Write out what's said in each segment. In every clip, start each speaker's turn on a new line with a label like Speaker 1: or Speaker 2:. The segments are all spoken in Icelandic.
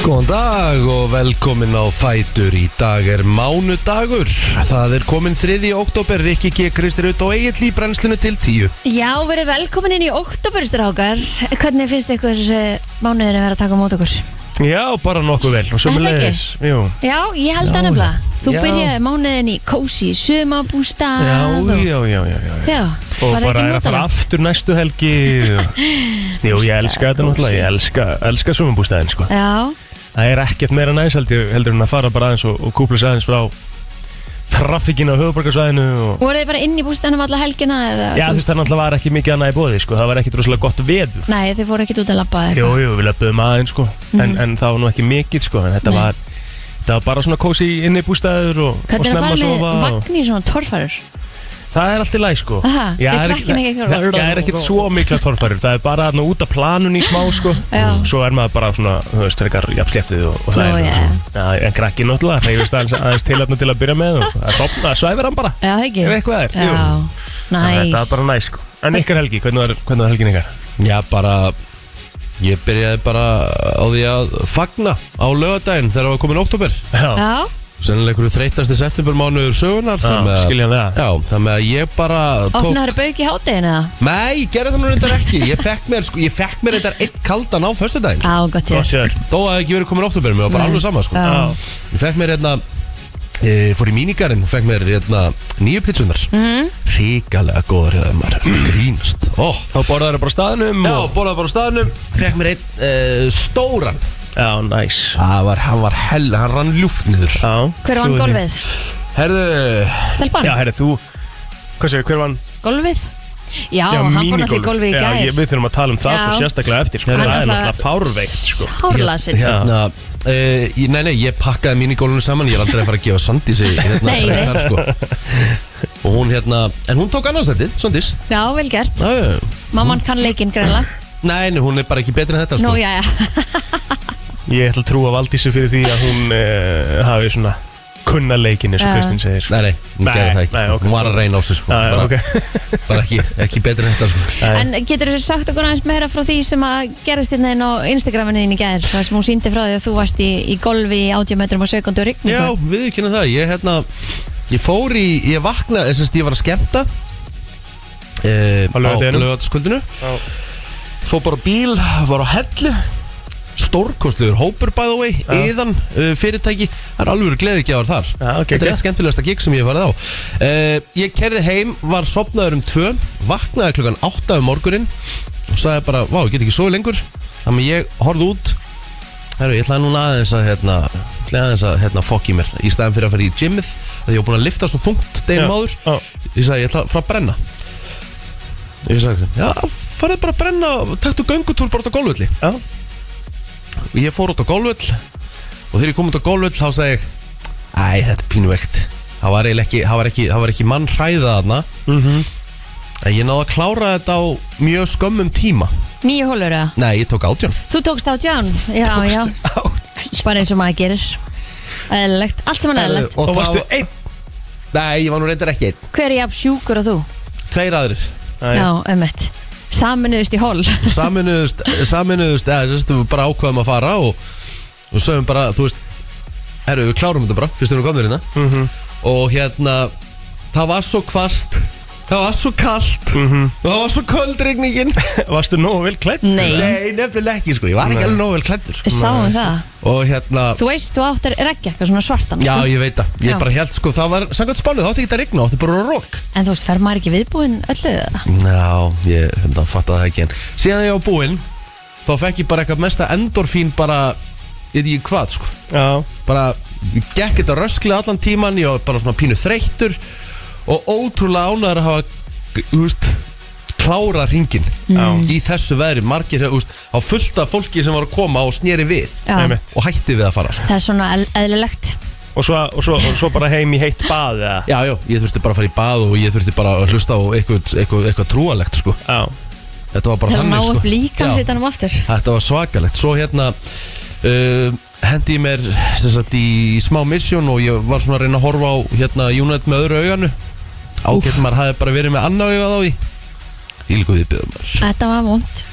Speaker 1: Góðan dag og velkomin á Fætur Í dag er mánudagur Það er komin 3. oktober Rikki G. Kristur ut og eigill í brennslinu til 10
Speaker 2: Já, verið velkomin inn í oktoberstrákar Hvernig finnst ykkur eh, mánuðurinn vera að taka á mót okkur?
Speaker 1: Já, bara nokkuð vel Og sömulegis Jú
Speaker 2: Já, ég held
Speaker 1: Já,
Speaker 2: það nefnilega Þú
Speaker 1: já.
Speaker 2: byrjaði mánuðin í kósi, sumabústað
Speaker 1: Já,
Speaker 2: og...
Speaker 1: já, já, já, já.
Speaker 2: Já,
Speaker 1: Og
Speaker 2: var það
Speaker 1: bara er
Speaker 2: Ah. ekki
Speaker 1: að fara
Speaker 2: mótalag?
Speaker 1: aftur næstu helgi Jú, ég elska þetta náttúrulega Ég elska, elska sumumbústæðin sko.
Speaker 2: Já,
Speaker 1: Það er ekkert meira næs heldur, heldur en að fara bara aðeins og, og kúpla sig aðeins frá Traffíkinu á höfuborgarsvæðinu og
Speaker 2: voruð þið bara inn í bústaðnum alla helgina? Eða,
Speaker 1: Já, þú veist, það náttúrulega var ekki mikið annað í bóði, sko. Það var ekkit rosalega gott veður.
Speaker 2: Nei, þið fóru ekkert út að labba eða
Speaker 1: Jú,
Speaker 2: eitthvað
Speaker 1: jú, við löpum aðeins, sko. En, en það var nú ekki mikið, sko. En þetta
Speaker 2: Mhm. Nei.
Speaker 1: var, þetta var bara svona kósi inni bústæður og, og
Speaker 2: Hvernig er
Speaker 1: snemma
Speaker 2: að fara með
Speaker 1: sofa. Og...
Speaker 2: vagn í svona torfarur?
Speaker 1: Það er allt í læg, sko.
Speaker 2: Aha,
Speaker 1: Já,
Speaker 2: ég
Speaker 1: það er
Speaker 2: krakkin ekki
Speaker 1: það-
Speaker 2: eitthvað-
Speaker 1: það er ekkit svo mikla torfarur. Það er bara þarna út af planun í smá, sko.
Speaker 2: Já.
Speaker 1: Svo er maður bara svona, þú veist, frekar jafnsléttið og, og það
Speaker 2: Nú,
Speaker 1: er
Speaker 2: já.
Speaker 1: svona. Já, en krakkin náttúrulega, reyfist aðeins, aðeins til þarna til að byrja með og það sofna, það svæfir hann bara.
Speaker 2: Já, það ekki
Speaker 1: Ef eitthvað er, jú.
Speaker 2: Já,
Speaker 1: Þannig að
Speaker 2: næs
Speaker 1: Þetta var bara næs, sko. En ykkar helgi, hvernig var, hvernig var helgin ykkar?
Speaker 3: Já, bara Ég byrjaði bara á því að fagna á lögadaginn þegar það var komin oktober
Speaker 1: Já.
Speaker 2: Já,
Speaker 3: Sennilega einhverju þreytasti septembermánuður sögunar
Speaker 1: Já,
Speaker 3: þannig að-
Speaker 1: skiljanlega.
Speaker 3: Já, þannig að ég bara tók
Speaker 2: opnaður bauk í hátteginu eða?
Speaker 3: Nei, ég gerði það nú reyndar ekki Ég fekk mér, sko, ég fekk mér reyndar einn kaldan á föstudaginn
Speaker 2: Já, gott
Speaker 1: Gott
Speaker 2: ég
Speaker 1: hjá þér.
Speaker 3: Þó að það hefði ekki verið komin oktober, mér var bara
Speaker 2: Nei.
Speaker 3: alveg sama, sko
Speaker 2: Já.
Speaker 3: Ég fekk mér hérna e, Fór í mínigarinn og fekk mér hérna nýju pítsunar
Speaker 2: Mhm.
Speaker 3: mm. Ríkalega góður hjá þeim maður Grínast Ó
Speaker 1: Þá borðar það bara á staðnum
Speaker 3: Já,
Speaker 1: og...
Speaker 3: borðaði bara á staðnum Fekk mér einn e, stóran
Speaker 1: Já, næs
Speaker 3: Það var, hann var hell, hann rann ljúft niður
Speaker 1: Já
Speaker 2: Hver vann
Speaker 1: Svo-
Speaker 2: gólfið?
Speaker 3: Herðu,
Speaker 1: Já,
Speaker 2: Stelpan?
Speaker 1: herri, þú Hvað segir, hver vann?
Speaker 2: Golfið? Já, hann fór náttúrulega í golfið í
Speaker 1: Já, ég,
Speaker 2: gær
Speaker 1: við þurfum að tala um það
Speaker 2: Já.
Speaker 1: svo sérstaklega eftir sko.
Speaker 2: Hann
Speaker 1: Það er
Speaker 2: náttúrulega-
Speaker 1: náttúrulega fárveikt sko.
Speaker 2: Hárlasinn
Speaker 1: Já.
Speaker 3: hérna Uh, ég, nei, nei, ég pakkaði minigólunum saman Ég er aldrei að fara að gefa Sandís hérna,
Speaker 2: Nei, nei.
Speaker 3: Þar, sko. Og hún hérna En hún tók annarsættið, Sandís
Speaker 2: Já, vel gert
Speaker 3: Nei,
Speaker 2: Mamman kann leikinn greinlega
Speaker 3: nei, hún er bara ekki betri en þetta sko.
Speaker 2: Nú, já, já
Speaker 1: Ég ætla að trúa Valdísi fyrir því að hún uh, hafi svona kunna leikin eins og
Speaker 2: Já.
Speaker 1: Kristinn segir sko.
Speaker 3: Nei, nei, hún
Speaker 1: Nei,
Speaker 3: gerði það ekki
Speaker 1: nei,
Speaker 3: sko.
Speaker 1: ok.
Speaker 3: Hún var að reyna á sig sko.
Speaker 1: Já, já,
Speaker 3: bara,
Speaker 1: ok.
Speaker 3: bara ekki, ekki betri en þetta sko.
Speaker 1: Nei.
Speaker 2: En getur þú sagt okkur aðeins meira frá því sem að gerðist hérna inn á Instagraminu þín í gær Það sem hún síndi frá því að þú varst í, í golfi í 80 metrum og sekundu rigningu
Speaker 3: Já, við ekki henni það Ég, hérna, ég fór í, ég vaknaði Þess að ég var að skemmta uh,
Speaker 1: Á laugardeginum?
Speaker 3: Á lögataskvöldinu
Speaker 1: Já.
Speaker 3: Fór bara á bíl, var á hellu Stórkostluður hópur by the way Íðan uh, fyrirtæki Það er alveg gleðigjafar þar
Speaker 1: Já, ok,
Speaker 3: Þetta er eitt
Speaker 1: ok.
Speaker 3: skemmtilegasta gig sem ég hef farið á uh, Ég kerði heim, var sopnaður um tvö Vaknaði klukkan átta um morgunin Og sagði bara, vá, ég get ekki sofið lengur Þannig að ég horfði út Herru, ég ætlaði núna aðeins að hérna, ætlaði aðeins að hérna fokk í mér Í staðan fyrir að fara í gymmið Þegar ég var búin að lifta svo þungt
Speaker 1: Já.
Speaker 3: degum áður
Speaker 1: Já.
Speaker 3: Ég sagði, ég ætla að fara að brenna Ég sagði, já, farið bara að brenna Taktu göngutúr bara út á gólvölli
Speaker 1: Já.
Speaker 3: Ég fór út á gólvöll Og þegar ég kom út á gólvöll þá sagði ég Æ, þetta er pínuvegt Það var eiginlega ekki, það var ekki, það var ekki mann hræða þarna
Speaker 1: Mhm.
Speaker 3: En ég náði að klára þetta á mjög skömmum tíma
Speaker 2: Nýju hólur eða?
Speaker 3: Nei, ég tók átjón
Speaker 2: Þú tókst á John Já, já Bara eins og maður gerir Eðlilegt Allt sem hann eðlilegt
Speaker 1: Og
Speaker 3: það
Speaker 1: varstu
Speaker 3: var-
Speaker 1: einn
Speaker 3: Nei, ég var nú reyndar ekki einn
Speaker 2: Hver er jafn sjúkur og þú?
Speaker 3: Tveir aðrir
Speaker 1: Æ,
Speaker 2: Já, ömmett Saminuðust í hól
Speaker 3: Saminuðust, saminuðust eða, sérst, við bara ákvaðum að fara og, og sögum bara, þú veist Herru, við klárum þetta bara, fyrst við erum komnir hérna Og hérna Það var svo kvast Það var svo kalt Það var svo köld regningin
Speaker 1: Varstu nógu vel klætt?
Speaker 2: Nei
Speaker 3: Nei, nefnilega ekki sko, ég var ekki
Speaker 1: Nei.
Speaker 3: alveg nógu vel klættur sko.
Speaker 2: Við sáum það
Speaker 3: Og hérna,
Speaker 2: Þú veist, þú áttar regja eitthvað svona svartan
Speaker 3: já
Speaker 2: sko?
Speaker 3: ég veit það Ég
Speaker 2: Já.
Speaker 3: bara held sko, það var, samkvæmt spánu, það átti ekki að rigna, það átti bara að rók
Speaker 2: En þú veist, fer maður ekki viðbúinn öllu eða?
Speaker 3: Já, ég hérna, fatt það ekki en Síðan ég var búinn, þá fekk ég bara eitthvað mesta endorfín bara Ég veit ekki hvað sko
Speaker 1: Já
Speaker 3: Bara, ég gekk þetta röskli allan tíman, ég var bara svona pínu þreyttur Og ótrúlega ánæður að hafa, þú veist, klára ringin Í þessu veðri, margir, þú veist, á fullta fólki sem var að koma og sneri við
Speaker 2: Já,
Speaker 1: einmitt.
Speaker 3: Og hætti við að fara sko
Speaker 2: það er svona eðl- eðlilegt
Speaker 1: Og svo, og, svo, og svo bara heim í heitt bað eða?
Speaker 3: Já, já, ég þurfti bara að fara í bað og ég þurfti bara að hlusta á eitthvað, eitthvað, eitthvað trúalegt, sko.
Speaker 1: Já
Speaker 3: Þetta var bara
Speaker 2: Þegar ná
Speaker 3: þannig, sko.
Speaker 2: upp líkan
Speaker 3: Já,
Speaker 2: sitt hann um aftur
Speaker 3: Þetta var svakalegt. Svo hérna uh, hendi ég mér sem sagt í smá misjón og ég var svona að reyna að horfa á hérna Júnætt með öðru auganu. Ágætt maður hafði bara verið með annað augað á því. Ílguði byggðum maður.
Speaker 2: Þetta var vond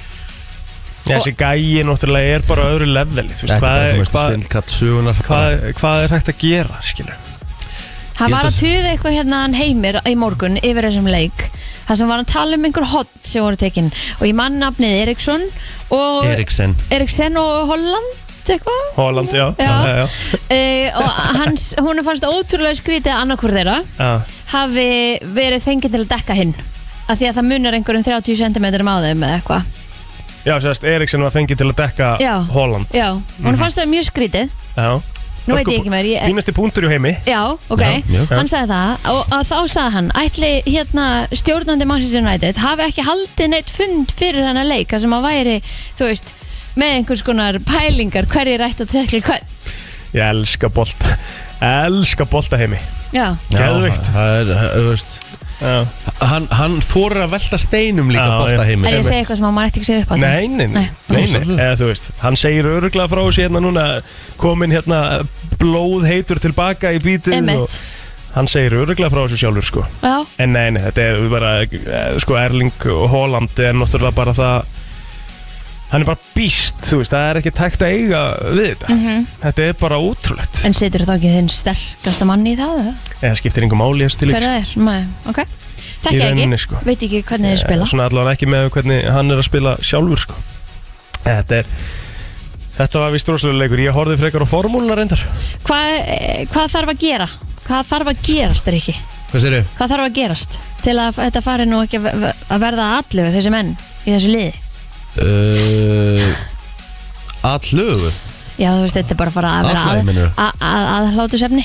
Speaker 1: Já, þessi gæi náttúrulega er bara á öðru leveli þú veist,
Speaker 3: Þetta er
Speaker 1: hvað,
Speaker 3: bara
Speaker 1: er-
Speaker 3: komist að
Speaker 1: hvað,
Speaker 3: svindkatt sögunar
Speaker 1: hvað, hvað er hægt að gera skilur?
Speaker 2: Hann
Speaker 3: Ég
Speaker 2: var
Speaker 3: held
Speaker 2: að
Speaker 3: að-
Speaker 2: tuða eitthvað hérna hann heimir í morgun yfir þessum leik þar sem var að tala um einhver hot sem voru tekin og ég mann nafnið Eriksson og
Speaker 3: Eriksen
Speaker 2: Eriksen og Holland eitthvað
Speaker 1: Holland, já,
Speaker 2: Já.
Speaker 1: já, já,
Speaker 2: e, og hans, hún fannst ótrúlega skrítið að annarkur þeirra
Speaker 1: já.
Speaker 2: hafi verið fengið til að dekka hinn af því að það munar einhverjum 30 cm á þeim eða eitthvað
Speaker 1: já sérst, Eriksen var fengið til að dekka
Speaker 2: Já.
Speaker 1: Holland
Speaker 2: Já,
Speaker 1: Mhm.
Speaker 2: hún fannst það mjög skrítið
Speaker 1: já.
Speaker 2: Nú veit ég ekki meir, ég-
Speaker 1: Fínasti punktur í heimi
Speaker 2: Já, ok,
Speaker 3: Já, mjög.
Speaker 2: hann sagði það og, og þá sagði hann, ætli hérna stjórnandi Manchester United hafi ekki haldið neitt fund fyrir hennar leik þar sem að væri, þú veist, með einhvers konar pælingar, hverjir ætti að tekla hvern
Speaker 1: Ég elska bolta Elska bolta heimi
Speaker 2: Já,
Speaker 1: Geðveikt.
Speaker 3: Það er, það- þú veist
Speaker 1: já.
Speaker 3: Hann, hann þorir að velta steinum líka
Speaker 1: Já,
Speaker 3: bolta
Speaker 1: já.
Speaker 3: heimi
Speaker 2: er ég að segja eitthvað sem að maður ætti ekki að segja upp á það?
Speaker 1: Nei, nei, nei,
Speaker 2: Nei,
Speaker 1: nei,
Speaker 3: ok.
Speaker 1: nei. Eða, þú veist, Hann segir öruglega frá sér hérna núna Komin hérna blóð heitur tilbaka í bítið og
Speaker 2: Einmitt,
Speaker 1: Hann segir öruglega frá sér sjálfur sko
Speaker 2: já,
Speaker 1: En nei, nei, þetta er bara eh, Sko Erling Haaland er náttúrulega bara það Hann er bara býst, þú veist, það er ekki tækt að eiga við þetta Þetta er bara ótrúlegt
Speaker 2: en setur þá ekki þinn sterkasta mann í það, eða?
Speaker 1: Eða skiptir yngur máli þessu til
Speaker 2: hver það er, nei, ok
Speaker 1: Í
Speaker 2: Þekki
Speaker 1: rauninni,
Speaker 2: ekki,
Speaker 1: sko.
Speaker 2: veit ekki hvernig þeir
Speaker 1: Eh,
Speaker 2: spila
Speaker 1: Svona allavega ekki með hvernig hann er að spila sjálfur sko. Þetta er Þetta var vist rosalega leikur Ég horfði frekar á formúluna reyndar
Speaker 2: Hvað, eh, hvað þarf að gera? Hvað þarf að gerast, er
Speaker 3: Hvað segir þau?
Speaker 2: Hvað þarf að gerast til að þetta fari nú ekki að ve- að verða allu þessi menn í þessu liði?
Speaker 3: Uh, Allögu
Speaker 2: Já, þú veist, þetta er bara að fara að vera
Speaker 3: Atlagi, meinarðu?
Speaker 2: að, að, að, að hlátu sefni.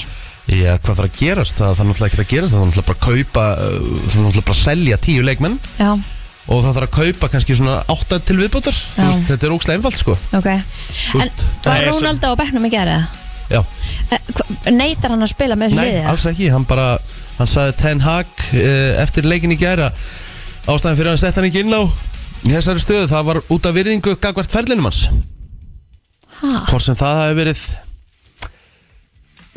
Speaker 3: Já, hvað þarf að gerast? Það þarf náttúrulega ekki að gerast Það þarf náttúrulega bara að kaupa uh, Það þarf náttúrulega bara að selja tíu leikmenn
Speaker 2: Já,
Speaker 3: Og það þarf að kaupa kannski svona átta til viðbótar Þú
Speaker 2: Já.
Speaker 3: veist, Þetta er ógstlega einfalt sko
Speaker 2: ok.
Speaker 3: Þú
Speaker 2: En
Speaker 3: veist,
Speaker 2: var
Speaker 1: Nei, svo-
Speaker 2: Rónalda á bekknum í gerða?
Speaker 3: Já,
Speaker 2: Neitar hann að spila með þessu
Speaker 3: nei,
Speaker 2: liði?
Speaker 3: alls ekki Hann bara, hann sagði Ten Hag uh, Eftir leikin í gæra Ástæðan fyrir að hann sett hann ekki inn á Í þessari stöðu, það var út af virðingu Gagvart ferlinum hans
Speaker 2: Ha,
Speaker 3: Hvort sem það hefði verið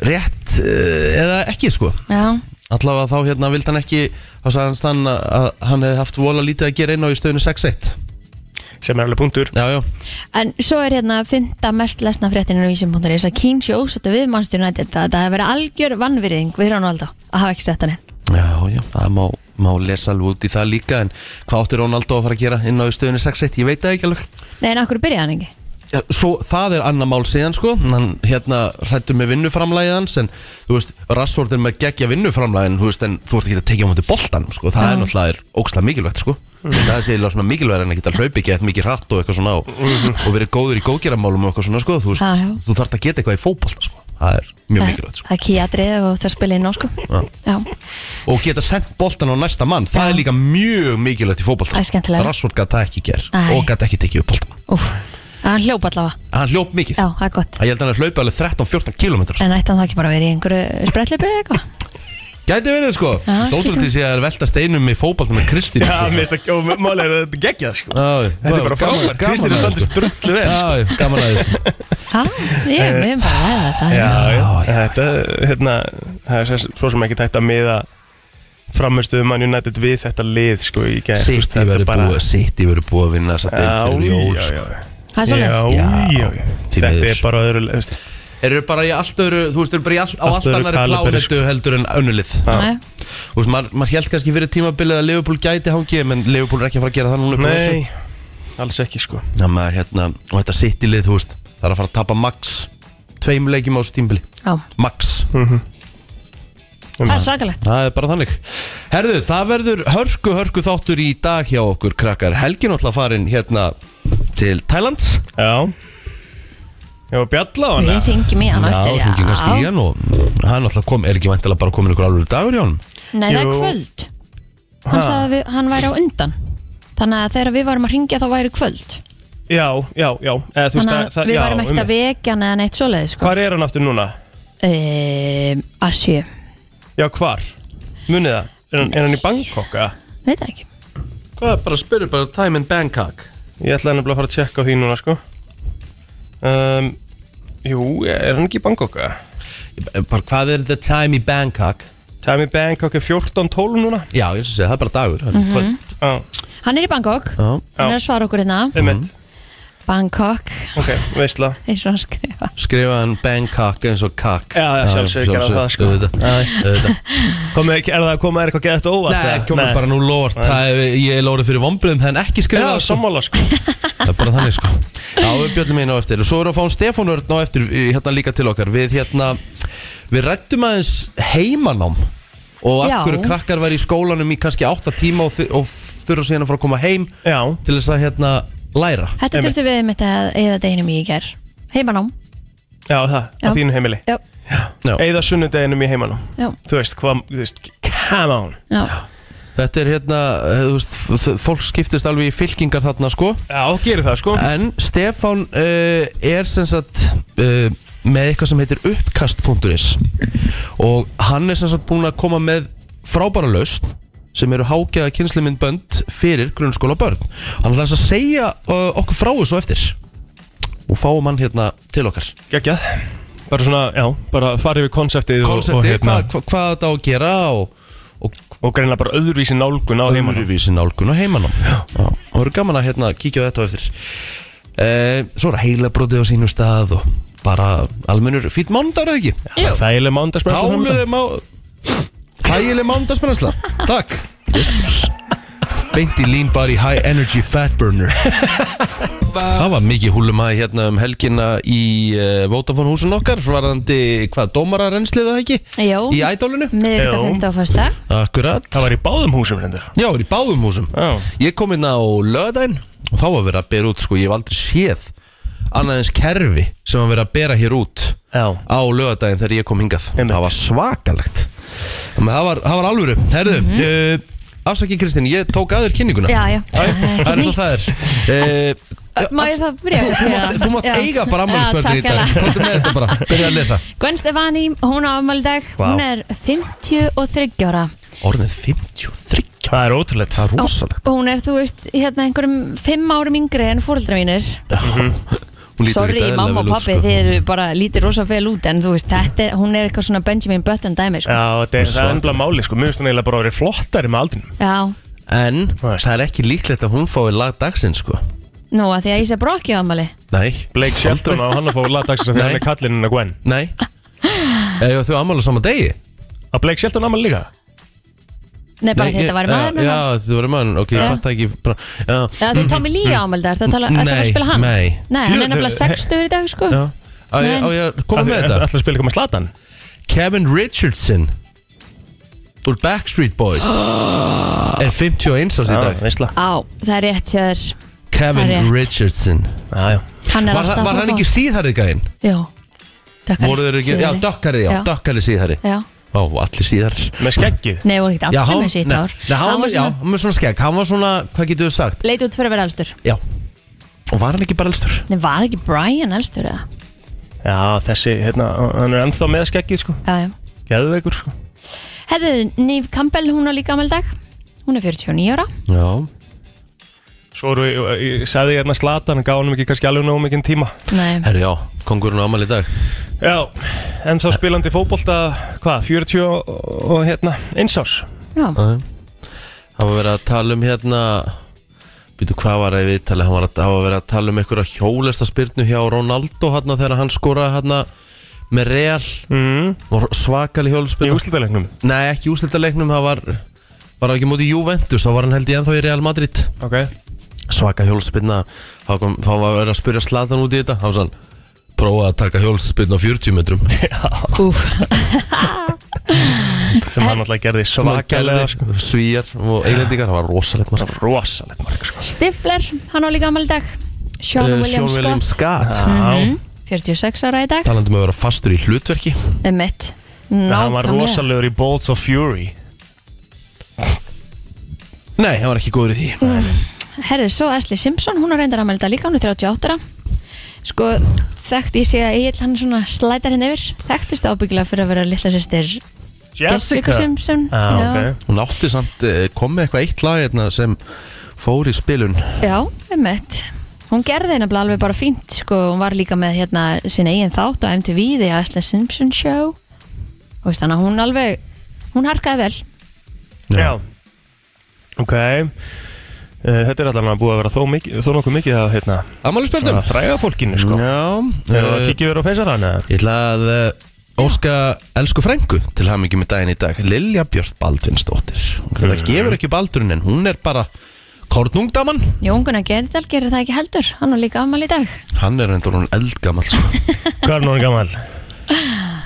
Speaker 3: Rétt uh, Eða ekki sko
Speaker 2: já,
Speaker 3: Allavega þá hérna vildi hann ekki Þá sagði hann stann að hann hefði haft vola lítið að gera inn á í stöðinu 6-1
Speaker 1: Sem er alveg punktur
Speaker 3: Já, já,
Speaker 2: en svo er hérna fynda mest lesna fréttinu í vísum.is að Keane sé ósáttu við mannstur nættið að það hefur verið algjör vannvirðing við Rónalda að hafa ekki sett hann inn.
Speaker 3: Já, já, það má, má lesa alveg út í það líka en hvað átti Rónaldó að fara að gera inn á í stöðunni 6-1, ég veit það ekki alveg
Speaker 2: Nei, en akkur byrjaði hann ekki?
Speaker 3: Já, Svo það er annað mál síðan sko en hann hérna hrættur með vinnuframlæðið hans en þú veist, Rassvort er með gegja vinnuframlæðin þú veist, en þú ert ekki að tekja á móti boltanum sko, það
Speaker 2: Já. Mm.
Speaker 3: er náttúrulega er ókslega mikilvægt sko það er séðilega svona mikilvægt en að geta hlaupi gett mikið hratt og eitthvað svona og, og verið góður í góðgeramálum og eitthvað svona sko þú, veist,
Speaker 2: Mhm. Já, já.
Speaker 3: þú þarft að geta eitthvað í fótbolta sko það er mjög
Speaker 2: Það
Speaker 3: mikilvægt
Speaker 2: Eh,
Speaker 3: sko
Speaker 2: það er kýjadrið og það spila inn á sko.
Speaker 3: Já.
Speaker 2: Já.
Speaker 3: og geta sendt boltan á næsta mann
Speaker 2: Já.
Speaker 3: það er líka mjög mikilvægt í fótballta
Speaker 2: Það er skemmtilegra.
Speaker 3: Rassvort gæti það ekki ger
Speaker 2: Æ.
Speaker 3: og gæti ekki tekið upp boltan
Speaker 2: Úf, hann hljópa allavega.
Speaker 3: hann hljóp mikið,
Speaker 2: Já, það er gott.
Speaker 3: ég held að hann hljópi alveg 13-14 km
Speaker 2: En ætti hann þá ekki bara að vera í einhverju sprettleipi eða eitthvað?
Speaker 3: gæti verið sko,
Speaker 2: Já,
Speaker 3: stóttur
Speaker 2: skýtum.
Speaker 3: til sig að velta steinum í fótballta með sko. Kristín
Speaker 1: Já, mér finnst að Málega er þetta geggjað sko Þetta
Speaker 3: þetta
Speaker 1: er bara frábært Kristýr er standið strullu vel sko.
Speaker 3: Já, gaman að þessu
Speaker 2: Já, ég er með bara að ræða þetta.
Speaker 1: Eh, já, já,
Speaker 3: já, já.
Speaker 1: Þetta, hérna Það er sem- svo sem ekki tækt að miða Framistuðu mann United við þetta lið sko í gær Þú veist,
Speaker 3: City
Speaker 1: þetta er
Speaker 3: verður
Speaker 1: bara-
Speaker 3: búið, City verður búið að vinna þessa deild fyrir
Speaker 1: Já,
Speaker 3: jól
Speaker 1: já,
Speaker 3: sko.
Speaker 1: já, já.
Speaker 2: Það er svolítið.
Speaker 1: Já,
Speaker 3: Já,
Speaker 1: já, já.
Speaker 3: því
Speaker 1: Þetta
Speaker 3: miður.
Speaker 1: er bara öðru þú veist.
Speaker 3: Eru bara í allt öðru, þú veist, eru bara í allt, á
Speaker 1: Allt
Speaker 3: allt
Speaker 1: öðru sko.
Speaker 3: annari
Speaker 1: kaliberi,
Speaker 3: plánetu heldur en önnulið
Speaker 2: Já.
Speaker 3: Þú veist, maður mað held kannski fyrir tímabilið að Liverpool gæti hangið menn Liverpool er ekki að fara að gera það núna upp á þessu.
Speaker 1: Nei, alls ekki sko
Speaker 3: Já, maður, hérna, og þetta sittilið, þú veist, það er að fara að tapa max tveim leikjum á þessu tímbili,
Speaker 2: Já,
Speaker 3: max
Speaker 1: Um
Speaker 2: það er svakalegt.
Speaker 3: það er bara þannig Herðu, það verður hörku, hörku þáttur í dag hjá okkur krakkar Helgin alltaf farin hérna til Tælands
Speaker 1: Já Ég var að bjalla á hana
Speaker 2: Við ringjum í hann á eftir,
Speaker 3: hringir kannski í hann og hann alltaf kom, er ekki vantilega bara komin ykkur alveg dagur hjá hann
Speaker 2: Nei, það er
Speaker 1: Jú.
Speaker 2: kvöld. Hann
Speaker 1: Ha.
Speaker 2: sagði að við- hann væri á undan. Þannig að þegar við varum að ringja þá væri kvöld.
Speaker 1: Já, já, já Eða, þú veist,
Speaker 2: Þannig að
Speaker 1: það- það-
Speaker 2: við
Speaker 1: já,
Speaker 2: varum ekkert
Speaker 1: um-
Speaker 2: að vekja hann eða neitt svoleiði, sko.
Speaker 1: Hvar er hann aftur núna?
Speaker 2: Ehm, Að sjö.
Speaker 1: Já, hvar? Munið það? Er hann, er hann í Bangkok? eða?
Speaker 2: Veit það ekki.
Speaker 3: Hvað er bara að spyrja bara time in Bangkok
Speaker 1: Ég ætlaði nefnilega að fara að tjekka á því núna sko um, Jú, er hann ekki í Bangkok? eða?
Speaker 3: Bara hvað er the time í Bangkok?
Speaker 1: Time í Bangkok er 14.12 núna
Speaker 3: Já, ég syns að
Speaker 2: Mhm.
Speaker 3: það er bara dagur mm -hmm.
Speaker 1: Já,
Speaker 2: Hann er í Bangkok.
Speaker 3: Já, Mhm.
Speaker 2: Hann er að svara okkur hérna.
Speaker 1: einmitt
Speaker 2: Bangkok,
Speaker 1: Ok, veistla
Speaker 2: eins og hann skrifa
Speaker 3: Skrifa hann Bangkok eins og kakk
Speaker 1: Já, já, sjálfsög, gera það, sko.
Speaker 3: auðvitað, auðvitað.
Speaker 1: Komið, Er það að koma þér eitthvað geðast óvart?
Speaker 3: Nei,
Speaker 1: eða?
Speaker 3: komið bara nú lort Það er, ég er lórið fyrir vombriðum en ekki skrifa
Speaker 1: Já, sammála sko
Speaker 3: Það er bara þannig sko Já, við bjöllum einu á eftir Svo erum við að fá hann Stefán Örn á eftir í- hérna líka til okkar Við hérna, við rættum aðeins heimanám Og af
Speaker 2: Já.
Speaker 3: hverju krakkar væri í skólanum í kannski 8 tíma Og, þu- og þurfa síðan að fara að koma heim
Speaker 1: Já,
Speaker 3: Til þess að hérna læra
Speaker 2: Þetta
Speaker 1: Einmitt.
Speaker 2: þurftu við mitt að eða deginum í ger Heimanám
Speaker 1: já, það, á
Speaker 2: Já.
Speaker 1: þínu heimili
Speaker 2: Já,
Speaker 3: Já.
Speaker 1: Eða sunnudeginum í heimanum
Speaker 2: já,
Speaker 1: Þú veist, hvað, þú veist, come on
Speaker 2: já
Speaker 3: Þetta er hérna, eh, þú veist, f- f- fólk skiptist alveg í fylkingar þarna sko
Speaker 1: Já, gerir það sko
Speaker 3: En Stefán uh, er sem sagt uh, með eitthvað sem heitir uppkast.is og hann er sem sagt búin að koma með frábæra lausn sem eru hágæða kynslumyndbönd fyrir grunnskóla börn. Hann ætlar þess að segja uh, okkur frá þessu á eftir og fáum hann hérna til okkar.
Speaker 1: Gægjað Bara svona, já, bara farið við konseptið og- og, hérna,
Speaker 3: Konseptið, hvað, hvað, hvað þetta á að gera og, og
Speaker 1: og greinlega bara öðruvísi nálgun á heimanum
Speaker 3: öðruvísi nálgun á heimanum Já. og verður gaman að hérna, kíkja á þetta á eftir e, svo er heila brotið á sínum stað og bara almennur fýtt mándar eða ekki
Speaker 2: Jú.
Speaker 1: Þægileg mándagsbrennsla framöndan.
Speaker 3: Háluði má Hægileg mándagsmennarsla Takk Jesus. Beint í Lean Body High Energy Fat Burner Það var mikið húlum að hérna um helgina í uh, Vodafone húsun okkar varðandi hvað, dómararennslið eða ekki?
Speaker 2: Jó.
Speaker 3: Í ædólinu?
Speaker 2: Miðvikudag,
Speaker 1: Já.
Speaker 2: fymta og fyrsta
Speaker 3: Akkurat
Speaker 1: Það var í báðum húsum hendur
Speaker 3: Já, er í báðum húsum
Speaker 1: Já.
Speaker 3: Ég kom inn á löðdæn og þá var verið að bera út, sko, ég hef aldrei séð annað eins kerfi sem var verið að bera hér út
Speaker 1: Já
Speaker 3: á löðdæn þegar ég kom hingað
Speaker 1: Einmitt.
Speaker 3: Það var svakalegt Þannig að það var, það var alvöru Herðu, mm. uh, afsaki Kristín, ég tók aður kynninguna
Speaker 2: Mhm. Já, já
Speaker 3: Æ, Það er eins og það er uh,
Speaker 2: Má ég það bregja?
Speaker 3: Þú mátt, þú mátt eiga bara ammælisbörnir í dag Komdu með þetta bara, byrja að lesa
Speaker 2: Gwen Stefani, hún á afmæli í dag
Speaker 1: Vá.
Speaker 2: Hún er 53 ára
Speaker 3: Orðið 53,
Speaker 1: Það er ótrúlegt
Speaker 3: það er rosalegt
Speaker 2: Og hún er, þú veist, hérna einhverjum fimm árum yngri en fóreldra mínir
Speaker 3: Hún lítur
Speaker 2: Sorry,
Speaker 3: ekkert eðlilega
Speaker 2: mamma og
Speaker 3: vel út,
Speaker 2: pappi,
Speaker 3: sko.
Speaker 2: þið eru bara lítið rosa fel út En þú veist, þetta er, hún er eitthvað svona Benjamin Button dæmi, sko
Speaker 1: Já, þetta er- það er ennbla máli sko Mér finnst hún eiginlega bara að vera flottari með aldrinum
Speaker 2: Já,
Speaker 3: En
Speaker 1: veist.
Speaker 3: það er ekki líklegt að hún fái lag dagsins sko
Speaker 2: nú að því að Ísa Brokki á afmæli
Speaker 3: Nei,
Speaker 1: Blake Shelton á hann að fá lagdagsins
Speaker 3: Nei.
Speaker 1: Þegar hann er kallinn hennar Gwen
Speaker 3: nei Eða þau ammæla sama degi?
Speaker 1: Að Blake Shelton áman líka
Speaker 2: Nei, bara
Speaker 3: Nei,
Speaker 2: því
Speaker 3: ég-
Speaker 2: þetta var maður
Speaker 3: Já,
Speaker 2: hennar
Speaker 3: já, þú verður mann, ok, ég
Speaker 2: Já.
Speaker 3: fatt ekki bara, Já,
Speaker 2: Já, því Tommy Lee á afmæli þar, það tala, það tala að
Speaker 3: Mm. Nei,
Speaker 2: spila hann
Speaker 3: nei.
Speaker 2: Nei, hann er
Speaker 1: Jú,
Speaker 2: nefnilega
Speaker 1: þau-
Speaker 2: 60 í dag, sko
Speaker 3: já Á ég,
Speaker 2: Nei.
Speaker 3: á ég að koma með þetta
Speaker 1: Alltaf spila eitthvað með Slatan
Speaker 3: Kevin Richardson Úr Backstreet Boys Er 51 ás í dag
Speaker 1: veistla
Speaker 2: Á, það er rétt hjá þér
Speaker 3: Kevin
Speaker 2: það er rétt.
Speaker 3: Richardson
Speaker 1: Já, já
Speaker 2: Hann er
Speaker 3: Var,
Speaker 2: alltaf
Speaker 3: hann- var hann ekki síðharið gæinn?
Speaker 2: Jú, dökkari
Speaker 3: Voru þeir ekki, já,
Speaker 2: síðari.
Speaker 3: dökkari, já,
Speaker 2: Já.
Speaker 3: dökkari síðhari
Speaker 2: Já,
Speaker 3: Ó, allir síðar
Speaker 1: Með skeggið
Speaker 2: nei, voru ekki
Speaker 3: Já,
Speaker 2: allir
Speaker 3: hann,
Speaker 2: með sitt
Speaker 3: nei,
Speaker 2: ár
Speaker 3: nei, hann, var, já,
Speaker 2: svona-
Speaker 3: hann var svona skegg, hann var svona, hvað getur við sagt?
Speaker 2: Leit út fyrir að vera elstur
Speaker 3: Já, og var hann ekki bara elstur?
Speaker 2: Nei, var ekki Brian elstur, eða?
Speaker 1: Já, þessi, hérna, hann er ennþá með skeggið, sko
Speaker 2: Já, já
Speaker 1: Geðveikur, sko
Speaker 2: Herðu, Nýf Campbell, hún á líka afmæli í dag Hún er 49 ára
Speaker 3: Já,
Speaker 1: Svo eru, ég, ég sagði hérna Slatan Gá hann ekki kannski alveg nóg mikinn tíma
Speaker 2: Nei,
Speaker 3: herru já, kongurinn á amal í dag
Speaker 1: Já, en þá spilandi fótbolta Hvað, 40 og, og hérna Einsás
Speaker 2: já,
Speaker 3: Það var verið að tala um hérna Býtu hvað var það í viðtali Hann var að, hann var verið að tala um einhverja hjólesta spyrnu hjá Ronaldo hérna þegar hann skoraði hérna með real
Speaker 1: mm,
Speaker 3: var svakali
Speaker 1: Í
Speaker 3: hjólspyrnu
Speaker 1: úrslutalegnum
Speaker 3: Nei, ekki úsleitaleiknum, það var var ekki mútið Juventus, þá var hann held ég ennþá í Real Madrid
Speaker 1: Ok
Speaker 3: svaka hjólspinna þá, kom, þá var verið að spyrja Slatan út í þetta þá var hann prófa að taka hjólspinna á 40 metrum
Speaker 2: úf
Speaker 1: Sem hann alltaf gerði
Speaker 3: sem hann
Speaker 1: svakalega,
Speaker 3: gerði
Speaker 1: sko
Speaker 3: svíjar og eiglendingar, það var rosalegt margt
Speaker 1: Rosalegt marg, sko
Speaker 2: Stifler, hann á líka afmæli í dag Sean
Speaker 3: Eh,
Speaker 2: William
Speaker 3: Sean William
Speaker 2: Scott Mhm.
Speaker 3: Scott
Speaker 1: Já,
Speaker 2: 46 ára í dag
Speaker 3: talandi um að vera fastur í hlutverki
Speaker 2: um mitt
Speaker 1: hann var rosalegur í Bolts of Fury
Speaker 3: Nei, hann var ekki góður í því
Speaker 2: Herðu, svo Ashley Simpson, hún á reyndar afmæli í dag líka Hún er 38 ára Sko, þekkt ég sé að Egil hann svona slætar henni yfir Þekktist ábyggilega fyrir að vera litla sýstir Jessica Simpson
Speaker 1: Já, Ah, ok
Speaker 3: Hún átti samt eh, kom með eitthvað eitt lag hérna, sem fór í spilun
Speaker 2: Já, einmitt Hún gerði nefnilega alveg bara fínt sko, hún var líka með hérna sinna eigin þátt á MTV The Ashley Simpson Show og veist þannig að hún alveg hún harkaði vel
Speaker 1: Já Ok Eh, Þetta er allavega búið að vera þó, mikið, þó nokkuð mikið að, hérna,
Speaker 3: Amalur spjöldum
Speaker 1: að fræga fólkinu sko.
Speaker 3: Já
Speaker 1: Hefur það
Speaker 3: eh,
Speaker 1: kikið verið á feysarann eða?
Speaker 3: Ég ætla að uh, óska elsku frængu til hamingjum með daginn í dag Lilja Björn Baldvinsdóttir Hún mm. gefur ekki baldurinn en hún er bara kornungdaman
Speaker 2: Jónguna Gerðal gerir það ekki heldur Hann var líka afmæl í dag
Speaker 3: Hann er endur hún eldgamall sko.
Speaker 1: Hvað er núna gammal?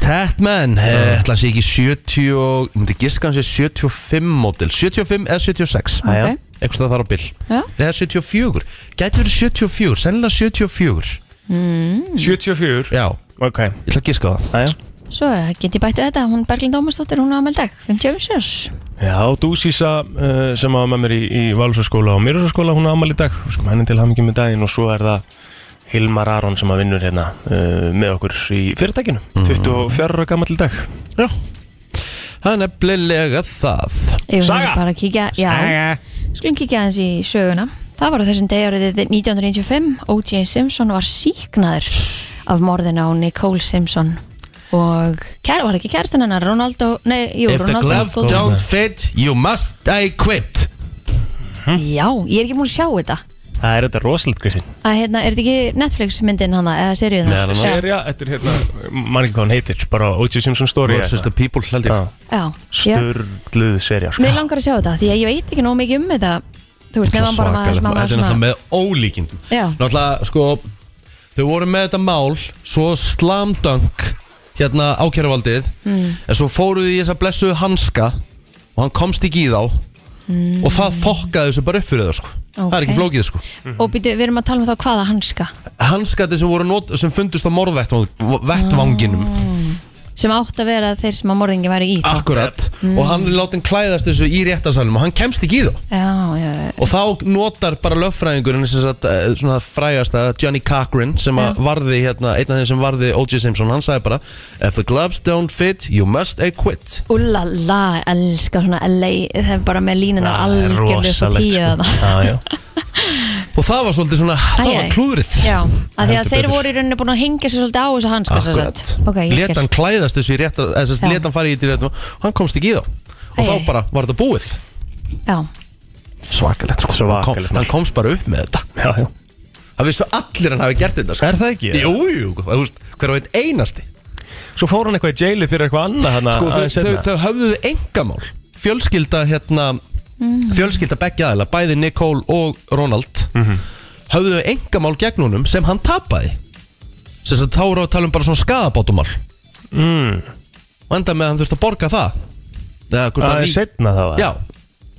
Speaker 3: Tatman, eh, ætla hans ekki 70 og, ég myndi giska hans er 75 mótil, 75 eða 76
Speaker 1: Jæja.
Speaker 2: Ok.
Speaker 3: eitthvað stað þar á bil
Speaker 2: Já.
Speaker 3: eða 74, gæti verið 74 sennilega 74,
Speaker 2: Mm.
Speaker 1: 74
Speaker 3: já, ég
Speaker 1: Ok,
Speaker 3: ætla að giska á það
Speaker 1: aðja
Speaker 2: Svo get ég bættu þetta, hún Berglind Ómarsdóttir, hún á afmæl í dag 57
Speaker 1: Já, Dúsísa uh, sem var með mér í, í Valsarskóla og Mýrarskóla hún á amal í dag Við skulum henni til hamingjum með daginn og svo er það Hilmar Aron sem að vinnur hérna uh, með okkur í fyrirtækinu
Speaker 3: Mhm.
Speaker 1: 24 ára gammal í dag
Speaker 3: já, það er nefnilega það
Speaker 2: Eigum við
Speaker 1: Saga.
Speaker 2: bara að kíkja, já, skulum kíkja aðeins í söguna Það var á þessum degi árið 1995 O.J. Simpson var síknaður af morðin á Nicole Simpson og kær, var ekki kærastan hennar Ronaldo, nei, jú,
Speaker 3: If the
Speaker 2: Ronaldo
Speaker 3: glove
Speaker 2: Gold-
Speaker 3: don't fit, you must I quit
Speaker 2: Já, ég er ekki múin að sjá þetta
Speaker 1: Það er þetta rosalegt Kristín
Speaker 2: að hérna, er þetta ekki Netflix myndin hana eða seriðin
Speaker 3: Meðal annars.
Speaker 2: já,
Speaker 1: Serja, þetta er hérna, mann ekki hvað hann heitir bara O.J. Simpson Story
Speaker 3: versus the people, held ég
Speaker 1: Já,
Speaker 2: já, já.
Speaker 1: Sturluð serja sko.
Speaker 2: Mér langar að sjá þetta því að ég veit ekki nóg mikið um þetta Þú veist, nefnum bara maður,
Speaker 3: Svakalega, þetta er
Speaker 2: maður
Speaker 3: náttúrulega
Speaker 2: svona
Speaker 3: með ólíkindum
Speaker 2: Já.
Speaker 3: Náttúrulega, sko Þau voru með þetta mál Svo slamdunk Hérna ákjæruvaldið
Speaker 2: Mm.
Speaker 3: En svo fóruðu í þessa blessuðu hanska Og hann komst ekki í þá Og það fokkaði þessu bara upp fyrir þau sko Það er
Speaker 2: Mm. Ok.
Speaker 3: ekki flókið sko
Speaker 2: Og býtu, við erum að tala um þá hvaða hanska
Speaker 3: Hanskati sem, voru not, sem fundust á morðvettvanginum
Speaker 2: sem átt að vera þeir sem að morðingi væri í þá.
Speaker 3: Ah, Akkurat Og hann er látin klæðast þessu í réttarsalum Og hann kemst ekki í þá
Speaker 2: Já, já, já.
Speaker 3: Og þá notar bara löffræðingurinn sem sagt, eh, svona frægasta Johnny Cochran sem að varði hérna, einn af þeim sem varði O.J. Simpson, hann sagði bara If the gloves don't fit, you must I quit
Speaker 2: Úlala, la, elska svona LA Það er bara með
Speaker 1: Það
Speaker 2: línunar
Speaker 1: er
Speaker 2: algjörlega upp á
Speaker 1: rosalegt,
Speaker 2: tíu
Speaker 1: sko.
Speaker 2: sko.
Speaker 1: Já, já.
Speaker 3: Og það var svolítið svona, það
Speaker 2: Æ,
Speaker 3: var
Speaker 2: æ.
Speaker 3: klúðrið
Speaker 2: Já, af því að
Speaker 1: Heldur
Speaker 2: þeir
Speaker 1: betur.
Speaker 2: voru í rauninni búin að hengja sér svolítið á þessu hanska sem
Speaker 3: Akkurat,
Speaker 2: sagt. Ok, ég
Speaker 3: let
Speaker 2: skil
Speaker 3: hann klæðast þessu í eh, rétt
Speaker 2: Já.
Speaker 3: Let hann fara í þetta rétt og hann komst ekki í þá Og
Speaker 2: Æ,
Speaker 3: þá
Speaker 2: æ.
Speaker 3: bara var þetta búið
Speaker 2: Já,
Speaker 3: Svakalegt sko Hann kom-
Speaker 1: Svakalegt.
Speaker 3: Hann komst bara upp með þetta
Speaker 1: já, já.
Speaker 3: Það vissu allir hann hafi gert þetta sko
Speaker 1: Er það ekki?
Speaker 3: Jú, jú, þú veist, hver á einn einasti
Speaker 1: Svo fór hann eitthvað í jailið fyrir eitthvað annað hana,
Speaker 3: sko, þau, þau, þau höfðuðu engamál fjölskylda hérna fjölskylda beggja aðila, bæði Nicole og Ronald höfðuðu engamál gegn honum sem hann tapaði sem þess að þá eru að tala um bara svona skadabátumál
Speaker 1: mm,
Speaker 3: og enda með að hann þurfti að borga það eða hvort
Speaker 1: Það
Speaker 3: það
Speaker 1: er
Speaker 3: ný
Speaker 1: setna þá
Speaker 3: já,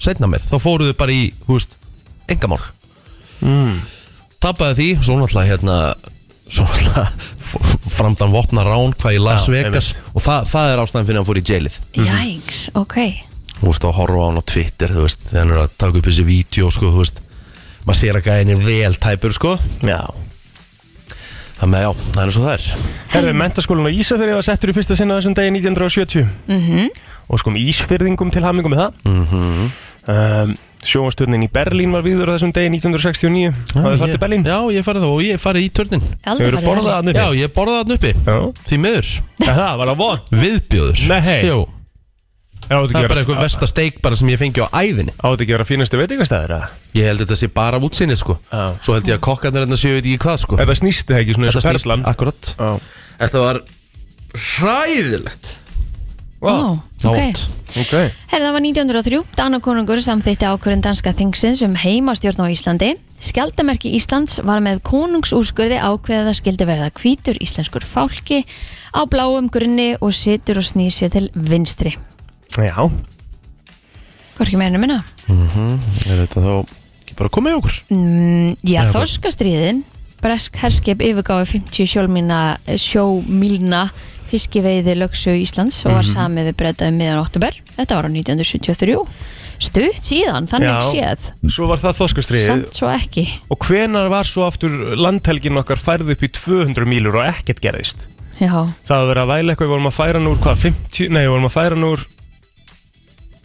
Speaker 3: setna mér, þá fóruðu bara í þú veist, engamál
Speaker 1: mm.
Speaker 3: tapaði því, svo náttúrulega hérna svo náttúrulega f- framdann vopna rán hvað í Las
Speaker 1: Já,
Speaker 3: Vegas og það, það er ástæðan fyrir að hann fór í jailið
Speaker 1: Mhm.
Speaker 2: jæks, ok
Speaker 3: þú veist, að horfa á hann á Twitter, þú veist, þegar hann er að taka upp þessi vídeo, sko, þú veist, maður sér að gæðin er vel tæpur, sko,
Speaker 1: já.
Speaker 3: þannig að já, það er svo það er.
Speaker 1: Herðu, mentaskólan á Ísafjörði var settur í fyrsta sinna þessum degi 1970
Speaker 2: Mhm.
Speaker 1: og sko um Ísfyrðingum til hamingum með það mm
Speaker 3: Mhm.
Speaker 1: -hmm. um, Sjónastörnin í Berlín var viður á þessum degi 1969 Hafið farið til Berlín?
Speaker 3: Já, Ah, ég farið þá og ég farið í törnin.
Speaker 1: Þau
Speaker 2: Aldrei
Speaker 1: eru
Speaker 2: farið
Speaker 1: borðað
Speaker 2: þarna.
Speaker 1: að
Speaker 3: Já,
Speaker 1: nufi
Speaker 3: ég borðaði hann uppi,
Speaker 1: Já
Speaker 3: því miður,
Speaker 1: Ja, Það var það von
Speaker 3: viðbjóður.
Speaker 1: Nei.
Speaker 3: Jú,
Speaker 1: Já, þetta
Speaker 3: það er bara
Speaker 1: ekki
Speaker 3: eitthvað
Speaker 1: vera-
Speaker 3: versta steik bara sem ég fengi á æðinni.
Speaker 1: Á þetta ekki að vera fínastu veitingastæðir eða?
Speaker 3: Ég held þetta sé bara af útsinni, sko.
Speaker 1: Já.
Speaker 3: Svo held ég að kokkarnir hérna séu veit ekki hvað, sko.
Speaker 1: Þetta snýsti ekki svona eins og
Speaker 3: snýst-
Speaker 1: perlan
Speaker 3: Akkurat.
Speaker 1: Já.
Speaker 3: Þetta var hræðilegt.
Speaker 1: Vá,
Speaker 2: Ó, ok.
Speaker 3: Nátt.
Speaker 1: Ok
Speaker 2: Herði, það var 1903, Danakonungur samþýtti ákvörðun danska þingsins um heimastjórn á Íslandi. Skjaldamerki Íslands var með konungsúrskurði ákveðið að skildi verða hvítur íslenskur fálki á bláum grunni og situr og snýr sér til vinstri.
Speaker 1: Já
Speaker 2: Hvað er ekki meira en að minna?
Speaker 3: Er þetta þá ekki bara komið hjá okkur?
Speaker 2: Mm, já,
Speaker 3: Eða hvað?
Speaker 2: þorskastriðin, bresk herskip yfirgáði 50 sjómilna, sjómilna eh, fiskiveiði lögsu Íslands og var
Speaker 1: Mhm.
Speaker 2: samið við breytaði miðan oktober. Þetta var á 1973. Stutt síðan, þannig
Speaker 1: Já.
Speaker 2: séð,
Speaker 1: Svo var það þoskastriðið
Speaker 2: samt svo ekki.
Speaker 1: Og hvenar var svo aftur landhelgin okkar færð upp í 200 mílur og ekkert gerðist?
Speaker 2: Já,
Speaker 1: það að vera að væla eitthvað, við vorum að færa hann úr hvað, 50, nei, við vorum að færa hann úr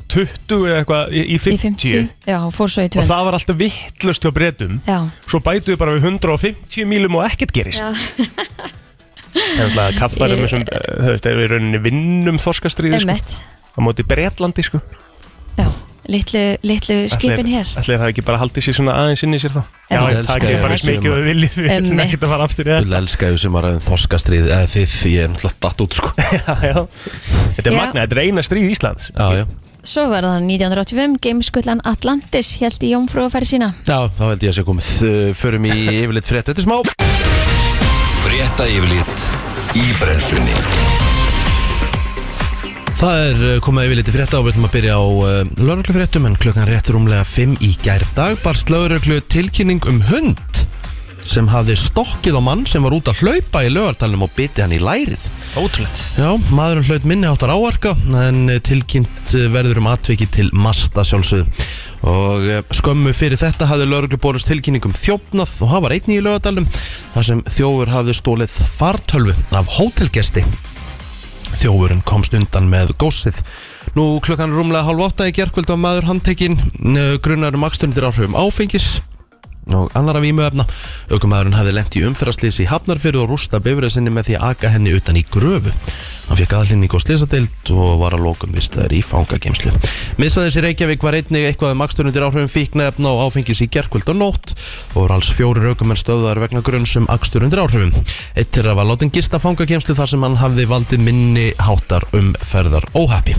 Speaker 1: 20 eða eitthvað í, í, 50.
Speaker 2: í 50 Já, hún fór svo í 200
Speaker 1: og það var alltaf vittlust hjá breytum
Speaker 2: Já,
Speaker 1: svo bætu við bara við 150 mílum og ekkert gerist
Speaker 2: Já.
Speaker 1: en það kaffarum við sem, eh, þú veist, erum við í rauninni vinnum þorskastriði, sko,
Speaker 2: einmitt
Speaker 1: á móti bretlandi, sko
Speaker 2: Já, litlu, litlu skipin hér
Speaker 1: Ætlir það ekki bara haldið sér svona aðeins inn í sér þá?
Speaker 2: Já,
Speaker 1: það
Speaker 3: ég
Speaker 1: er
Speaker 3: elska
Speaker 1: ekki
Speaker 3: þig,
Speaker 1: bara
Speaker 3: Sumar.
Speaker 1: smikið og viljið Við erum
Speaker 2: Einmitt.
Speaker 1: ekkert að fara aftur í
Speaker 3: Þú elskaðu sem var aðeins þorskastrið eða þið, ég er náttúrulega datt út sko
Speaker 1: þetta Já. Þetta er
Speaker 2: Já.
Speaker 1: magna, þetta er eina stríð Íslands
Speaker 3: Já, já,
Speaker 2: Svo var það 1985, gameskullan Atlantis held í jómfrúaferð sína
Speaker 3: já, þá held ég að sé komið Þ- Förum í yfirleitt frétt, þetta er smá
Speaker 4: Frétta yfirlit í brennslunni
Speaker 3: Það er uh, komið yfir liti frétta og við ætlum að byrja á uh, lauruglufréttum en klukkan rétt rúmlega 5 í gærdag barst lauruglu tilkynning um hund sem hafði stokkið á mann sem var út að hlaupa í laugartalunum og biti hann í lærið.
Speaker 1: Ótrúlegt
Speaker 3: Já, maðurinn hlaut minni áttar áarka en eh, tilkynnt eh, verður um atviki til Masta sjálfsögðu og eh, skömmu fyrir þetta hafði lauruglu borist tilkynningum þjófnað og hann var einnig í laugadalum þar sem þjófur hafði stólið fartölvu af hótelgesti Þjófurinn komst undan með gósið. Nú klukkan er rúmlega hálf átta í gerkvöld á maður handtekinn grunnar um akstundir áhrifum áfengis og annara vímuefna. Ökumæðurinn hafði lent í umferðarslýs í Hafnarfyrðu og rústa bifrið sinni með því að aka henni utan í gröfu. Hann fekk aðhlýning og slýsadeild og var að lokum vistaður í fangagemslu. Miðsvæðis í Reykjavík var einnig eitthvað um aksturundir áhrifum fíknefna og áfengis í gerkvöld og nótt og voru alls fjórir aukumenn stöðar vegna grunns um aksturundir áhrifum. Eitt til að var látin gista fangagemslu þar sem hann hafði valdið minni háttar umferðar óhappi.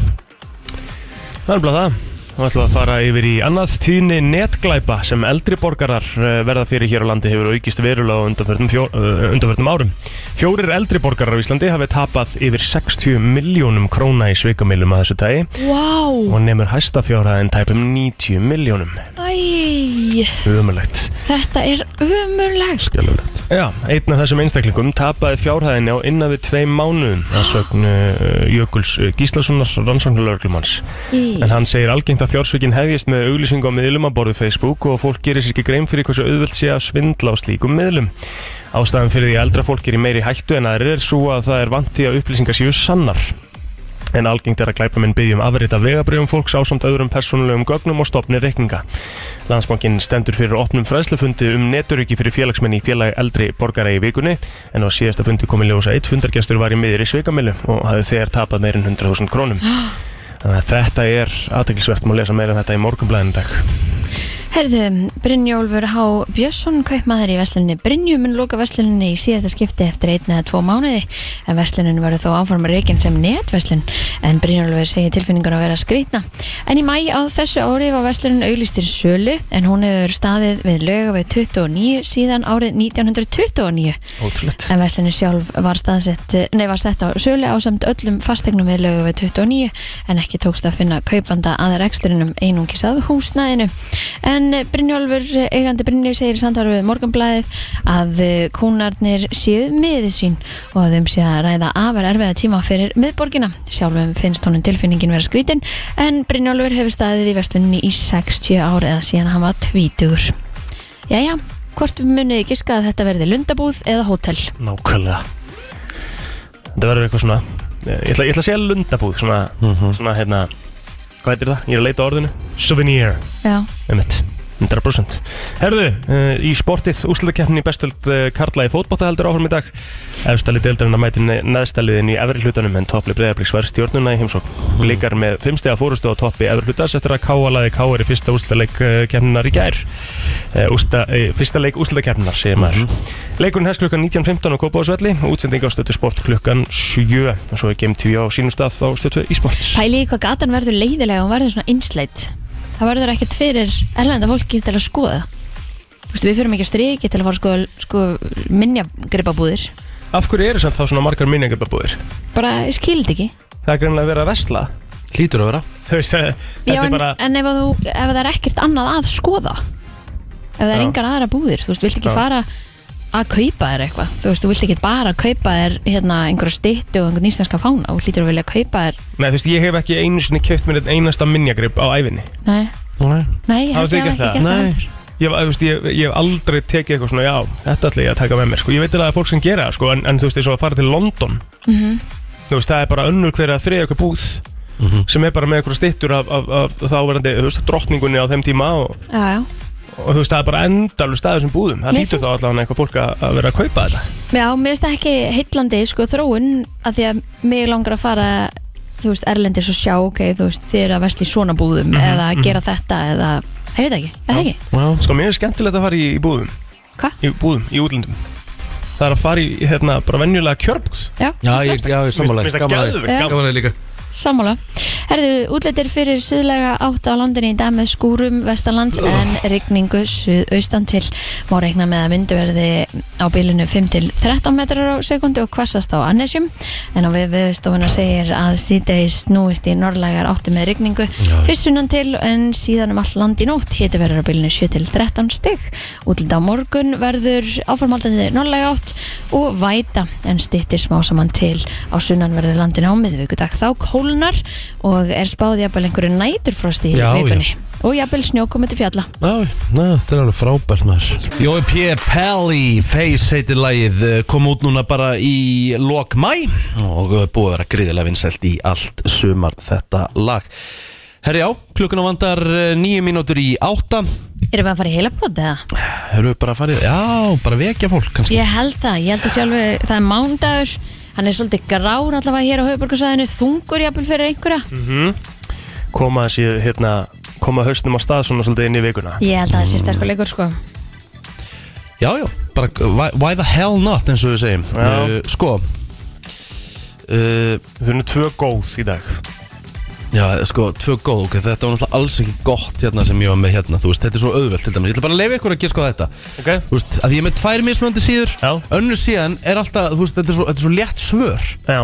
Speaker 1: Það er bara það Þá ætlum við að fara yfir í annað tíðni netglæpa sem eldri borgarar eh, verða fyrir hér á landi hefur aukist verulega á undanförnum, fjó, eh, undanförnum árum. Fjórir eldri borgarar á Íslandi hafi tapað yfir 60 miljónum króna í sveikamilum að þessu tægi
Speaker 2: Vá,
Speaker 1: og nefnur hæsta fjárhæðin tæpum 90 miljónum.
Speaker 2: æj,
Speaker 1: Umulegt.
Speaker 2: þetta er umurlegt
Speaker 3: Gjörlulegt.
Speaker 1: Já, einn af þessum einstaklingum tapaði fjárhæðinni á innan við tveim mánuðum að sögn uh, Jökuls uh, Gíslasonar rannsóknulörglumanns. En hann segir algengt að fjársvikin hefjist með auglýsingu á miðlum að borðu Facebook og fólk gerir sér ekki grein fyrir hversu auðvelt sé að svindla á slíkum miðlum. Ástæðan fyrir því að eldra fólk er í meiri hættu en aðrir er svo að það er vanti að upplýsingar séu sannar. En algengt er að glæpa minn byggjum afrið af vegabrjöfum fólks ásamt öðrum persónulegum gögnum og stopni reikninga. Landsbankin stendur fyrir opnum fræðslufundi um neturöki fyrir félagsmenn í félagi eldri borgara í vikunni en á síðasta fundi komið ljósa eitt fundargestur var í miðri sveikamilu og hafði þegar tapað meirinn 100.000 krónum. Þannig að þetta er aðteglisvert, maður lesa meira um þetta í morgunblæðinu í dag.
Speaker 2: Herðu, Brynjólfur H. Björnsson kaupmaður í veslunni Brynju mun loka vesluninni í síðasta skipti eftir einn eða tvo mánuði en veslunin verður þó áfram reikin sem netveslun en Brynjólfur segir tilfinningar að vera skrýtna en í mæ á þessu ári var veslunin auglistir sölu en hún hefur staðið við löga við 29 síðan árið 1929
Speaker 1: Ótrúlegt.
Speaker 2: En veslunni sjálf var staðsett, eh, nei var sett á sölu á samt öllum fastegnum við lögu við 29 en ekki tókst að finna kaupanda að reksturinnum einungis að húsnæðinu. En eh, Brynjólfur, eigandi Brynjólfur segir í samtali við Morganblæðið að eh, kúnarnir séu miður sín og að þeim sé að ræða afar erfiða tíma fyrir miðborgina. Sjálfum finnst honum tilfinningin vera skrítin en Brynjólfur hefur staðið í veslunni í 60 ár eða síðan hann var tvítugur. Jæja, hvort munið þið giska að þetta verði lundabúð eða hótel?
Speaker 1: Nákvæmlega. Þetta verður eitthvað svona, ég ætla, ég ætla að segja lundabúð, svona, svona hérna, hvað heitir það? Ég er að leita að orðinu. Souvenir.
Speaker 2: Já.
Speaker 1: Einmitt, 100% Herðu, uh, í sportið úslutakeppnin í bestöld uh, Karla í fótbolta heldur áfram í dag Efstallið deildarinn að mæti neðstaliðin í efri hlutanum en toppli breyðablíks var stjórnuna í heimsók Blikar með fimmstega fórustu á toppi efri hlutas eftir að káalaði káar í fyrsta úslutaleik uh, keppninar í gær uh, ústa, uh, Fyrsta leik úslutakeppninar, segir maður mm Leikurinn hefst klukkan 19.15 á Kópáðsvelli Útsending á stötu sport klukkan 7 og svo er Game TV á sínum stað á stötu í sports
Speaker 2: Pæli í hvað gatan verður leiðilega og hún verður svona einsleitt. Það verður ekkert fyrir erlenda fólki til að skoða. Þú veist, við fyrir mikið striki til að fara að skoða sko, minnjagripabúðir.
Speaker 1: Af hverju eru samt þá svona margar minningababúðir?
Speaker 2: Bara, ég skildi ekki.
Speaker 1: Það er greinlega verið að versla
Speaker 3: Lítur að vera.
Speaker 1: þú veist, það-
Speaker 2: Já,
Speaker 1: þetta er
Speaker 2: en,
Speaker 1: bara
Speaker 2: en ef, að þú, ef það er ekkert annað að skoða, ef það er
Speaker 1: Já.
Speaker 2: engar aðra búðir, þú veist, vilt
Speaker 1: Já.
Speaker 2: ekki fara að kaupa þér eitthvað. Þú veist, þú vilt ekki bara kaupa þér hérna einhverja styttu og einhvern íslenska fána og hlýtur að vilja kaupa þér,
Speaker 1: Nei, þú veist, ég hef ekki einu sinni keft mér einn einasta minjagrip á æfinni
Speaker 2: nei,
Speaker 3: Nei.
Speaker 2: nei,
Speaker 1: Hafið
Speaker 2: ég held
Speaker 1: þið
Speaker 2: ég hafi
Speaker 1: gert það?
Speaker 2: ekki gert það
Speaker 3: Nei.
Speaker 2: heldur.
Speaker 1: Ég, hef- þú veist, ég, ég hef aldrei tekið eitthvað svona, já, þetta ætla ég að taka með mér sko. Ég veit alveg að það er fólk sem gera það, sko, en, en þú veist, eins og að fara til London
Speaker 2: Mhm.
Speaker 1: Þú veist, það er bara önnur hverja þriða eitthvað búð sem er bara með eitthvað stittur af, af, af þáverandi, þú veist, drottningunni á þeim tíma og,
Speaker 2: Já, já.
Speaker 1: og þú veist, það er bara endalur staður sem búðum Það
Speaker 2: Mér
Speaker 1: lítur
Speaker 2: finnst-
Speaker 1: þá allavega eitthvað fólk að, að vera að kaupa þetta
Speaker 2: Já, mér finnst það ekki heitlandi sko þróun að því að mig langar að fara þú veist, erlendis og sjá, ok, þú veist, þið eru að vestla í svona búðum eða gera þetta eða, ég veit ekki, eða ekki,
Speaker 1: Sko, mér er skemmtilegt að fara í, í búðum
Speaker 2: Hva?
Speaker 1: Í búðum, í útlöndum Það er að fara í, hérna, bara venjulega kjörbúð
Speaker 2: já,
Speaker 3: Já, ég, já, ég
Speaker 1: Mér
Speaker 3: samanlega
Speaker 1: finnst það geðveikt gaman.
Speaker 3: Gaman að líka
Speaker 2: sammála. Herðu, útletir fyrir suðlega átt á landinni í dag með skúrum vestanlands en rigningu suðaustan til. Má reikna með að myndu verði á bílinu 5 til 13 metrar á sekundu og hvassast á annesjum. En á við viðstofuna segir að síðdeis snúist í norðlegar átti með rigningu fyrst sunnan til en síðan um all land í nótt hiti verður á bílinu 7 til 13 stig. Útlit á morgun verður áformaldandi norðlega átt og væta en stittir smá saman til á sunnanverði landin á miðvíkudag þá kólnar og er spáð jafnvel einhverju næturfrosti í
Speaker 3: Já,
Speaker 2: vikunni og jafnvel snjókomi til fjalla
Speaker 3: Já, na, þetta er alveg frábært maður Jói P. Pelli, Face heitir lagið eh, kom út núna bara í lok mæ og eh, búið að vera gríðilega vinsælt í allt sumar þetta lag Herri já, klukkuna vandar nýju mínútur í átta
Speaker 2: Erum við að fara í heila brot eða?
Speaker 3: Hörum við bara að fara í, já, bara vekja fólk kannski
Speaker 2: Ég held það, ég held það sjálfu það er mándagur, hann er svolítið grár allavega hér á höfuborgarsvæðinu, þungur jafnvel fyrir einhverja,
Speaker 1: Koma þessi, hérna, koma hausnum á stað svona svolítið inn í vikuna
Speaker 2: ég held að það sé sterkulegur sko
Speaker 3: Já, já, bara eh, why, why the hell not eins og við segjum
Speaker 1: Já.
Speaker 3: Eh, Sko uh,
Speaker 1: Þau eru tvö góð í dag
Speaker 3: Já, sko, tvö góð, ok, þetta var náttúrulega alls ekki gott hérna sem ég var með hérna, þú veist, þetta er svo auðvelt til dæmis, ég ætla bara að leifa ykkur að giska á þetta
Speaker 1: Ok
Speaker 3: Þú veist, að ég er með tvær mismöndi síður
Speaker 1: Já.
Speaker 3: Önnur síðan er alltaf, þú veist, þetta er svo, þetta er svo létt svör
Speaker 1: Já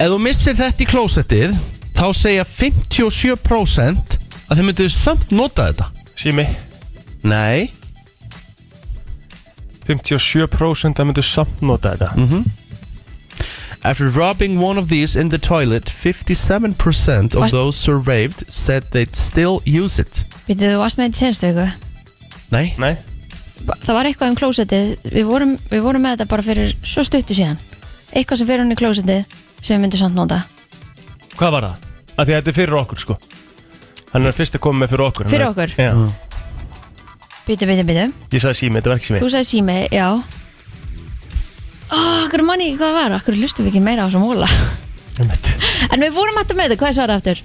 Speaker 3: Ef þú missir þetta í klósettið Þá segja 57% Að þið mynduðu samt nota þetta
Speaker 1: Sými
Speaker 3: Nei
Speaker 1: 57% að myndu samt nota þetta
Speaker 3: After rubbing one of these in the toilet 57% of
Speaker 2: What?
Speaker 3: those surveyed Said they'd still use it
Speaker 2: Vitið þú varst með þetta senstu ykkur?
Speaker 3: Nei
Speaker 1: Nei
Speaker 2: það var eitthvað um klósettið við vorum, við vorum með þetta bara fyrir svo stuttu síðan eitthvað sem fyrir hún í klósettið sem við myndum samt nota
Speaker 1: Hvað var það? Af því að þetta er fyrir okkur sko Hann er fyrst að koma með fyrir okkur
Speaker 2: Fyrir
Speaker 1: hann er-
Speaker 2: okkur? bítu, bítu, bítu,
Speaker 1: Já Ég sagði sími, þetta var ekki sími
Speaker 2: þú sagði sími, já Oh, akkur manni ekki hvað það var, akkur lustum við ekki meira á þessum óla
Speaker 1: Þú...
Speaker 2: En við vorum alltaf með þetta, hvað er svarað aftur?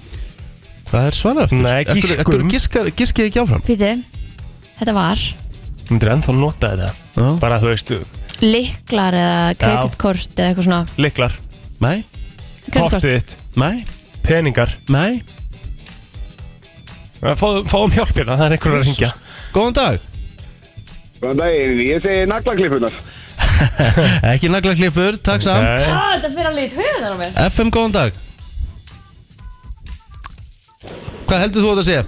Speaker 3: Hvað er svarað eftir?
Speaker 1: Nei,
Speaker 3: Af hverju- af hverju Giskið ekki áfram
Speaker 2: Píti, þetta var
Speaker 1: Myndir ennþá nota þetta
Speaker 3: Já.
Speaker 1: Bara þú veist,
Speaker 2: liklar eða kreditkort eða eitthvað svona
Speaker 1: liklar,
Speaker 3: Nei,
Speaker 2: Kreditkort,
Speaker 1: kortið þitt,
Speaker 3: nei,
Speaker 1: peningar
Speaker 3: nei
Speaker 1: Fá- Fáum hjálpina, það er einhverjum að ringja
Speaker 3: Góðan dag
Speaker 5: Góðan daginn, ég segi naglaklipunar.
Speaker 3: Ekki nagla klippur, takk samt
Speaker 1: Nei,
Speaker 2: þetta fyrir alveg í höfuðan á mér
Speaker 3: FM, góðan dag Hvað heldur þú að þetta sé?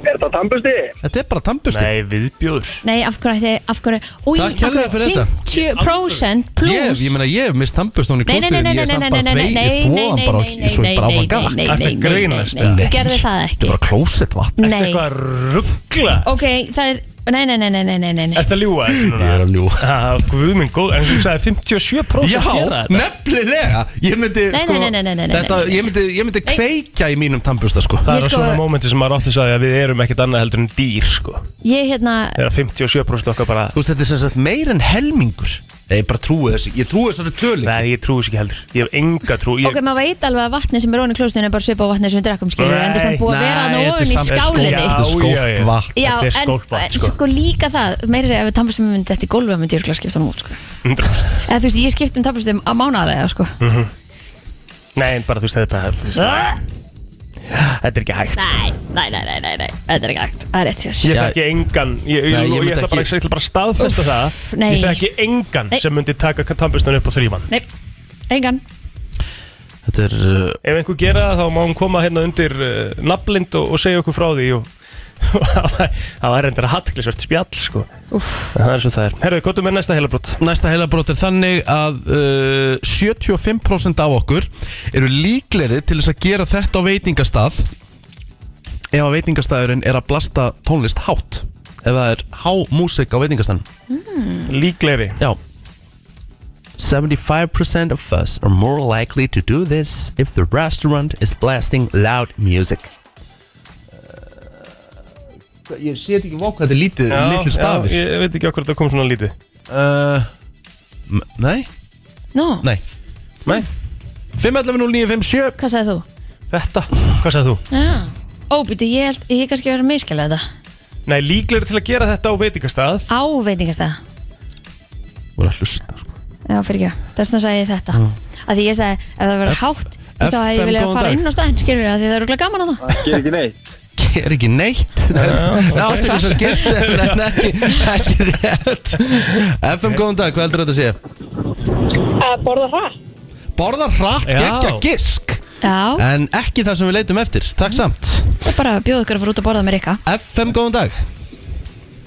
Speaker 5: Er þetta tambusti?
Speaker 3: Þetta er bara tampusti
Speaker 1: Nei, viðbjóður
Speaker 2: Nei, af hverju, ætti- af hverju, új,
Speaker 3: Takk
Speaker 2: af
Speaker 3: kærlega fyrir
Speaker 2: hverju,
Speaker 3: þetta.
Speaker 2: 50%
Speaker 3: Ég,
Speaker 2: pluss
Speaker 3: ég meina, ég hef mist tampust hún í
Speaker 2: Nei, nei, nei, nei,
Speaker 3: klóstið en
Speaker 2: nei,
Speaker 3: ég er samt
Speaker 2: nei,
Speaker 3: bara
Speaker 2: nei, nei, nei,
Speaker 3: þegi
Speaker 2: nei,
Speaker 3: þóðan bara
Speaker 2: nei, nei,
Speaker 3: eins og ég bara
Speaker 2: nei,
Speaker 3: áfram
Speaker 2: nei,
Speaker 3: gala
Speaker 2: nei,
Speaker 1: Ertu að
Speaker 2: nei, nei,
Speaker 1: grínast,
Speaker 2: nei, nei,
Speaker 1: eða?
Speaker 2: Ég gerði það
Speaker 3: Þetta er
Speaker 2: ekki
Speaker 3: bara klósett vatn
Speaker 1: Ertu
Speaker 2: Nei,
Speaker 1: eitthvað að ruggla?
Speaker 2: ok, það er Nei, nei, nei, nei, nei, nei, nei, nei.
Speaker 1: Ertu að ljúga þessu núna?
Speaker 3: Ég er að ljúga.
Speaker 1: Ah, Guð minn góð, en þú sagði 57%
Speaker 3: Já, Mm.
Speaker 1: gera þetta
Speaker 3: nefnilega Ég myndi,
Speaker 2: Nei,
Speaker 3: sko
Speaker 2: nei, nei, nei, nei, nei, nei,
Speaker 3: Þetta,
Speaker 2: nei.
Speaker 3: ég myndi, ég myndi kveikja í mínum tampusta, sko
Speaker 1: Það
Speaker 2: Ég
Speaker 1: er
Speaker 2: sko-
Speaker 1: svona mómenti sem maður átti að sagði að við erum ekkert annað heldur en dýr sko
Speaker 2: Ég hérna,
Speaker 1: Þegar 57% okkar bara,
Speaker 3: Þú veist, þetta er sem sagt meir en helmingur Nei, ég bara trúi þessi, ég trúi þessari tölu
Speaker 1: nei ég trúi þess ekki heldur Ég hef enga trú ég,
Speaker 2: ok, maður veit alveg að vatni sem er ofan í klóstinu er bara svipa á vatni sem við drakkum skilur en það er samt búið að vera
Speaker 3: Nei,
Speaker 2: hann ofan í
Speaker 3: þetta er samt-
Speaker 2: skálinni
Speaker 3: Þetta er
Speaker 1: sko- Já, já,
Speaker 3: skópt
Speaker 1: já.
Speaker 3: vatn
Speaker 2: Já,
Speaker 1: þetta er
Speaker 2: en,
Speaker 1: skólpvatn,
Speaker 2: en
Speaker 1: sko.
Speaker 2: sko líka það meira að segja ef við tampastum myndi þetta í gólfi myndi ég örugglega skipta um út sko.
Speaker 1: 100%.
Speaker 2: eða þú veist, ég skipti um tampastum á mánaðlega sko.
Speaker 1: Nei, en bara þú veist þetta er bara, þú veist, Þetta er ekki hægt
Speaker 2: nei, nei, nei, nei, nei, nei, þetta er ekki hægt það er rétt sér
Speaker 1: Ég
Speaker 3: Já.
Speaker 1: þekki engan Ég, ég,
Speaker 3: Nei, ég
Speaker 1: ég,
Speaker 3: myndi
Speaker 1: ætla bara,
Speaker 3: ekki-
Speaker 1: ég ætla bara að staðfesta það
Speaker 2: nei.
Speaker 1: Ég þekki engan
Speaker 2: Nei.
Speaker 1: sem myndi taka tampustan upp á þrýman
Speaker 2: nei, engan
Speaker 3: Þetta er, uh,
Speaker 1: Ef einhver gera það þá má hún koma hérna undir uh, nafnlind og, og segja okkur frá því og og það var- það var reyndar að hattlisvert spjall sko En Það er svo það er Herðu, hvað er með næsta heilabrótt?
Speaker 3: Næsta heilabrót er þannig að uh, 75% af okkur eru líkleri til þess að gera þetta á veitingastað ef að veitingastæðurinn er að blasta tónlist hátt ef það er há músik á veitingastæðan
Speaker 1: Líklegri
Speaker 3: Já 75% of us are more likely to do this if the restaurant is blasting loud music Uh, Ég sé þetta ekki vokk hvað þetta er lítið,
Speaker 1: Já,
Speaker 3: litlir
Speaker 1: já,
Speaker 3: stafir
Speaker 1: Ég veit ekki okkur þetta kom svona lítið
Speaker 3: uh, m- Nei,
Speaker 2: Nú,
Speaker 3: nei
Speaker 1: Nei,
Speaker 3: 511957
Speaker 2: Hvað sagði þú?
Speaker 1: Þetta, hvað sagði þú?
Speaker 2: Já. Ó, býtu, ég held, ég hef kannski verið að miskjala þetta.
Speaker 1: Nei, líklega til að gera þetta á veitingastað
Speaker 2: Á veitingastæða.
Speaker 3: Voru að hlusta sko.
Speaker 2: Já, fyrir ekki. Þess vegna sagði ég þetta. Af því ég sagði, ef það verður
Speaker 3: F-
Speaker 2: hátt, þá hefði
Speaker 3: FM,
Speaker 2: ég viljað
Speaker 3: góðan
Speaker 2: fara
Speaker 3: dag.
Speaker 2: inn á staðinn, skilur ég, af því það er örugglega gaman að það.
Speaker 5: Ger ekki neitt
Speaker 3: Er ekki neitt Það átti ekki svo gerst En ekki, ekki rétt FM góðan dag, hvað heldur þetta að segja?
Speaker 6: Að borða það?
Speaker 3: Borða hratt,
Speaker 1: Já.
Speaker 3: geggja gisk
Speaker 2: Já,
Speaker 3: En ekki það sem við leitum eftir, takk samt
Speaker 2: það er bara að bjóða ykkur að fara út að borða með Rikka.
Speaker 3: FM góðan dag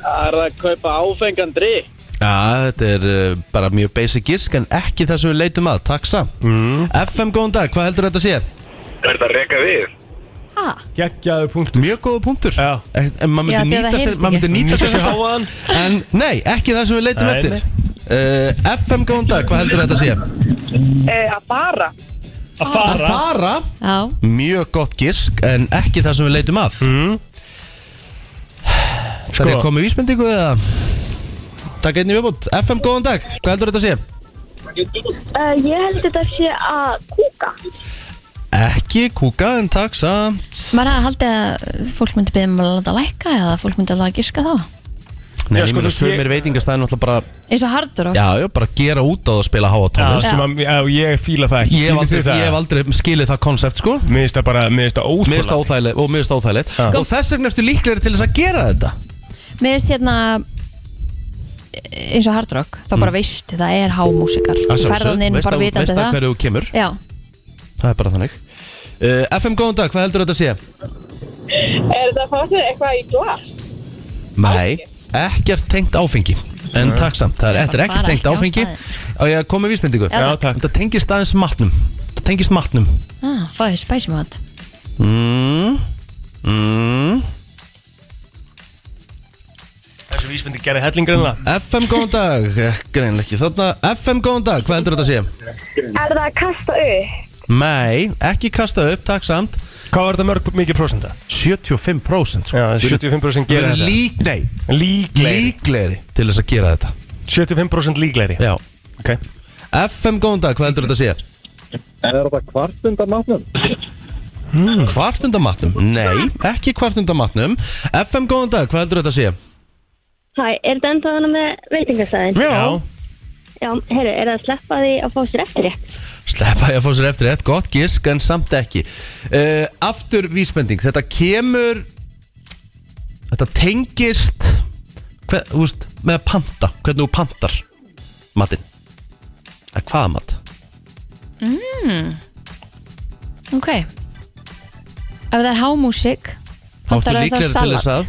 Speaker 6: Það er að kaupa áfengan drikk.
Speaker 3: Já, þetta er uh, bara mjög basic gisk En ekki það sem við leitum að, takk samt FM góðan dag, hvað heldur þetta að segja?
Speaker 5: Er þetta að reka við?
Speaker 2: Ha,
Speaker 1: Gekkjaðu punktur
Speaker 3: Mjög góða punktur
Speaker 1: Já.
Speaker 3: En en maður
Speaker 2: Já,
Speaker 3: myndi
Speaker 2: því að það
Speaker 3: nýta sér
Speaker 2: heyrist
Speaker 3: Maður myndi
Speaker 2: ekki.
Speaker 3: nýta sér þetta.
Speaker 1: háaðan
Speaker 3: En nei, ekki það sem við leitum
Speaker 1: Nei,
Speaker 3: eftir uh, FM góðan dag, hvað heldur þetta að segja?
Speaker 6: E, að fara?
Speaker 1: Að
Speaker 3: Að
Speaker 1: fara
Speaker 3: fara,
Speaker 2: já,
Speaker 3: mjög gott gisk En ekki það sem við leitum að mm. Það er
Speaker 1: Sko.
Speaker 3: að koma í vísbendingu eða Takk einnig viðbútt FM góðan dag, hvað heldur þetta að segja?
Speaker 7: Uh, ég held þetta sé að kúka.
Speaker 3: Ekki kúka en takk samt
Speaker 2: maður hefði haldið að fólk myndi byrja með að láta lækka eða fólk myndi alveg að giska þá.
Speaker 3: Nei,
Speaker 1: Já,
Speaker 3: ég
Speaker 1: sko,
Speaker 3: meina
Speaker 1: þú-
Speaker 3: sumir veitingastæðin alltaf bara
Speaker 2: Eins og hardur og...
Speaker 3: Já, já, bara gera út á það að spila háa
Speaker 1: Já,
Speaker 3: tónlist
Speaker 1: sem að, já, ég fíla það ekki
Speaker 3: Ég hef aldrei,
Speaker 1: Fílið þið
Speaker 3: ég hef
Speaker 1: það?
Speaker 3: aldrei skilið það konsept sko
Speaker 1: Mér finnst það bara, mér finnst það
Speaker 3: Mér finnst
Speaker 1: óþóla
Speaker 3: það óþægilegt og mér finnst það óþægilegt
Speaker 1: Sko-
Speaker 3: Og þess vegna ertu líklegri til þess að gera þetta
Speaker 2: Mér finnst hérna eins og hard rock, þá bara
Speaker 3: Mm.
Speaker 2: veist það er hámúsikar, ferðaninn bara vitandi
Speaker 3: Veist að
Speaker 2: það
Speaker 3: hverju þú kemur,
Speaker 2: Já,
Speaker 3: það er bara þannig uh, FM góðan dag, hvað heldur þetta að sé?
Speaker 6: Er þetta að fá sér eitthvað í glas?
Speaker 3: Nei, ekkert tengt áfengi En takk samt, það er, þetta er
Speaker 2: bara
Speaker 3: ekkert tengt
Speaker 2: ekki á
Speaker 3: áfengi Og ég kom með vísmyndingu
Speaker 2: Já,
Speaker 1: Já,
Speaker 2: takk.
Speaker 1: takk
Speaker 3: Þetta tengist aðeins matnum Þetta tengist matnum
Speaker 2: ah, fáið spæsi mat
Speaker 3: mm, mm.
Speaker 1: Þessi vísmyndi gerði hellingrunna
Speaker 3: FM góðan dag, Eh, greinlega ekki þarna FM góðan dag, hvað heldur þetta að sé?
Speaker 7: Er það að kasta upp?
Speaker 3: Nei, ekki kasta upp, takk samt
Speaker 1: Hvað var þetta mörg mikið prósenta?
Speaker 3: 75% sko.
Speaker 1: Já, 75%
Speaker 3: Við
Speaker 1: gera
Speaker 3: erum
Speaker 1: þetta
Speaker 3: lík, nei,
Speaker 1: Líklegri
Speaker 3: líklegri til þess að gera þetta
Speaker 1: 75% líklegri
Speaker 3: Já.
Speaker 1: Ok
Speaker 3: FM góðan dag, hvað heldur þetta að sé?
Speaker 5: Er þetta kvart undan matnum?
Speaker 3: Hmm, Kvartundamatnum? Nei, ekki kvartundamatnum FM góðan dag, hvað heldur þetta að sé?
Speaker 7: Hæ, er þetta enda þannig með veitingastæðin?
Speaker 1: Já
Speaker 7: Já, heyru, er það að sleppa því að fá sér eftir rétt?
Speaker 3: Sleppa ég að fá sér eftir rétt, gott gisk en samt ekki uh, Aftur vísbending, þetta kemur Þetta tengist hver, þú veist, með að panta, hvernig þú pantar matinn Eða hvaða mat?
Speaker 2: Ok Ef það er hámúsik
Speaker 3: Áttu
Speaker 2: pantaðu þá
Speaker 3: líklegri til þess
Speaker 2: salat
Speaker 3: að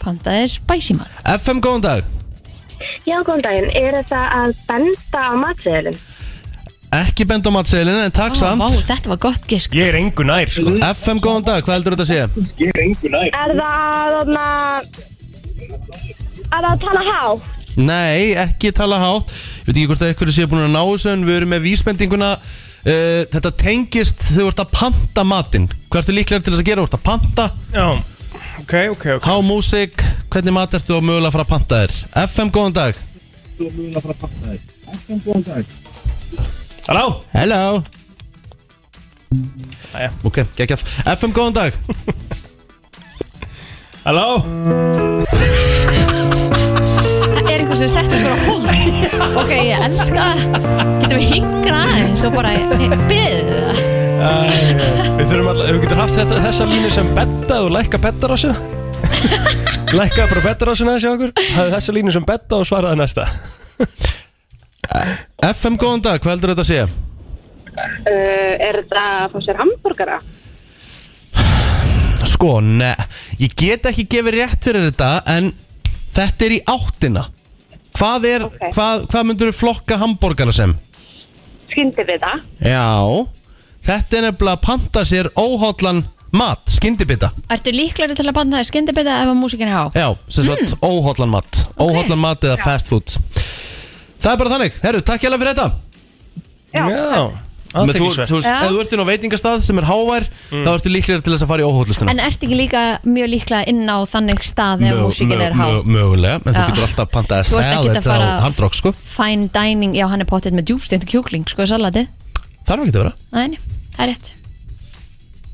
Speaker 2: Pantaði spæsi mat
Speaker 3: FM góðan dag
Speaker 7: Já, góðan daginn. Er þetta að benda á matseðilin?
Speaker 3: Ekki benda á matseilinu en takk
Speaker 2: Ó,
Speaker 3: samt
Speaker 2: vá, Þetta var gott gisk
Speaker 1: Ég er engu nær sko
Speaker 3: FM góðan dag, hvað heldur þetta að sé?
Speaker 7: Er það að, þarna, er það að tala há?
Speaker 3: Nei, ekki tala hátt Ég veit ekki hvort að ykkur sé búin að ná þessu En við erum með vísbendinguna uh, Þetta tengist þegar þú ert að panta matinn Hvað ertu líklega til þess að gera? Þú ert að panta,
Speaker 1: Já Ok, ok, ok
Speaker 3: há músík Hvernig mat ertu og mögulega að fara að panta þér? FM, góðan dag
Speaker 1: Halló
Speaker 3: Hello
Speaker 1: Jæja.
Speaker 3: Ok, geggjað FM, góðan dag
Speaker 1: Halló
Speaker 2: Það er einhvers sem sett ykkur á hold Ok, ég elska það. Getum við hingra aðeins og bara byggðu það
Speaker 1: Æ, Við þurfum alltaf, ef við getum haft þetta, þessa línu sem betta og lækka bettarásina Lækka bara bettarásina þessi okkur Hafðu þessa línu sem betta og svaraði næsta
Speaker 3: FM, góðan dag, hvað heldur þetta að sé?
Speaker 6: Uh, er þetta að fá sér hambúrgara?
Speaker 3: Sko, ne Ég get ekki gefið rétt fyrir þetta En þetta er í áttina Hvað er,
Speaker 6: Ok.
Speaker 3: hvað, hvað myndur flokka hambúrgara sem?
Speaker 6: Skyndi við það?
Speaker 3: Já, þetta er nefnilega að panta sér óhóllan mat, skyndibita
Speaker 2: Ertu líklegri til að banda það skyndibita ef að músikin er há?
Speaker 3: Já, sem
Speaker 2: Hmm.
Speaker 3: sagt óhóllan mat Óhóllan mat eða fast food Það er bara þannig, herru, takk hérlega fyrir þetta
Speaker 1: Já
Speaker 3: Men þú, þú,
Speaker 1: Aðteklisvert
Speaker 3: veist,
Speaker 2: Já.
Speaker 3: Ef þú ert inn á veitingastað sem er hávær þá ertu líklega til þess að fara í óhóllustuna
Speaker 2: En ert ekki líka mjög líklega inn á þannig stað þegar músikin er há?
Speaker 3: Mögulega, en þú
Speaker 2: Já.
Speaker 3: getur alltaf að panta að
Speaker 2: Þú ert
Speaker 3: segja
Speaker 2: ekkert að
Speaker 3: þetta á
Speaker 2: fara-
Speaker 3: hardrock sko
Speaker 2: Fine dining, já hann er pottet með djúbstöndu kjúkling, sko salatið
Speaker 3: þarf ekki að vera
Speaker 2: Nei, nei, það er rétt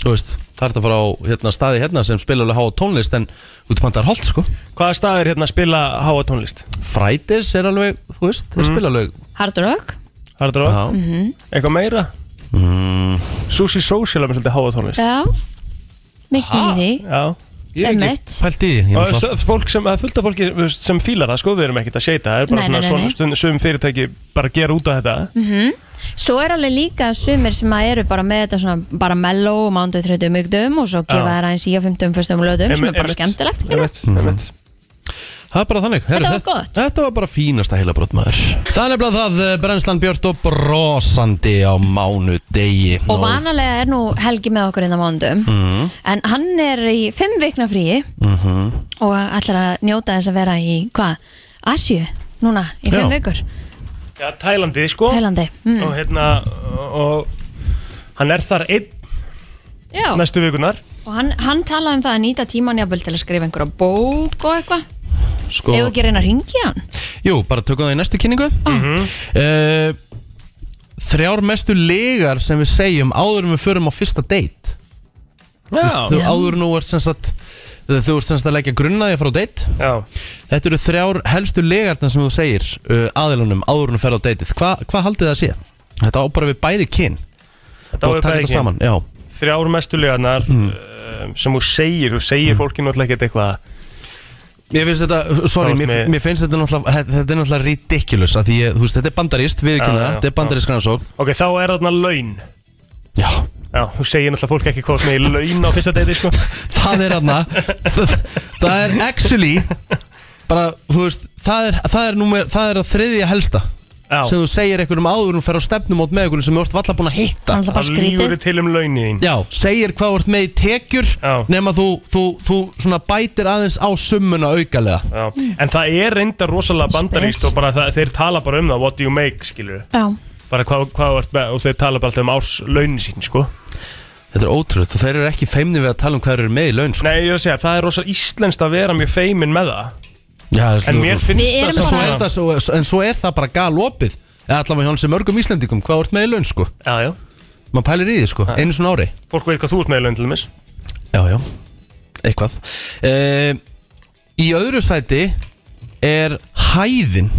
Speaker 3: Þú veist, það er þetta að fara á hérna, staði hérna sem spila alveg háa tónlist en út pantar holt sko
Speaker 1: Hvaða staðir hérna spila háa tónlist?
Speaker 3: Fridays er alveg, þú veist, þeir spila alveg
Speaker 2: Hard rock
Speaker 1: Hardur á?
Speaker 3: Já, Mm.
Speaker 1: Eitthvað meira? Sushi Social er með svolítið háa tónlist
Speaker 2: Já Mikið í því
Speaker 1: Já
Speaker 3: ég hef
Speaker 2: Emmett.
Speaker 3: ekki pælt í því ég er
Speaker 1: Og
Speaker 3: náttúrulega-
Speaker 1: það er fólk sem, það er fullt af fólki þú veist, sem fílar það, sko, við erum ekkert að seita það er bara
Speaker 2: Nei, nei, nei,
Speaker 1: svona,
Speaker 2: nei. Mhm.
Speaker 1: svona sum fyrirtæki bara gera út af þetta
Speaker 2: Svo er alveg líka sumir sem að eru bara með þetta svona bara mellow mándu 30 mygdum og svo gefa þær aðeins í á 50 fyrstum löðum sem er bara skemmtilegt að gera.
Speaker 1: einmitt, einmitt.
Speaker 3: Mhm. Það er bara þannig Heru,
Speaker 2: Þetta var gott.
Speaker 3: Þetta var bara fínasta heila maður Það er nefnilega það eh, Brennslan Björn og brosandi á mánudegi
Speaker 2: og
Speaker 3: Nú,
Speaker 2: vanalega er nú helgi með okkur innan mándum en hann er í 5 vikna fríi
Speaker 3: mhm.
Speaker 2: og ætlar að njóta þess að vera í hvað? Asju núna í 5
Speaker 3: Já.
Speaker 2: vikur
Speaker 1: Já, Tælandi, sko
Speaker 2: Tælandi mm.
Speaker 1: og hérna og hann er þar einn
Speaker 2: Já,
Speaker 1: næstu vikunar
Speaker 2: og hann, hann talaði um það að nýta tíman jafnvel til að skrifa einhverja bók og eitthvað
Speaker 3: sko,
Speaker 2: Ef ekki að reyna að ringja hann
Speaker 3: Jú, bara tökum það í næstu kynningu
Speaker 2: Ah.
Speaker 3: mm
Speaker 2: Mhm.
Speaker 3: Þrjár mestu legar sem við segjum áður en við förum á fyrsta date
Speaker 1: Já,
Speaker 3: Þú áður nú ert sem sagt þegar Þú ert sem sagt að leggja grunnaði að fara á date
Speaker 1: já
Speaker 3: Þetta eru þrjár helstu legarnar sem þú segir uh, aðilunum áður en þú ferð á dateið Hva- Hvað haldið það að sé? Þetta á bara við bæði kyn
Speaker 1: Þetta
Speaker 3: Og
Speaker 1: var
Speaker 3: taka
Speaker 1: bara
Speaker 3: þetta
Speaker 1: ekki
Speaker 3: saman, já
Speaker 1: þrjár mestu legarnar
Speaker 3: Mm.
Speaker 1: um, sem þú segir, þú segir fólki náttúrulega ekkert eitthvað
Speaker 3: Mér finnst þetta, uh,
Speaker 1: Þú
Speaker 3: sorry,
Speaker 1: ert
Speaker 3: mér,
Speaker 1: með-
Speaker 3: mér finnst þetta náttúrulega, þetta- þetta er náttúrulega ridiculous að því, ég, þú veist, þetta er bandarist, við erum
Speaker 1: Já, já,
Speaker 3: það, þetta er
Speaker 1: já.
Speaker 3: bandarist grannsók
Speaker 1: Ok, þá er þarna laun
Speaker 3: Já,
Speaker 1: Já, þú segir náttúrulega fólki ekki hvort með laun á fyrsta deiti, sko
Speaker 3: það er aðna, það, það er actually, bara, þú veist, það er, það er númer, það er að þriðja helsta
Speaker 1: Já,
Speaker 3: sem þú segir einhverjum áður og fer á stefnumót með einhverjum sem þú ert valla búin að hitta
Speaker 2: Hann ætla bara
Speaker 1: þá
Speaker 2: skrítið
Speaker 1: lífur til um launin þín
Speaker 3: Já, segir hvað þú ert með í tekjur
Speaker 1: Já.
Speaker 3: nema þú, þú, þú svona bætir aðeins á summuna aukalega
Speaker 1: Já. En það er reynda rosalega bandaríst
Speaker 2: Spes.
Speaker 1: og bara það, þeir tala bara um það, what do you make, skilur
Speaker 2: Já
Speaker 1: bara hvað, hvað þú ert með og þeir tala bara alltaf um árslaunin sín, sko
Speaker 3: Þetta er ótrúlega, þú þeir eru ekki feimni við að tala um hvað þeir eru með í laun sko.
Speaker 1: Nei, ég er að segja, það er rosalega íslenskt að vera mjög feimin með það
Speaker 3: Já, það er
Speaker 1: En
Speaker 3: slúður.
Speaker 1: mér finnst
Speaker 2: Við erum
Speaker 1: það
Speaker 2: bara-
Speaker 3: svo er það, svo, en svo er það bara galopið eða allavega hjá hans sem mörgum Íslendingum hvað þú ert með í laun sko,
Speaker 1: Já, já,
Speaker 3: maður pælir í því sko einu svona ári,
Speaker 1: fólk veit hvað þú ert með í laun til þeimis
Speaker 3: já já, eitthvað e, í öðru sæti er hæðin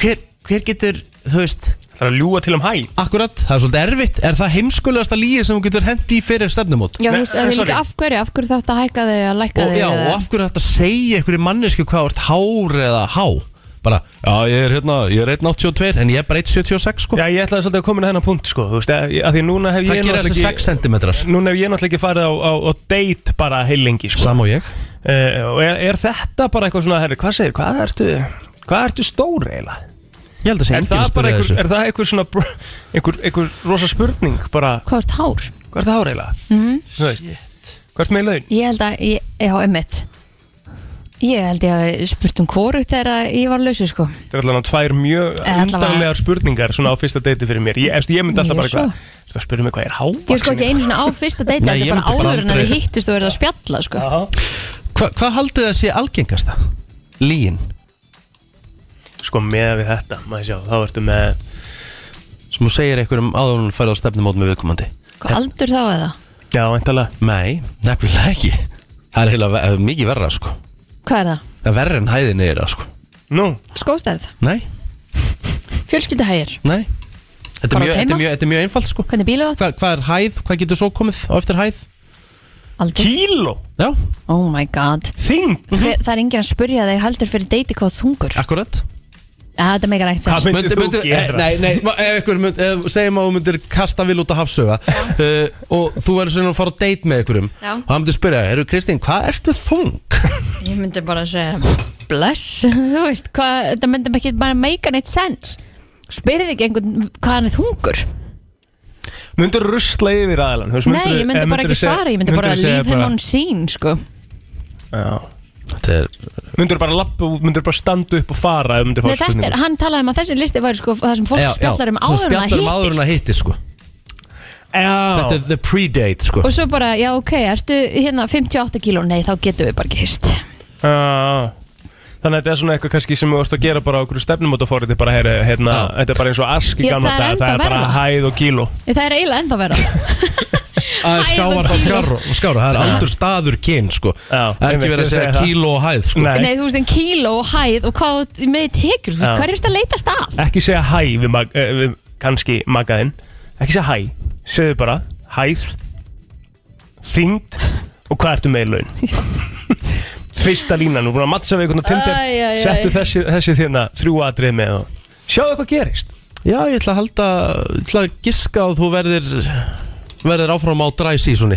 Speaker 3: hver, hver getur, þú veist
Speaker 1: Það er að ljúga til um hæ
Speaker 3: akkurat, það er svolítið erfitt, er það heimskulegasta líið sem þú getur hendi í fyrir stefnumót
Speaker 2: Já,
Speaker 1: Nei,
Speaker 2: þú veist, það er
Speaker 1: sorry.
Speaker 2: líka af hverju, af hverju þarf þetta að hækka þig að lækka
Speaker 3: og
Speaker 2: þig
Speaker 3: já,
Speaker 2: eða-
Speaker 3: og af hverju er þetta að segja einhverju mannesku hvað þú ert hár eða há bara, já ég er hérna, ég er 1.82 en ég er bara 1.76 sko
Speaker 1: Já, ég ætlaði svolítið að koma inn að hennar punkt, sko Þú veist, að að því núna hef
Speaker 3: það
Speaker 1: ég
Speaker 3: gera þessi 6 cm
Speaker 1: Núna hef ég náttúrulega ekki farið á, á, á date bara heilengi, sko
Speaker 3: Sam og ég
Speaker 1: Eh, Og er, er þetta bara eitthvað svona, herri, hvað segir, hvað ertu Hvað ertu stór eiginlega?
Speaker 3: Ég held að sé
Speaker 1: Er
Speaker 3: enginn
Speaker 1: það
Speaker 3: að
Speaker 1: bara
Speaker 3: spyrja
Speaker 1: einhver,
Speaker 3: þessu
Speaker 1: er það einhver svona br- einhver, einhver rosa spurning bara,
Speaker 2: Hvað er hár?
Speaker 1: hvað ertu hár eiginlega? Mm
Speaker 2: Mhm.
Speaker 1: -hmm. Hvað ertu með í laun?
Speaker 2: Ég held að, ég, já, emmitt Ég held ég að spurt um hvorugt þegar ég var lausu, sko
Speaker 1: Það er allavega tvær mjög
Speaker 2: Eh, allavega-
Speaker 1: undanlegar spurningar svona á fyrsta deiti fyrir mér. Ég, eftir, ég myndi alltaf
Speaker 2: Ég
Speaker 1: bara
Speaker 2: svo.
Speaker 1: eitthvað, þú veist, spyrir mig hvað er hávaksin.
Speaker 2: Ég er sko ekki einu svona á fyrsta deiti
Speaker 3: Nei,
Speaker 2: Þetta er
Speaker 3: ég
Speaker 2: bara
Speaker 3: myndi bara
Speaker 2: áður en að við
Speaker 3: aldrei-
Speaker 2: hittist og verið að spjalla, sko
Speaker 3: Hva, Hvað haldið það sé algengasta? Líin
Speaker 1: Sko með við þetta, maður sjá, þá ertu með,
Speaker 3: Sem þú segir einhverjum áður en hún færði á stefnumót með viðkomandi
Speaker 2: Hvað Sko, aldur þá eða?
Speaker 1: já, eintalega,
Speaker 3: Nei, nefnilega ekki Það er heila ve mikið verra sko
Speaker 2: Hvað er það?
Speaker 3: Það er verra en hæðin er það sko
Speaker 1: nú,
Speaker 2: Skóstærð?
Speaker 3: Nei,
Speaker 2: Fjölskylduhægir?
Speaker 3: nei Þetta er
Speaker 2: Bara
Speaker 3: mjög,
Speaker 2: teima?
Speaker 3: þetta er mjög, þetta er mjög einfalt sko
Speaker 2: Hvernig bílu átt?
Speaker 3: Hva, Hvað er hæð? Hvað getur svo komið á eftir hæð?
Speaker 2: Aldur?
Speaker 1: kíló,
Speaker 3: Já,
Speaker 2: Oh my god
Speaker 3: Mhm.
Speaker 1: þing,
Speaker 2: Hver, Það er enginn að spurja þig heldur fyrir deiti hvað þú þungur
Speaker 3: akkurat
Speaker 2: Ja, Þetta megar ekkert
Speaker 1: Hvað
Speaker 2: sens
Speaker 1: myndir þú
Speaker 3: eh,
Speaker 1: gera?
Speaker 3: Nei, nei, ma- ef ykkur mynd, ef, segjum að þú myndir kasta vil út að hafsöga uh, og þú verður svona að fara á date með ykkurum
Speaker 2: Já.
Speaker 3: og hann myndir spyrja, eru Kristín, hvað ertu þung?
Speaker 2: Ég myndi bara að segja bless, þú veist, hvað, þetta myndi ekki bara make neitt sense Spyrði ekki einhvern hvað hann er þungur
Speaker 1: myndur rusla yfir aðlan, þú veist,
Speaker 2: Nei, ég myndi
Speaker 1: eh,
Speaker 2: bara ekki
Speaker 1: segja-
Speaker 2: svara, ég myndi bara
Speaker 1: myndirðu segja
Speaker 2: leave him on scene, sko
Speaker 1: Já,
Speaker 3: Þetta er
Speaker 1: myndur bara lappa, myndur bara standa upp og fara, ef myndur
Speaker 2: Nei,
Speaker 1: fá
Speaker 2: þetta er,
Speaker 1: spurningu.
Speaker 2: hann talaði um að þessi listi væri sko það sem fólk spjallar um
Speaker 3: svo
Speaker 2: áður en
Speaker 3: spjallar um
Speaker 2: að
Speaker 3: áður en
Speaker 2: hittist
Speaker 3: að hittist sko. Þetta
Speaker 1: Já,
Speaker 3: er the pre-date sko.
Speaker 2: Og svo bara, já ok, ertu hérna 58 kíló, nei þá getum við bara ekki hist
Speaker 1: já, Þannig að þetta er svona eitthvað kannski sem við vorst að gera bara á okkur stefnum út að fórið bara, heyri, hérna, þetta er bara eins og ask í
Speaker 2: Ég-
Speaker 1: gamla
Speaker 2: það er
Speaker 1: dag,
Speaker 2: ennþá
Speaker 1: það er bara
Speaker 2: verra.
Speaker 1: hæð og kíló
Speaker 2: Það er eiginlega ennþá vera
Speaker 3: Það er
Speaker 2: Hæð og
Speaker 3: skávar þá
Speaker 2: kíló.
Speaker 3: skára, skára Það er aldur staður kyn sko.
Speaker 1: Já,
Speaker 3: Það er
Speaker 1: einmitt,
Speaker 3: ekki
Speaker 1: ég
Speaker 3: verið að segja
Speaker 1: segi það.
Speaker 3: kíló og hæð sko.
Speaker 1: Nei,
Speaker 2: Nei, þú veist, en kíló og hæð og hvað þú með tekur, þú veist,
Speaker 1: Já.
Speaker 2: hvað er þetta að leitast að?
Speaker 1: ekki segja hæ við, mag, eh, við kannski magaðinn ekki segja hæ, segðu bara hæð þyngd og hvað ertu með í laun fyrsta línan, þú er búin að mattsa við einhvern og
Speaker 2: Æ, æ, æ.
Speaker 1: tindir, settu þessi, þessi þérna þrjú atrið með og sjáðu hvað gerist
Speaker 3: Já, ég ætla að halda ég ætla að giska að þú verðir verðir áfram á dry seasoni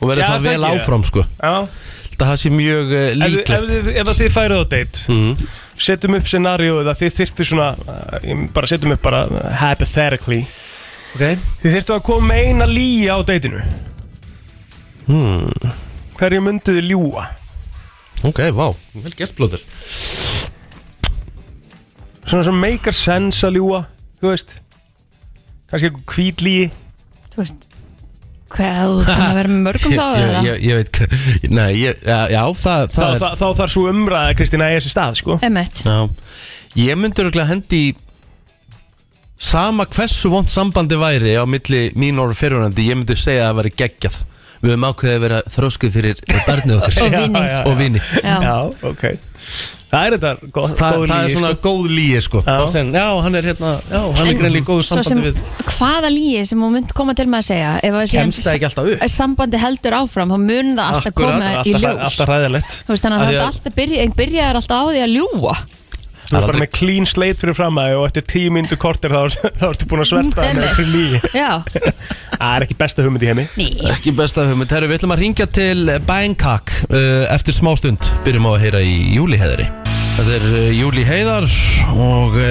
Speaker 3: og verður
Speaker 1: Já,
Speaker 3: það
Speaker 1: það
Speaker 3: vel
Speaker 1: ekki,
Speaker 3: áfram sko.
Speaker 1: Já,
Speaker 3: Þetta það sé mjög uh,
Speaker 1: ef, þið- ef,
Speaker 3: líklegt
Speaker 1: þið- ef að þið færið á date
Speaker 3: Mhm.
Speaker 1: setjum upp scenarióið að þið þyrftu svona eh, ég bara setjum upp bara eh, hypothetically
Speaker 3: okay.
Speaker 1: Þið þurftu að koma með eina líja á deitinu hmm.
Speaker 3: Hmm.
Speaker 1: Hverju myndu þið ljúa?
Speaker 3: ok, vá, vel gert blóður
Speaker 1: Svona sem meikar sense að ljúa Þú veist Kannski eitthvað kvítlíi
Speaker 2: Þú veist, hvað, þú ert búin að vera með mörgum þá
Speaker 3: ég,
Speaker 2: eða?
Speaker 3: ég, ég veit hva- Nei, ég, já, já,
Speaker 1: Þá,
Speaker 3: það, það
Speaker 1: þá,
Speaker 3: er
Speaker 1: þá þarf svo umræða Kristína að eiga sér stað sko
Speaker 2: Emmett,
Speaker 3: já, Ég myndi örugglega hendi í sama hversu vond sambandi væri á milli mín orð fyrirhundandi ég myndi segja að það væri geggjað Við höfum ákveðið að vera þróskuð fyrir barnið
Speaker 2: og
Speaker 3: okkar
Speaker 2: vinni
Speaker 1: já,
Speaker 3: og vini
Speaker 2: Já.
Speaker 1: ok Það er þetta góð,
Speaker 3: Þa,
Speaker 1: góð
Speaker 3: það er
Speaker 1: lygi,
Speaker 3: svona
Speaker 1: sko.
Speaker 3: góð líi sko
Speaker 1: Já.
Speaker 3: Og sen, já, hann er hérna, já, hann er
Speaker 2: En
Speaker 3: greinlega í góðu
Speaker 2: Svo sem,
Speaker 3: sambandi við
Speaker 2: hvaða líi sem hún mynd koma til með að segja ef að síðan
Speaker 3: Kemst það ekki alltaf upp?
Speaker 2: ef sambandi heldur áfram, þá mun það alltaf
Speaker 3: Akkurat,
Speaker 2: koma í
Speaker 1: Alltaf,
Speaker 2: ljós
Speaker 1: alltaf ræðilegt
Speaker 2: Þú veist, þannig að
Speaker 3: Af því
Speaker 2: þetta
Speaker 3: að-
Speaker 2: alltaf byrja, byrja er alltaf á því að ljúa
Speaker 1: Þú er bara
Speaker 3: aldrei-
Speaker 1: með clean slate fyrir fram að og eftir tíu myndu kortir þá, er- þá ertu búin að sverta með
Speaker 2: Einmitt.
Speaker 1: fyrir líi
Speaker 2: Já,
Speaker 1: Það er ekki besta hugmynd í heimi
Speaker 2: ný,
Speaker 3: Ekki besta hugmynd, herru, við ætlum að ringja til eh, Bangkok uh, eftir smá stund Byrjum á að heyra í Júli Heiðari Þetta er uh, Júli Heiðar og uh,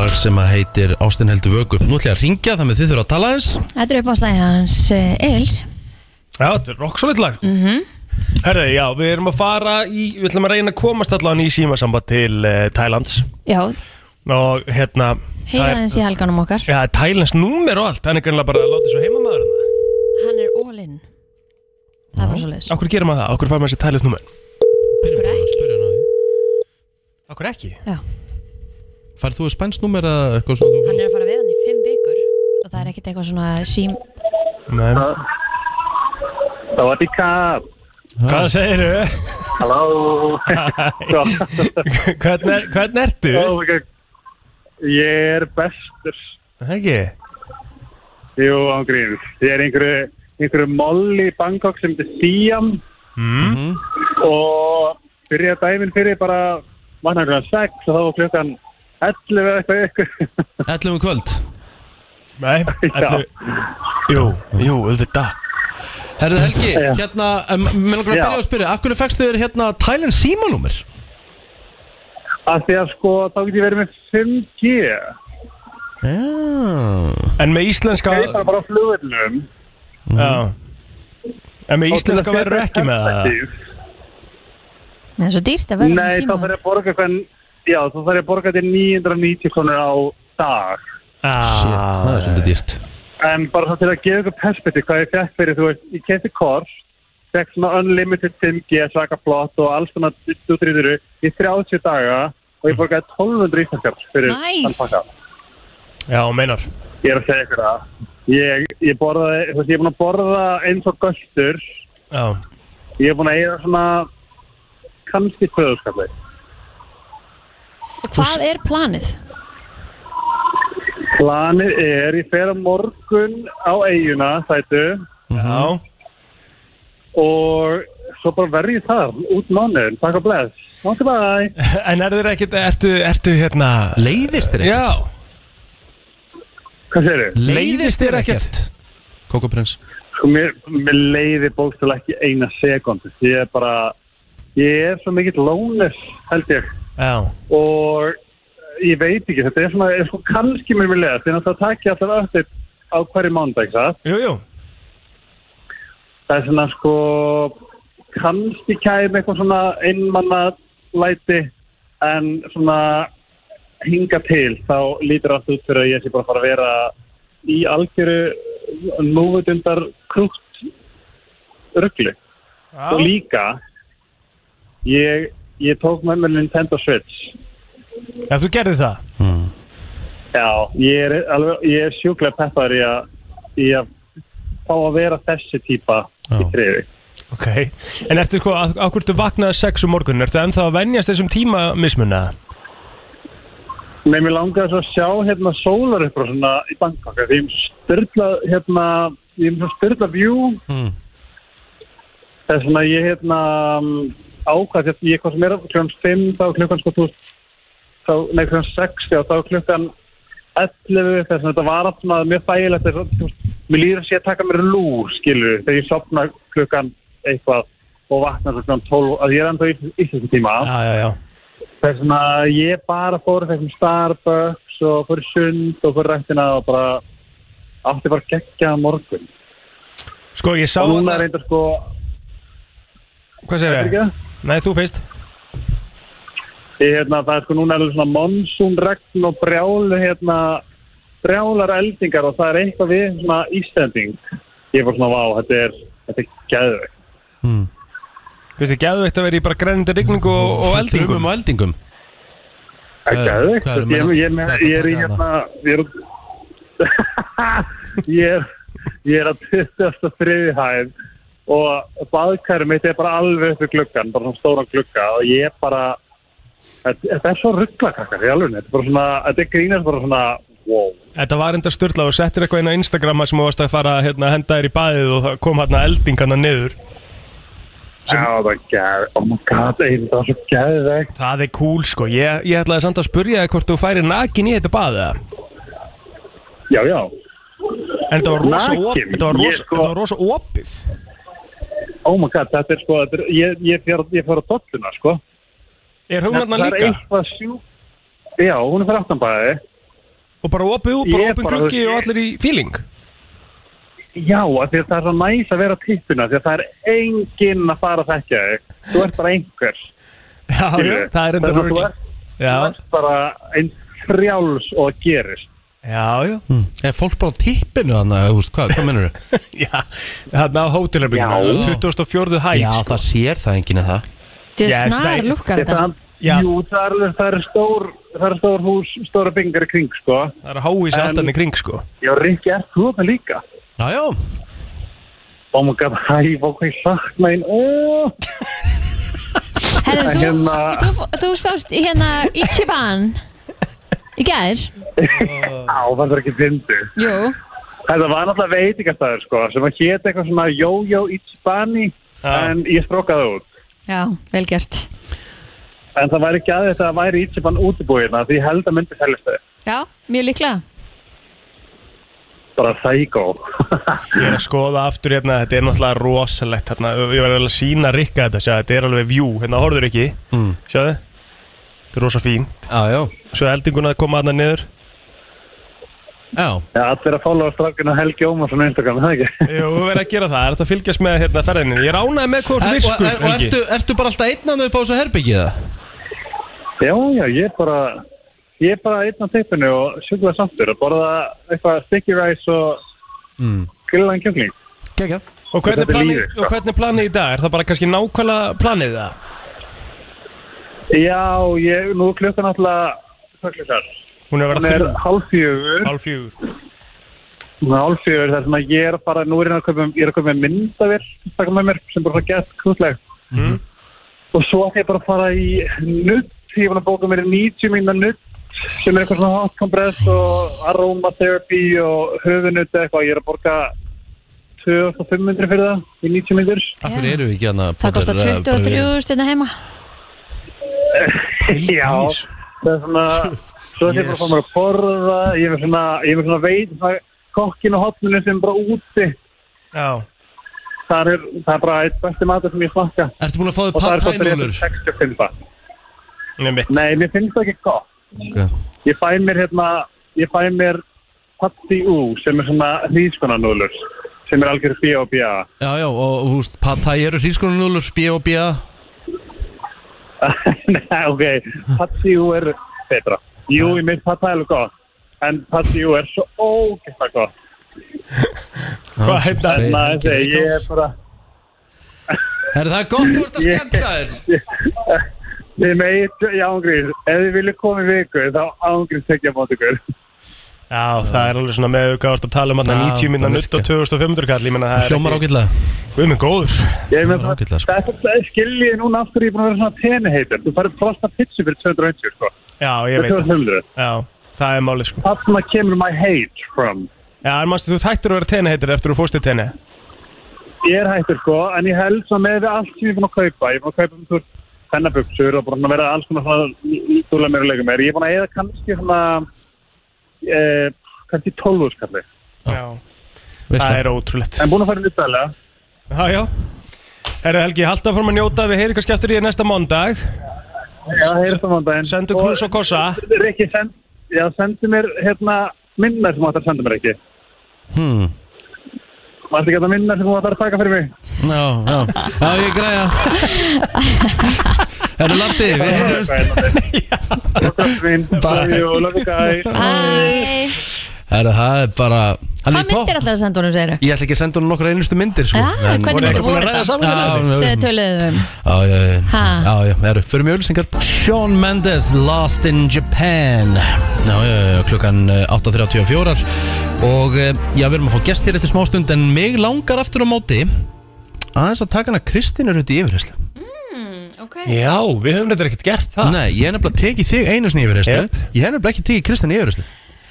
Speaker 3: lag sem að heitir Ástin heldur vöku Nú ætlum ég að ringja þannig að þið þurfa að tala eins
Speaker 2: þetta er upp á slæði hans eh, Egils
Speaker 1: Já, þetta er rocksolid lag mm -hmm. Herðu, já, við erum að fara í Við ætlum að reyna að komast allan í símasamband til uh, Thailands
Speaker 2: Já,
Speaker 1: Og hérna það
Speaker 2: heyra
Speaker 1: er-
Speaker 2: hans í helganum okkar
Speaker 1: Já, Thailands númer og allt, hann er greinlega bara að láta svo heimamaður
Speaker 2: Hann er all in Það er bara svo leiðis
Speaker 1: Okkur gerir maður það, okkur fær maður sér Thailands númer
Speaker 2: Okkur ekki
Speaker 1: Okkur ekki?
Speaker 2: Já,
Speaker 3: Færð þú spænsnúmer eða eitthvað svona þú
Speaker 2: hann er að fara að vera hann í fimm vikur og það er ekkert eitthvað svona sím
Speaker 1: Nei
Speaker 8: Það var líka
Speaker 1: Hvað segirðu?
Speaker 8: Halló
Speaker 1: hvern, er, hvern ertu?
Speaker 8: Oh my God. Ég er bestur
Speaker 1: Er Það ekki?
Speaker 8: Jú, ángrín Ég er einhverju einhverju moll í Bangkok sem heitir Siam
Speaker 1: Mm-hmm.
Speaker 8: mm. og byrjaði dæminn fyrir bara manna klukkan 6 og þá var klukkan 11 eða eitthvað ykkur
Speaker 3: 11 um kvöld
Speaker 1: Nei, ætlu Jú, jú, auðvitað
Speaker 3: Herru Helgi, hérna, um, mér langar að
Speaker 8: Já.
Speaker 3: byrja að spyrja Akkur fegstu þér hérna Thailand símanúmer?
Speaker 8: að því að sko þá get ég verið með 5G
Speaker 3: Já
Speaker 1: En með íslenska
Speaker 8: ég er bara á flugvillum
Speaker 1: Já En með íslenska verður ekki með það
Speaker 8: það
Speaker 2: Nei, það er svo dýrt að vera með
Speaker 8: Nei, þá
Speaker 2: síma
Speaker 8: þarf ég að borga hvern, já, þá þarf ég að borga til 990 krónur á dag.
Speaker 3: Shit,
Speaker 1: Ah.
Speaker 3: það er svolítið dýrt
Speaker 8: En bara þá til að gefa ykkur perspektíf hvað ég fekk fyrir, þú veist, ég kefti kors, fekk svona unlimited 5G, svaka flott og alls svona stúdrýðuru í 30 daga og ég borgaði 1200 íslenskar fyrir
Speaker 2: Nice.
Speaker 8: pakka.
Speaker 1: Já, meinar
Speaker 8: Ég er að segja ykkur það. Ég, ég borðaði, þú veist, ég er búin að borða eins og göstur.
Speaker 1: Já
Speaker 8: Ég er búin að eiga svona kannski tvöðuskallið.
Speaker 2: Hvað er planið?
Speaker 8: Planið er, ég fer á morgun á eiguna, þættu,
Speaker 1: Já,
Speaker 8: og svo bara verð ég þar út mánuðin, takk og bless. Mátti bæ.
Speaker 1: en er þér ekkert, ertu, ertu hérna
Speaker 3: Leiðist þér
Speaker 1: Já,
Speaker 3: ekkert?
Speaker 8: Hvað segir þau?
Speaker 3: Leiðist þér ekkert? Kókoprins
Speaker 8: Sko, mér, mér leiði bókstala ekki eina sekund. Ég er bara, ég er svo mikill lónes, held ég.
Speaker 1: já
Speaker 8: Og ég veit ekki, þetta er svona, er sko kannski mér mér leiðast, því að það takja alltaf öllir á hverju mánudag, ekki það?
Speaker 1: Jú, jú
Speaker 8: það er svona sko kannski kæm eitthvað svona einmanna læti en svona hinga til þá lítur allt út fyrir að ég sé bara að fara að vera í algjöru núvutundar krútt ruggli og líka ég ég tók með mér Nintendo Switch
Speaker 1: Ef þú gerði það
Speaker 8: Já, ég er, alveg, ég er sjúklega peppar í að, í að fá að vera þessi típa í trefi.
Speaker 1: Ok, en ertu sko, á á hvort þú vaknaði sex um morgun, ertu ennþá að venjast þessum tíma mismunna?
Speaker 8: Nei, mér langaði svo að sjá hérna sólar upp svona í Bangkok. af Því ég er með styrla, hérna, ég er með svo styrla vjú. Mm. Það er svona ég hérna mm, ákvað, hérna, ég hvað sem er klukkan 5, þá er klukkan sko, þú veist, þá, nei, klukkan 6, já, þá er klukkan 11, þess að þetta var allt svona mjög þægilegt, þess að, þú veist, mér líður að sé að taka mér lú, skilur, þegar ég sopna klukkan eitthvað og vakna svo klukkan 12, að ég er enda í, í þessu tíma.
Speaker 1: Já, já, já.
Speaker 8: Það er svona, ég bara fór þessum Starbucks og fór í sund og fór rættina og bara átti bara geggja morgun.
Speaker 1: Sko, ég sá
Speaker 8: og núna er reyndar sko,
Speaker 1: Hvað segir
Speaker 8: er
Speaker 1: ég?
Speaker 8: ekki?
Speaker 1: Nei, þú fyrst.
Speaker 8: Ég, hérna, það er sko núna er alveg svona monsunregn og brjál, hérna, brjálar eldingar og það er eitthvað við svona ístending. Ég fór svona, vá, þetta er, þetta er geðvegt.
Speaker 3: Hmm.
Speaker 1: Fyrst þið geðveikt að vera í bara grænandi rigningu og, og eldingum.
Speaker 3: Þrumum og eldingum
Speaker 8: Það er
Speaker 3: Hvað-
Speaker 8: geðvegt.
Speaker 3: hvað eru menn-
Speaker 8: Ég, ég, ég,
Speaker 3: hvað
Speaker 8: ég,
Speaker 3: ertu
Speaker 8: ég er í
Speaker 3: að taka
Speaker 8: hérna, ég er, ég er, ég er að 23. hæð og baðkærum mitt er bara alveg upp í gluggan, bara svona stóran glugga og ég er bara, þetta þetta er svo rugglakakkar í alveg, þetta er bara svona, þetta er grínast bara svona, wow.
Speaker 1: Þetta var enda störla og settir eitthvað inn á Instagrama sem þú varst að fara hérna, að henda þér í baðið og það kom hérna eldingana niður.
Speaker 8: Já, það er geðvegt, oh my god, ey, þetta er svo geðvegt.
Speaker 1: Það er cool sko. Ég, ég ætlaði samt að spurja þig hvort þú færi nakin í þetta baðið. eða?
Speaker 8: Já, já,
Speaker 1: En þetta var rosa,
Speaker 8: Nakinn?
Speaker 1: op, þetta var
Speaker 8: Ég,
Speaker 1: rosa,
Speaker 8: sko-
Speaker 1: þetta var rosa opið.
Speaker 8: oh my god, þetta er sko, þetta er, ég, ég, fer- ég fór á dolluna, sko.
Speaker 1: Er hún hérna
Speaker 8: Það er
Speaker 1: líka?
Speaker 8: eitthvað sjú, já, hún er fyrir aftanbæði.
Speaker 1: Og bara opið út,
Speaker 8: Ég
Speaker 1: bara opið
Speaker 8: bara-
Speaker 1: gluggi og allir í feeling.
Speaker 8: Já, af því að það er svo næs að vera tippuna því að það er enginn að fara að þekkja þig þú ert bara einhver
Speaker 1: Já, já,
Speaker 8: skilurðu.
Speaker 1: það er enda
Speaker 8: Þannig að þú
Speaker 1: röglega.
Speaker 8: ert-
Speaker 1: Já,
Speaker 8: þú ert bara eins frjáls og það gerist
Speaker 1: já, já.
Speaker 3: Er fólk bara á tippinu þannig, þú veist, hvað, hvað mennur þau?
Speaker 1: Já, þarna á hótelherbygginu, 2004. hætt.
Speaker 3: Já,
Speaker 1: sko.
Speaker 3: það sér það enginn eða það
Speaker 2: Þetta
Speaker 1: Yes,
Speaker 2: er snar
Speaker 1: nei.
Speaker 2: lukkar
Speaker 8: Þetta-
Speaker 2: þetta
Speaker 1: Já.
Speaker 8: Hérna, Jú, það er, alveg- það er stór það er stór hús, stóra byggingar í kring sko.
Speaker 1: Það er að háa í sig
Speaker 8: En-
Speaker 1: allt hann í kring sko
Speaker 8: Já, Rikki, er þú það líka?
Speaker 3: Já, já,
Speaker 8: Oh my god, hæ, vá, hvað ég sakna einn oh.
Speaker 2: Herðu, þú,
Speaker 8: Hérna-
Speaker 2: þú, þú sást í hérna Ichiban Í gær
Speaker 8: Á, það er ekki fyndu
Speaker 2: Jú,
Speaker 8: Þetta var náttúrulega veitingastæður sko, sem að hétt eitthvað svona Jojo Ichibani
Speaker 1: Já.
Speaker 8: en ég strókaði það út
Speaker 2: já, vel gert
Speaker 8: En það væri ekki að þetta að væri Ichiban útibúiðna hérna, því ég held að myndi seljast þau.
Speaker 2: Já, mjög líklega
Speaker 8: Bara sækó.
Speaker 1: Ég er að skoða aftur hérna, þetta er náttúrulega rosalegt hérna, Ég var alveg að sína Rikka þetta, sjá, þetta er alveg view, hérna horfður ekki mm. Sjáðu, þetta er rosa fín
Speaker 3: já, já,
Speaker 1: Svo eldinguna að koma hérna niður
Speaker 3: já.
Speaker 8: Já, allir að fólga strákinu Helgi Ómarsson á Instagram, er það ekki?
Speaker 1: Jú, við verðum að gera það, er þetta að fylgjast með hérna ferðinni Ég ránaði með hvort
Speaker 3: Er, og,
Speaker 1: virkur,
Speaker 3: er, og ertu, ertu bara alltaf einnandu upp á þessu herbyggið það?
Speaker 8: Já, já, ég er bara, ég er bara einn á teipinu og sjúklega samtur að borða eitthvað sticky rice og
Speaker 3: Mm.
Speaker 8: grillan kjöngling.
Speaker 1: og, hvernig
Speaker 8: Þetta er
Speaker 1: planið,
Speaker 8: lífið, sko.
Speaker 1: og hvernig er planið í dag, er það bara kannski nákvæmlega planið það?
Speaker 8: Já, ég, nú er klukkan alltaf, hvað er klukkan?
Speaker 1: Hún er að
Speaker 8: Hún
Speaker 1: vera
Speaker 8: er
Speaker 1: þrjú,
Speaker 8: hálfjögur,
Speaker 1: hálf fjúr
Speaker 8: hún er hálfjögur þar sem að ég er bara, nú er ég að köpa, ég er að köpa myndavél, taka með mér, sem bara svona gett krúsleg.
Speaker 1: Mhm.
Speaker 8: Og svo ætti ég bara að fara í nutt, ég var að bóka mér í 90 mínuna nutt sem er eitthvað svona hot compress og aromatherapy og höfunutt eitthvað, ég er að borga 2500 fyrir það í 90 mínútur.
Speaker 3: Af hverju eru við ekki hann að
Speaker 2: Það kostar
Speaker 3: eh,
Speaker 2: 23 stundar heima
Speaker 8: Já, það er svona, svo ætti ég bara að fara mér að borða, ég er með svona, ég er með svona veit, svona kokkin og hotminu sem er bara úti,
Speaker 1: Já,
Speaker 8: það er, það er bara eitt besti matur sem ég smakka
Speaker 3: Ertu búin að fá þig
Speaker 8: og það er
Speaker 3: pad
Speaker 8: hvað
Speaker 3: thai
Speaker 8: fyrir
Speaker 3: núlur?
Speaker 8: 65 það.
Speaker 1: nefn mitt
Speaker 8: Nei, mér finnst það ekki gott. Ég fæ mér hérna, ég fæ mér patti ú sem er svona hlýskonanúlur sem er algjör bíja og bíja.
Speaker 3: Já, já, og og þú veist, pad thai eru hrískonum núlur, bíja og bíja
Speaker 8: Nei, ok, patti ú er betra. Jú, ég mynd patti alveg gott, en patti ú er svo ógæsta gott.
Speaker 1: Hvað hérna,
Speaker 3: segir-
Speaker 8: Þannig að
Speaker 3: Helgi
Speaker 8: ég, ég er bara,
Speaker 3: Herri, það er gott þú ert að skemmta þér
Speaker 8: Þið megið, já, ángrið, ef þið viljið koma í viku, þá ángrið tekja mót ykkur.
Speaker 1: Já, það er alveg svona með aukaðast að tala um að
Speaker 3: Já,
Speaker 1: 90 minna
Speaker 3: það
Speaker 1: nutt og 2500 kall, ég menna það er
Speaker 3: Hljómar ágætlega
Speaker 1: Guð minn góður
Speaker 8: Ég með
Speaker 3: Það var ágætlega, sko.
Speaker 8: þetta skilji ég núna af hverju ég er búin að vera svona teniheitur. Þú færði frosta pizzu fyrir 250, sko.
Speaker 1: Já, ég veit
Speaker 8: Það er
Speaker 1: það
Speaker 8: 200.
Speaker 1: Já, það er málið sko
Speaker 8: Þarna kemur my hate from.
Speaker 1: Já, en mannstu, þú ert hættur að vera tenni heitir eftir að þú fórst í tenni
Speaker 8: Ég er hættur, sko, en ég held svo með allt sem ég er búin að kaupa. Ég er búin að kaupa um þú pennabuxur og búin að vera alls konar svona nýttúlega meira leikum er. Ég er búin að eða kannski svona, eh, kannski 12 skalli.
Speaker 1: Já, það
Speaker 3: Veistla.
Speaker 1: er ótrúlegt
Speaker 8: En búin að fara í nýttalega.
Speaker 1: Já, já Herru Helgi, halda fórum að njóta, við heyri kannski eftir í þér næsta mondag
Speaker 8: Já, heyrðum á mandaginn.
Speaker 1: Sendu knús og kossa
Speaker 8: Rikki, send, já, sendu mér hérna minnar sem þú ætlar að senda mér ekki.
Speaker 3: Hmm.
Speaker 8: Mátti ekki að það minnar sem þú ætlar að taka fyrir mig.
Speaker 3: Já, já, já, ég græja Herru Landi, við heyrumst
Speaker 8: Bye. Love you guys.
Speaker 2: Æ,
Speaker 3: Herru, það er bara Hann
Speaker 2: hvað
Speaker 3: er í topp
Speaker 2: myndir alltaf að senda honum, segir
Speaker 3: Ég ætla ekki að senda hún nokkra einustu myndir sko.
Speaker 2: Ah,
Speaker 3: En-
Speaker 1: Voru
Speaker 2: hvernig myndir
Speaker 1: ekki búin að
Speaker 2: voru
Speaker 1: ræða
Speaker 2: þetta?
Speaker 1: saman
Speaker 3: Já,
Speaker 1: þetta?
Speaker 3: já,
Speaker 2: Segðu um. töluðum
Speaker 3: Já, já, já,
Speaker 2: Ha?
Speaker 3: já, já, já, fyrir mjög ölsingar Sean Mendes, Lost in Japan Já, já, já, klukkan eh, 8.34 Og eh, já, við erum að fá gest hér eftir smástund En mig langar aftur á móti Aðeins að taka hana Kristínu Rutt í yfirherslu
Speaker 2: þeim
Speaker 1: Já, við höfum þetta ekkert gert það
Speaker 3: Nei, ég hef nefnilega tekið þig einu sinni í yfirherslu
Speaker 1: Jep.
Speaker 3: Ég hef nefnilega ekki tekið Kristínu í yfirherslu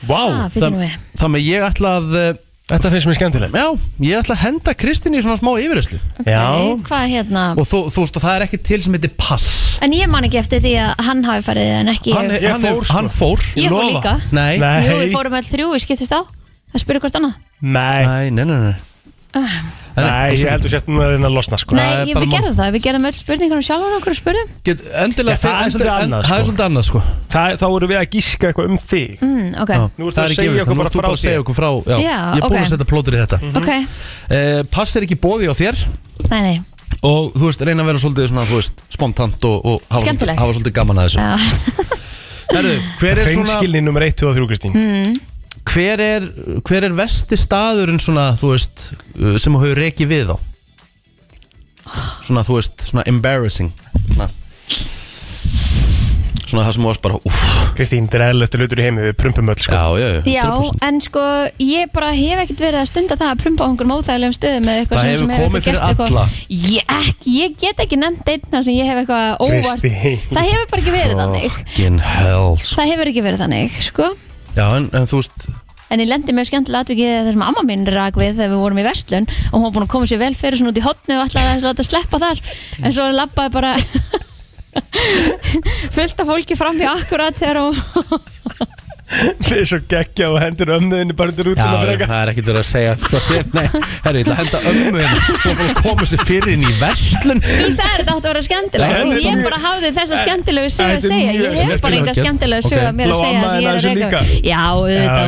Speaker 1: Vá,
Speaker 2: Fyrir Ah, nú við
Speaker 3: Þannig að ég ætla að eh,
Speaker 1: þetta finnst mér skemmtilegt
Speaker 3: Já, ég ætla að henda Kristínu í svona smá yfirherslu
Speaker 1: Já,
Speaker 2: Nei, Hvað hérna
Speaker 3: Og þú, þú veist, og það er ekki til sem heitir pass
Speaker 2: En ég man ekki eftir því að hann hafi farið en ekki
Speaker 3: Hann,
Speaker 2: ég
Speaker 3: er-
Speaker 1: Ég
Speaker 3: hann,
Speaker 1: fór,
Speaker 3: fór,
Speaker 1: sko.
Speaker 3: hann fór
Speaker 2: Ég fór
Speaker 1: lofa.
Speaker 2: líka
Speaker 3: Nei, nei,
Speaker 2: Jú, við
Speaker 1: nei,
Speaker 2: fórum all þrjú, við skiptist á Það spyrir hvort annað Ah,
Speaker 1: nei
Speaker 3: nei, nei, nei. Nei,
Speaker 1: Nei, ég heldur sér núna að reyna að losna sko
Speaker 3: það er
Speaker 2: Nei, ég-
Speaker 3: bara
Speaker 2: við
Speaker 3: mál.
Speaker 2: gerðum það, við gerðum öll spurningunum sjálfan okkur og spurðum
Speaker 3: Get, endilega
Speaker 1: Já, það er
Speaker 3: en-
Speaker 1: svolítið
Speaker 3: en-
Speaker 1: annað,
Speaker 3: það er
Speaker 1: sko.
Speaker 3: svolítið annað sko
Speaker 1: Það, Þá eru við að gíska eitthvað um þig
Speaker 2: mm, Ok,
Speaker 3: Já,
Speaker 1: Nú ertu
Speaker 3: það
Speaker 1: að
Speaker 3: er
Speaker 1: segja
Speaker 3: gefist,
Speaker 1: okkur
Speaker 3: nú
Speaker 1: bara frá
Speaker 3: ertu bara að
Speaker 1: þér.
Speaker 3: segja okkur frá já.
Speaker 2: Já,
Speaker 3: ég er búin
Speaker 2: ok.
Speaker 3: að setja plótur í þetta mm
Speaker 2: ok,
Speaker 3: pass er ekki bóði á þér
Speaker 2: nei, nei
Speaker 3: og þú veist, reyna að vera svolítið svona, þú veist, spontant og, og hafa,
Speaker 2: Skemmtilegt.
Speaker 3: svolítið, hafa svolítið gaman að þessu
Speaker 2: Já.
Speaker 3: Herru, hver er svona
Speaker 1: Hreinskilni nummer 1, 2 og 3 Kristín
Speaker 2: Mm.
Speaker 3: hver er, hver er vesti staðurinn svona, þú veist, uh, sem þú hefur rekið við á svona, þú veist, svona embarrassing svona, svona það sem þú varst bara, uff
Speaker 1: Kristín, þetta er eðlilegstu hlutur í heimi, við prumpum öll sko
Speaker 3: já, já, já, 100%.
Speaker 2: Já, en sko, ég bara hef ekkert verið að stunda það að prumpa á einhverjum óþægulegum stöðum eða eitthvað
Speaker 3: Það
Speaker 2: sem-
Speaker 3: hefur
Speaker 2: sem
Speaker 3: komið
Speaker 2: ekki gerst
Speaker 3: fyrir alla.
Speaker 2: eitthvað. Ég, ekki, ég get ekki nefnt einn þar sem ég hef eitthvað óvart
Speaker 1: Kristín.
Speaker 2: Það hefur bara ekki verið þannig
Speaker 3: Fucking hell sko.
Speaker 2: Það hefur ekki verið þannig, sko
Speaker 3: Já, en, en þú veist
Speaker 2: En ég lendi mjög skemmtilega atvikið þar sem amma mín rak við þegar við vorum í Vestlun og hún var búin að koma sér vel fyrir svona út í hotnu og ætlaði að láta sleppa þar en svo lappaði bara fullt af fólki fram í akkurat þegar hún
Speaker 1: Þið er svo geggja og hendur ömmuðinni bara til
Speaker 3: Já,
Speaker 1: rútuna freka
Speaker 3: það er ekkert verið að segja frá þér Nei, herri, ég ætla að henda ömmu hérna Þú er bara að koma sér fyrir inn í verslun
Speaker 2: Þú sagði þetta átti að vera
Speaker 1: Nei,
Speaker 2: skemmtilegt og ég
Speaker 1: mjög-
Speaker 2: bara hafði þessa skemmtilegu sögu að
Speaker 1: Þetta er
Speaker 2: segja
Speaker 1: mjög
Speaker 2: Ég hef bara
Speaker 3: skemmtileg
Speaker 2: enga skemmtilega
Speaker 3: aðgerð. Ok.
Speaker 2: sögu að mér að
Speaker 1: Ló,
Speaker 2: segja
Speaker 1: amma
Speaker 2: það sem ég er
Speaker 1: hennar þessu
Speaker 2: að reyka Já,
Speaker 1: Já,
Speaker 2: auðvitað,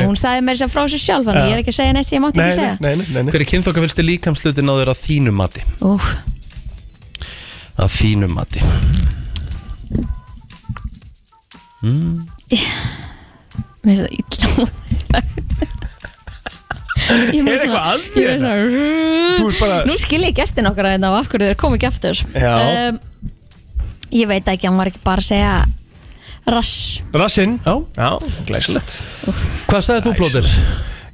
Speaker 1: já.
Speaker 2: hún sagði mér þess að frá sér sjálf en
Speaker 1: Já.
Speaker 2: ég er ekki að segja neitt sem ég mátti
Speaker 1: Nei,
Speaker 2: ekki
Speaker 1: nei,
Speaker 2: segja
Speaker 1: nei, nei, nei.
Speaker 3: Hver er kynþokkafylsti líkamslutin á þér að þínu mati?
Speaker 2: Úf,
Speaker 3: Að þínu mati
Speaker 2: mér finnst það illa Ég
Speaker 1: Er
Speaker 2: með
Speaker 1: eitthvað
Speaker 2: svona
Speaker 1: að
Speaker 2: um Ég er
Speaker 1: þér? Þú
Speaker 2: svona
Speaker 1: ert bara
Speaker 2: Nú skil ég gestin okkar að þetta og af hverju þeir komu ekki aftur
Speaker 1: Já.
Speaker 2: Ehm, Ég veit ekki, hann var ekki bara að segja Rass
Speaker 1: Rassinn
Speaker 3: Já.
Speaker 1: glæsilegt
Speaker 3: Hvað sagði þú, Blóður?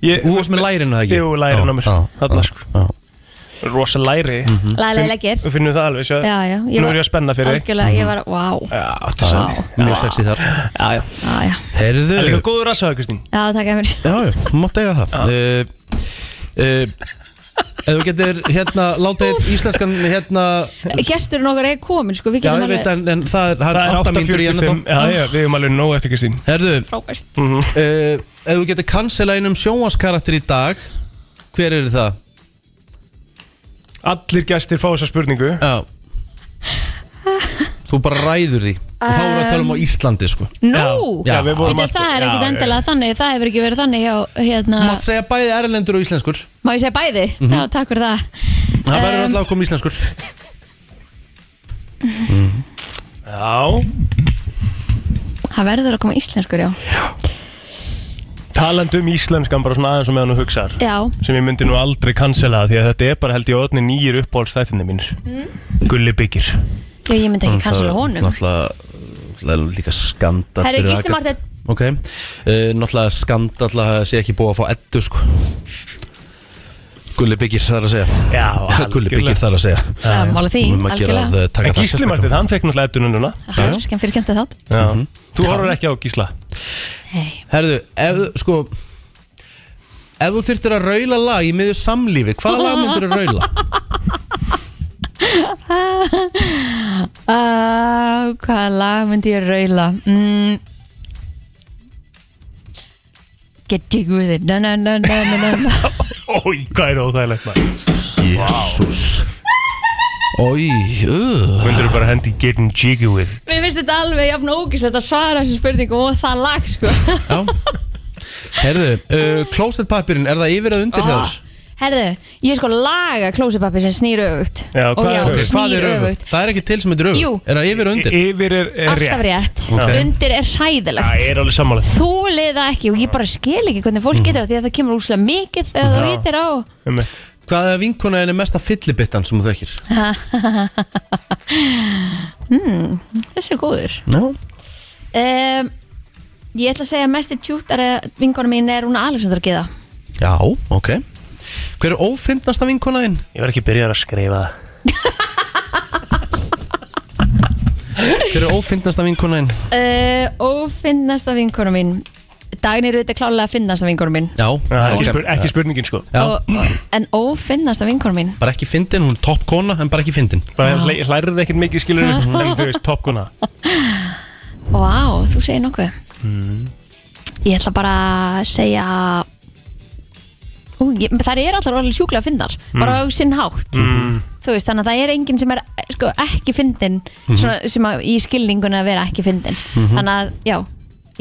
Speaker 1: Ég-
Speaker 3: Þú varst með lærinu, það ekki?
Speaker 1: Jú, lærin á mér. Þarna, sko.
Speaker 3: já.
Speaker 1: Rosa læri
Speaker 2: Lælega leggir
Speaker 1: Þú finnum það alveg, sjá
Speaker 2: Já, já, ég
Speaker 1: Nú
Speaker 2: var-
Speaker 1: er ég að spenna fyrir þig.
Speaker 2: Algjörlega, ég var, vá
Speaker 1: Já, þetta er sann
Speaker 3: Mjög sexy þar
Speaker 1: Já, já
Speaker 2: Já, já,
Speaker 1: Það er
Speaker 3: Herðu
Speaker 1: líka góður rassaðu, Kristín
Speaker 2: já, takk að mér
Speaker 3: Já, já, þú mátt eiga það uh, uh, Ef þú getur hérna Láta þér íslenskan hérna
Speaker 2: Gesturinn okkar er komin, sko, við
Speaker 3: Já, ég
Speaker 2: getum
Speaker 3: veit, en, en það er, það
Speaker 1: Það
Speaker 3: er
Speaker 1: er
Speaker 3: 8 mínútur í enn
Speaker 1: 8.45 Já, já, við erum alveg nóg eftir Kristín
Speaker 3: Herðu,
Speaker 2: frábært
Speaker 3: uh, ef þú getur cancela einum sjónvaskarakter í dag hver er það?
Speaker 1: Allir gestir fá þessa spurningu
Speaker 3: Já. þú bara ræður því og þá erum við að tala um á Íslandi sko.
Speaker 2: Nú,
Speaker 1: Já, við vorum
Speaker 2: Þetta,
Speaker 1: alltaf-
Speaker 2: það er ekkit
Speaker 1: Já,
Speaker 2: endilega þannig, það hefur ekki verið þannig hjá, hérna,
Speaker 3: þú mátt segja bæði erlendur og íslenskur
Speaker 2: má ég segja bæði?
Speaker 1: Mhm.
Speaker 2: Já, takk fyrir það
Speaker 3: það verður
Speaker 2: Em.
Speaker 3: alltaf að koma íslenskur
Speaker 1: Já
Speaker 2: Það verður að koma íslenskur, já
Speaker 1: Talandi um íslenskan bara svona aðeins og meðan þú hugsar
Speaker 2: Já,
Speaker 1: sem ég myndi nú aldrei cancela því að þetta er bara held ég öðni
Speaker 2: Mm.
Speaker 1: nýjir uppáhaldstættinni mínir Gulli byggir
Speaker 3: Mm,
Speaker 2: já ég myndi ekki kansla honum
Speaker 3: alltaf náttúrulega líka skandall
Speaker 2: Herri,
Speaker 3: fyrir
Speaker 2: Gísli
Speaker 3: Agat.
Speaker 2: Marteinn.
Speaker 3: Ok, uh, náttúrulega skandall að það sé ekki búið að fá eddu sko Gulli byggir þar að segja
Speaker 1: Já,
Speaker 3: Gulli byggir þar að segja
Speaker 2: Sammála því,
Speaker 3: Um að gera að
Speaker 2: algjörlega
Speaker 3: eh, taka
Speaker 1: En
Speaker 3: það
Speaker 1: Gísli Martið, hann fekk náttúrulega eftir núna
Speaker 2: Það er skemmt fyrir skemmt þátt
Speaker 1: Já. Þú horfur ekki á Gísla
Speaker 2: Nei.
Speaker 3: Herðu, ef, þú- sko Ef þú þyrftir að raula lag í miður samlífi Hvaða lag myndir að raula?
Speaker 2: Uh, hvaða lag myndi ég raula? Mm. Get dig with it na, na, na, na, na, na, na.
Speaker 1: Ói, hvað er óþægilegt maður
Speaker 3: Jésús Ói, uh
Speaker 1: Myndur þú bara hendi getting jiggy with
Speaker 2: Mér finnst þetta alveg jafn ógislegt að svara þessu spurningu og það lag sko
Speaker 3: Já Herðu, uh, klósettpapirinn, er það yfir að
Speaker 2: Ah.
Speaker 3: undir hjá þér?
Speaker 2: Herðu, ég er sko laga klósipappi sem snýr öfugt
Speaker 1: Já,
Speaker 2: Og
Speaker 1: hvað er
Speaker 2: já,
Speaker 1: öfugt?
Speaker 3: Ok, Hvað er
Speaker 2: snýr
Speaker 3: öfugt? Það er ekki til sem heitir öfugt
Speaker 2: Jú.
Speaker 3: Er það yfir og undir?
Speaker 1: Yfir er, er
Speaker 2: Alltaf rétt,
Speaker 3: Ok.
Speaker 2: undir er
Speaker 1: Það
Speaker 2: hræðilegt
Speaker 1: er alveg sammála
Speaker 2: Þólið það ekki og ég bara skil ekki hvernig
Speaker 1: Mm.
Speaker 2: fólk getur það því að það kemur úslega mikið þegar það rítir á
Speaker 1: Einmitt.
Speaker 3: Hvað er vinkona henni mesta fyllibittan sem þú þekkir?
Speaker 2: Þessi er góður
Speaker 3: Já
Speaker 2: um, Ég ætla að segja að mest er tjútt er að vinkona mín er Rúna Alexander Geða
Speaker 3: Já, ok Hver er ófindnasta vinkona henn?
Speaker 1: Ég var ekki byrjar að skrifa það
Speaker 3: Hver er ófindnasta vinkona henn?
Speaker 2: uh, Og finnasta vinkona mín Dagni Rut er klálega finnasta vinkona mín
Speaker 3: Já,
Speaker 1: ekki,
Speaker 3: ok.
Speaker 1: spur, ekki spurningin sko
Speaker 3: Já.
Speaker 2: og, og, En ófinnasta vinkona mín
Speaker 3: Bara ekki fyndin, hún er toppkona en bara ekki fyndin
Speaker 1: Bara hlæ- ég Hlærið ekkert mikið skilur En þú veist, topkuna
Speaker 2: Vá, þú segir nokkuð Ég ætla bara að segja Ú, ég, Það er allar alveg sjúklega finnar Bara á sinn hátt Þú veist, þannig að það er enginn sem er sko, ekki fyndin svona, sem að, í skilningunni að vera ekki fyndin Þannig að, já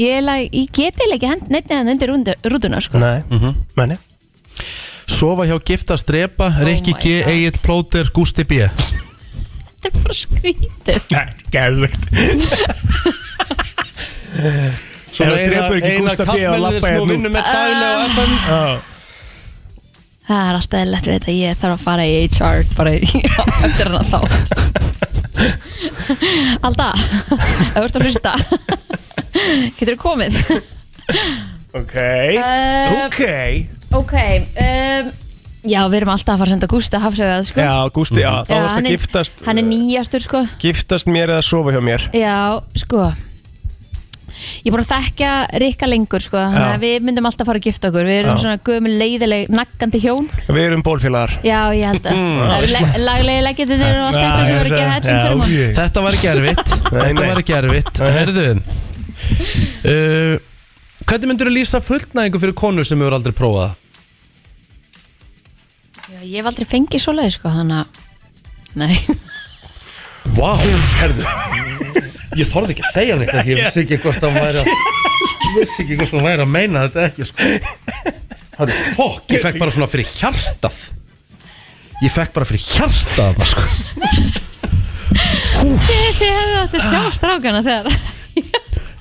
Speaker 2: Ég, er eiginlega- ég get eiginlega ekki hend neitt neðan undir rúndu- rútuna sko.
Speaker 1: Nei, menni
Speaker 3: Mhm. Sofa hjá giftast drepa, Rikki
Speaker 2: Oh my
Speaker 3: G,
Speaker 2: God.
Speaker 3: Egil Plóter, Gusti B
Speaker 2: Þetta er bara skrítið
Speaker 1: Nei, gæðvegt Svona
Speaker 3: Eina-
Speaker 1: drepur ekki
Speaker 3: eina
Speaker 1: Gústa B að
Speaker 3: karlmennið
Speaker 1: labba
Speaker 3: sem
Speaker 1: hérna
Speaker 3: þú
Speaker 1: út.
Speaker 3: vinnur með daginn á
Speaker 2: Ah.
Speaker 3: FM
Speaker 2: Það er alltaf lett við þetta Ég þarf að fara í HR bara í eftir hana þá Alltaf ef þú ert að hlusta Getur þú komið?
Speaker 1: Ok,
Speaker 2: Eh,
Speaker 1: ok
Speaker 2: Ok um, Já, við erum alltaf að fara að senda Gústa hafsögað sko.
Speaker 1: Já, Gústi, já, þá
Speaker 2: Já,
Speaker 1: varst
Speaker 2: hann
Speaker 1: að
Speaker 2: er-
Speaker 1: giftast eh,
Speaker 2: Hann er nýjastur sko
Speaker 1: Giftast mér eða sofa hjá mér
Speaker 2: Já, sko Ég er búin að þekkja Rikka lengur sko Þannig
Speaker 1: Já.
Speaker 2: að við myndum alltaf að fara að gifta okkur Við erum
Speaker 1: Já.
Speaker 2: svona gömul leiðileg naggandi hjón
Speaker 1: Við erum bólfélagar
Speaker 2: Já, ég held
Speaker 1: Mm.
Speaker 2: að Það eru le- laglegi leggjendir og allt þetta sem voru að gera helling fyrir mann
Speaker 1: fyrir
Speaker 3: Þetta var ekki erfitt Þetta
Speaker 1: nei.
Speaker 3: var ekki erfitt Herðu uh, Hvernig myndur þú lýsa fullnæðingu fyrir konu sem hefur aldrei prófað? það?
Speaker 2: Já, ég hef aldrei fengið svoleiði sko, þannig að Nei,
Speaker 3: Vá, herðu Ég þorði ekki að segja neitt ekki. Ég vissi ekki hvort það væri að Ég vissi ekki hvort það væri að meina þetta ekki sko. Herðu, fokk Ég fekk bara svona fyrir hjartað Ég fekk bara fyrir hjartað þarna, sko.
Speaker 2: þið þið hefðu átt að sjá strákana þegar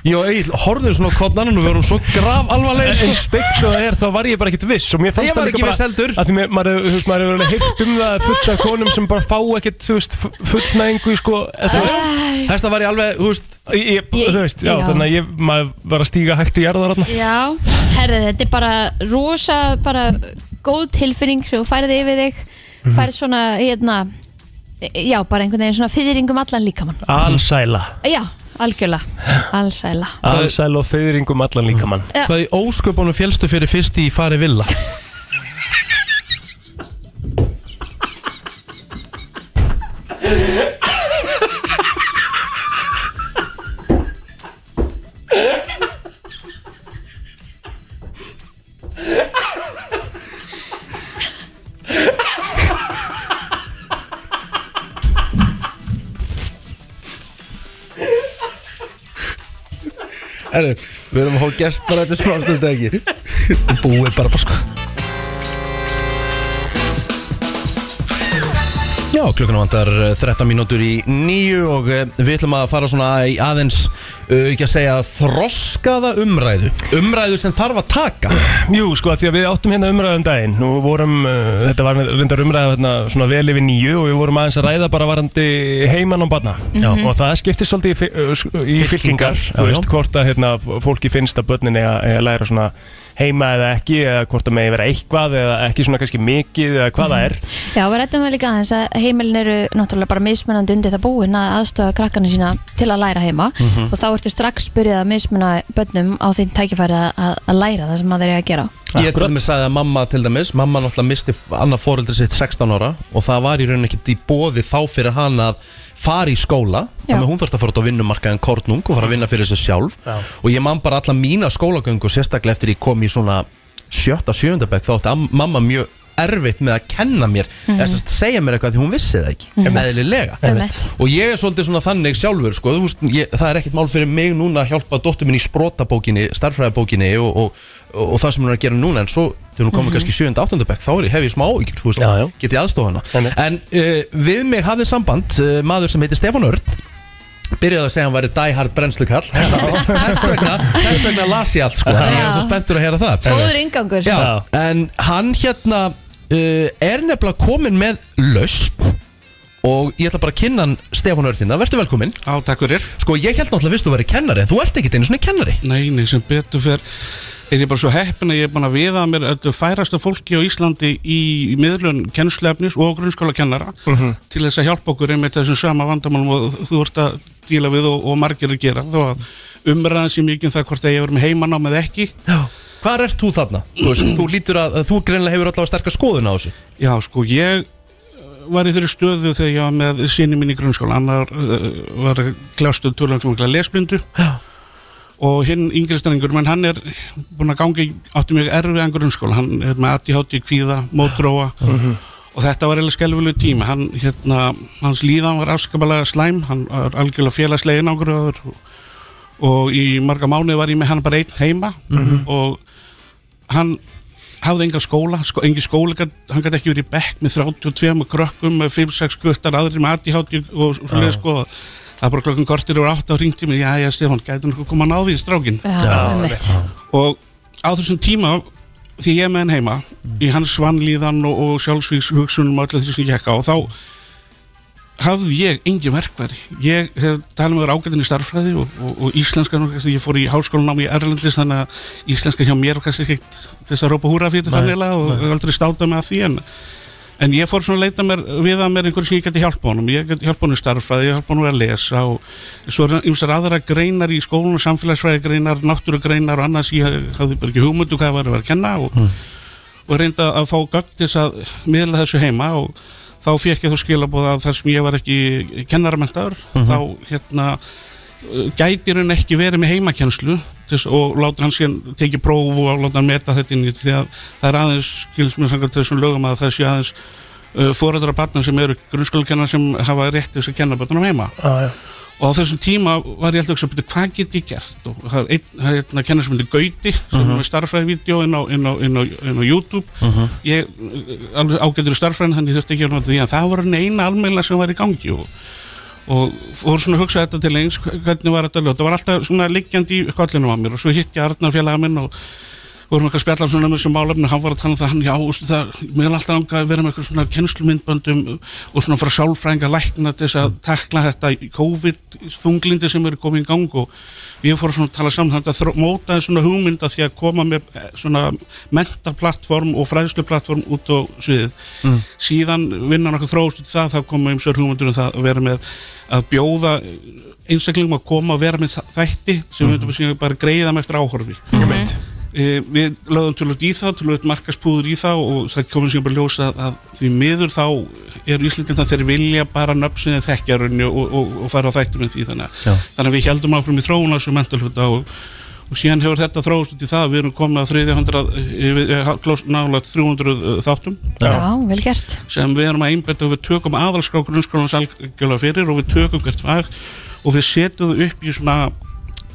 Speaker 3: Ég og Egil horfðum svona kodnan og við vorum svo graf alvarlegir
Speaker 1: En
Speaker 3: sko.
Speaker 1: steikt og það er, þá var ég bara ekkert viss og mér fannst
Speaker 3: Ég var
Speaker 1: það líka
Speaker 3: ekki
Speaker 1: bara-
Speaker 3: viss heldur.
Speaker 1: að því mér- maður, þú veist, maður hefur alveg hýrt um það fullt af konum sem bara fá ekkert, þú veist, fu- fullnægingu, sko, eða þú veist,
Speaker 3: Þetta var ég alveg, þú veist
Speaker 1: ég,
Speaker 2: Ég-
Speaker 1: þú veist, já,
Speaker 2: já.
Speaker 1: þannig að ég, maður var að stíga hægt í jarðar þarna.
Speaker 2: Já, herðið, þetta er bara rosa, bara góð tilfinning sem þú færði yfir þig færð svona, hérna já, bara einhvern veginn svona fyrringum allan líkamann
Speaker 1: Alsæla,
Speaker 2: Já, algjörlega, allsæla
Speaker 1: alsæla og feyðringum allan líkamann.
Speaker 2: Já.
Speaker 3: Hvað í ósköpunum fjölstu fyrir fyrst í fari villa? Herru, við erum að hóða gest bara þetta smástund ekki Þetta er búið bara bara sko Já, klukkuna vantar eh, 13 mínútur í nýju og eh, við ætlum að fara svona í aðeins uh, ekki að segja þroskaða umræðu umræðu sem þarf að taka
Speaker 1: Jú, sko, því að við áttum hérna umræðum daginn og vorum, uh, þetta var reyndar umræða hérna, svona vel yfir nýju og við vorum aðeins að ræða bara varandi heimann og barna og það skiptist svolítið í, fi- uh, sk- í
Speaker 3: Mhm. Fylkingar,
Speaker 1: fylkingar,
Speaker 3: já,
Speaker 1: þú veist,
Speaker 3: já.
Speaker 1: hvort að hérna, fólki finnst að börnin eiga eiga að læra svona heima eða ekki eða hvort að megi vera eitthvað eða ekki svona kannski mikið eða hvað það er
Speaker 2: Já, við rættum við líka aðeins að heimilin eru náttúrulega bara mismunandi undir það búin að aðstofa krakkana sína til að læra heima og þá ertu strax byrjað að mismuna börnum á þeim tækifæri að, að- að læra það sem maður er að gera
Speaker 3: Ég til dæmis sagði að mamma til dæmis Mamma náttúrulega misti annað foreldri sitt 16 ára Og það var í rauninni ekkert í bóði þá fyrir hann að fara í skóla
Speaker 2: Já.
Speaker 3: Þannig að hún þurfti að fara út á vinnumarkaðan kornung og fara að vinna fyrir sér sjálf Og ég man bara alla mína skólagöngu sérstaklega eftir ég kom í svona sjötta, sjöunda bekk Þá átti am- mamma mjög erfitt með að kenna mér
Speaker 2: Mhm.
Speaker 3: mm. Þess að segja mér eitthvað því hún vissi það ekki mm. Eðlilega
Speaker 2: Einmitt.
Speaker 3: Og ég er svolítið svona þannig sjálfur sko, þú veist, ég, Það er ekkert mál fyrir mig núna að hjálpa dóttur minn í sprótabókinni, starfræðabókinni og, og, og, og það sem hún er að gera núna En svo þegar hún komið kannski 7. 8. bekk Þá er ég hef ég smá áhyggjur, þú
Speaker 1: Mhm.
Speaker 3: veist,
Speaker 1: Já, já.
Speaker 3: get ég aðstofa hana
Speaker 1: Einmitt.
Speaker 3: En uh, við mig hafði samband uh, Maður sem heitir Stefán Örn Byrjaði að segja að hann væri diehard brennslukall Þess vegna, þess vegna las ég allt sko. Þannig að Ég er svo spenntur að heyra það
Speaker 1: Eh,
Speaker 2: Góður yngangur
Speaker 3: Já, en hann hérna uh, er nefnilega komin með lausn og ég ætla bara að kynna hann Stefán Örþín, það verður velkomin
Speaker 8: Á, takk fyrir
Speaker 3: Sko, ég held náttúrulega fyrst þú verið kennari en þú ert ekkit einu svona kennari
Speaker 8: Nei, nei, sem betur fyrr er ég bara svo heppin að ég er búin að viða að mér öllu færasta fólki á Íslandi í miðlun kennslefnis og grunnskóla kennara til þess að hjálpa okkur einmitt þessum sama vandamálum og þú ert að díla við og, og margir að gera þó að umræðan sé mikið um það hvort að ég er með heimanám eða ekki
Speaker 3: Já Hvar ert þú þarna? Þú, veist, þú lítur að, að þú greinlega hefur allavega sterkar skoðun á þessu
Speaker 8: Já, sko, ég var í þeirri stöðu þegar ég var með sinni mín í grunnskóla annar uh, var klástuð tölvanglega lesblindu
Speaker 3: Já.
Speaker 8: og hinn yngri stæringur, menn hann er búin að gangi átti mjög erfiðan grunnskóla hann er með ADHD, kvíða, mótróa og þetta var eða skelfulegu tími hann, hérna, hans líðan var afskapalega slæm, hann var algjörlega félagslega einangraður og, og í marga mánuði var ég með hann bara einn heima og hann hafði enga skóla, sko, engi skóla gat, hann gæti ekki verið í bekk með 32 krökkum með 5-6 guttar, aðrir með 80 og svo leið sko það var bara klokkan kortir og átt á ringtími já, já, Stefán, gæti hann koma að ná því strákin
Speaker 2: Já, einmitt.
Speaker 8: og á þessum tíma því ég er með hann heima í hans vannlíðan og, og sjálfsvíks hugsunum og öllu því sem ég ekki á þá hafði ég engin verkværi ég hef talað með ágættin í starffræði og, og, og íslenskan og kannski, ég fór í háskólanám í Erlendis þannig að íslenskan hjá mér var kannski ekkert til þess að rópa húra fyrir þannig lagað og nei. aldrei státa með að því en, en ég fór svona að leita mér við að mér einhverjum sem ég geti hjálpa honum ég geti hjálpa honum í starffræði, ég hjálpa honum að lesa og svo er ymsar aðra greinar í skólanum samfélagsfræði greinar, náttúrugreinar og annars ég hafði bara ekki hugmyndu hvað var að vera að kenna og, og reynda að fá gögn til þess að miðla þessu heima og þá fekk ég þú skilabóð að þar sem ég var ekki kennaramentaður þá hérna uh, gæti hann ekki verið með heimakenslu þess, og láta hann síðan tekið próf og láta hann meta þetta inn í því að það er aðeins, skils mér samkvæmt þessum lögum að það sé aðeins uh, fóreldra barna sem eru grunnskólukennar sem hafa rétt til þess að kenna börnunum heima
Speaker 1: Já, já
Speaker 8: og á þessum tíma var ég alltaf að hugsa, "Bíddu, hvað get ég gert og það er einn, það er einn að kenna sem myndi Gauti sem
Speaker 1: Mhm.
Speaker 8: er með starffræðvídeó inn, á- inn, á- inn, á- inn á YouTube ég eh, alveg ágætur í starffræðin þannig ég þurfti ekki að nota því en það var hann eina almeila sem var í gangi og, og fór svona að hugsa þetta til eins hvernig var þetta ljóta, það var alltaf svona liggjandi í kollinum á mér og svo hitt ég Arnar félaga minn og vorum eitthvað að spjalla svona með þessum málefni hann var að tala um það, hann já, veistu það, mér er alltaf langað að vera með eitthvað svona kennslumyndböndum og svona frá sálfrænga lækna til þess að takla þetta COVID þunglindi sem eru komið í gang og við fórum svona að tala saman þannig að þró- mótaði svona hugmynda því að koma með eh, svona mentaplattform og fræðsluplattform út á sviðið síðan vinnan okkur þróst út í það, þá komum eins og hugmyndur um það að vera með að bjóða einstaklingum að koma að vera með þa- þætti sem við myndum síðan bara greiðum eftir áhorfi Eh, við lögðum tölvöld í það, tölvöld markaspúður í það og það komum sér bara ljósa að, að því miður þá eru Íslandin þannig þeir vilja bara nöpsinni þekkjarunni og, og, og fara á þættunum því þannig,
Speaker 3: Já.
Speaker 8: að- þannig að við heldum áfram í þróun á þessu mentalhjóta og, og síðan hefur þetta þróast út í það að við erum komið að 300, yfir- eh, klós- nálægt 300 þáttum
Speaker 2: Já, vel gert
Speaker 8: sem við erum að einbetta og við tökum aðalskrá grunnskólans algjörlega fyrir og við tökum hvert fag og við setjum það upp í svona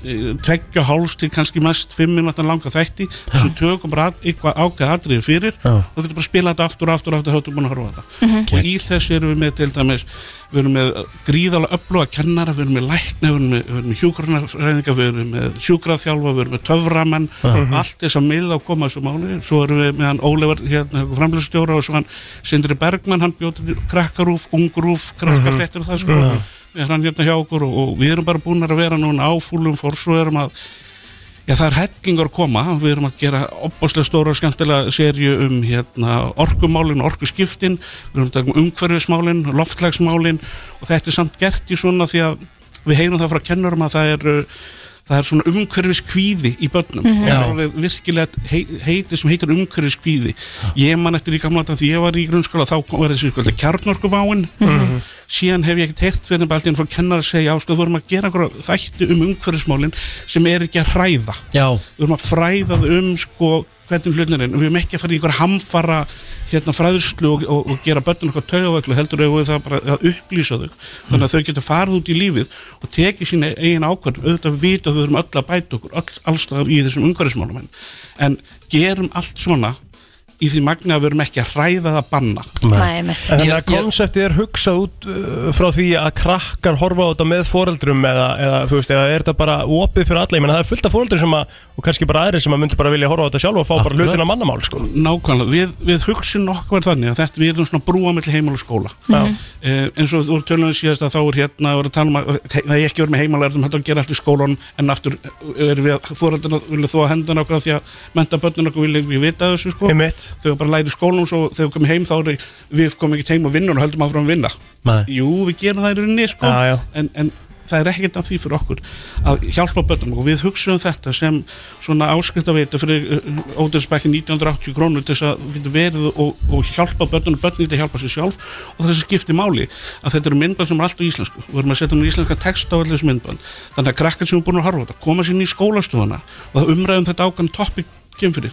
Speaker 8: eh, tveggja háls til kannski mest fimm minútan langa þætti sem við tökum bara að- eitthvað ágæð atriði fyrir
Speaker 3: Já.
Speaker 8: og þú getur bara að spila þetta aftur og aftur og aftur og aftur búin að horfa á þetta og í þessu erum við með til dæmis við erum með gríðalega öfluga kennara, við erum með lækna, við erum með, við erum með hjúkrunarfræðinga, við erum með sjúkraþjálfa, við erum með töframann, allt þess að miða að koma þessu máli, svo erum við með hann Ólefur, hérna, framlýsstjóra og svo hann Sindri Bergmann, hann bjóti krakkarúf, ungrúf, krakkarfrettur og það sko, við erum hann hérna hjá okkur og, og við erum bara búin að vera núna á fúlum forsu, erum að Já, það er hellingar að koma, við erum að gera opbáslega stóra og skemmtilega serju um hérna, orkumálin, orkuskiptin, við erum að taka um umhverfismálin, loftlagsmálin og þetta er samt gert í svona því að við heyrum það frá kennurum að það er, uh, það er svona umhverfiskvíði í börnum. Það er alveg virkilega hei- heiti sem heitir umhverfiskvíði. Ég man eftir í gamla þetta því ég var í grunnskóla þá kom- var þessi sko kjarnorkuváin. síðan hef ég ekkert heyrt fyrir bara allt í enn frá kennar að segja á sko, þú erum að gera einhverja þætti um umhverfismálin sem er ekki að hræða
Speaker 3: Já,
Speaker 8: við erum að fræða þau um sko, hvernig hlutin er, en við erum ekki að fara í einhver hamfara hérna, fræðslu og, og, og gera börnun okkar taugavöglu, heldur eigum við það bara að upplýsa þau, þannig að þau geta farið út í lífið og tekið sína eigin ákvörð auðvitað vita að við erum öll að bæta okkur öll, allstað í þessum umhverfismálum en, en gerum allt svona í því magna að við erum ekki að hræða það banna
Speaker 2: Nei, mitt
Speaker 1: En þannig að
Speaker 3: Ég- ég-
Speaker 1: konseptið er hugsað út uh, frá því að krakkar horfa á þetta með foreldrum eða, eða þú veist, eða er þetta bara opið fyrir alla, ég menna það er fullt af foreldrum sem að, og kannski bara aðrir sem að myndi bara vilja horfa á þetta sjálf og fá bara
Speaker 3: Akkurat.
Speaker 1: hlutina mannamál, sko.
Speaker 8: Nákvæmlega, við, við hugsun okkar þannig að þetta við erum svona brúa mellir heimál og skóla mm -hmm. eins og þú voru tölunum síðast að þá er hérna að voru að tala um að he- það er ekki verið með heimalærðum hættu að gera allt í skólanum en aftur eh, erum við að fóröldina vilja þó að hendana okkur af því að menta börnun okkur vilja við vita af þessu sko
Speaker 1: Einmitt.
Speaker 8: þau bara læri í skólanum svo þegar við komum heim þá er við komum ekki heim og vinnum og höldum áfram að vinna
Speaker 3: Nei.
Speaker 8: Jú, við gerum það í rauninni sko
Speaker 1: Já, já.
Speaker 8: En, en það er ekkert af því fyrir okkur að hjálpa börnum og við hugsaum þetta sem svona áskriftaveitu fyrir uh, Ódeinsbæki 1980 krónur til þess að þú getur verið og, og hjálpa börnum og börnum til að hjálpa sér sjálf og þess að skipti máli að þetta eru myndband sem er alltaf íslensku við erum að setja um íslenska text á allir þessu myndband þannig að krakkar sem er búin að horfa á þetta koma sér inn í skólastofana og það umræðum þetta ákvæm topic kemur fyrir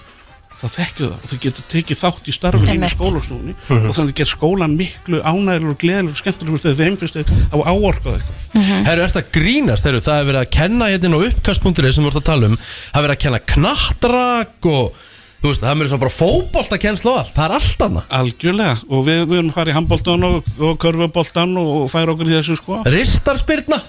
Speaker 8: það þekkju það og þau getur tekið þátt í starfið í
Speaker 2: Einmitt.
Speaker 8: skólastofunni og þannig ger skólan miklu ánægilegur, gleðilegur, og skemmtilegur þegar þeim finnst þau á áorkað eitthvað
Speaker 3: herru, ert að grínast, herru, það er verið að kenna hérna á uppkast.ri sem við vorum að tala um það er verið að kenna knattrak og þú veist, það er mér svo bara fótbolt að kennsla og allt, það er allt annað
Speaker 8: Algjörlega og við, við erum að fara í handbóltan og, og körfuboltan og, og færa okkur í þessu sko
Speaker 3: Ristarspyrna,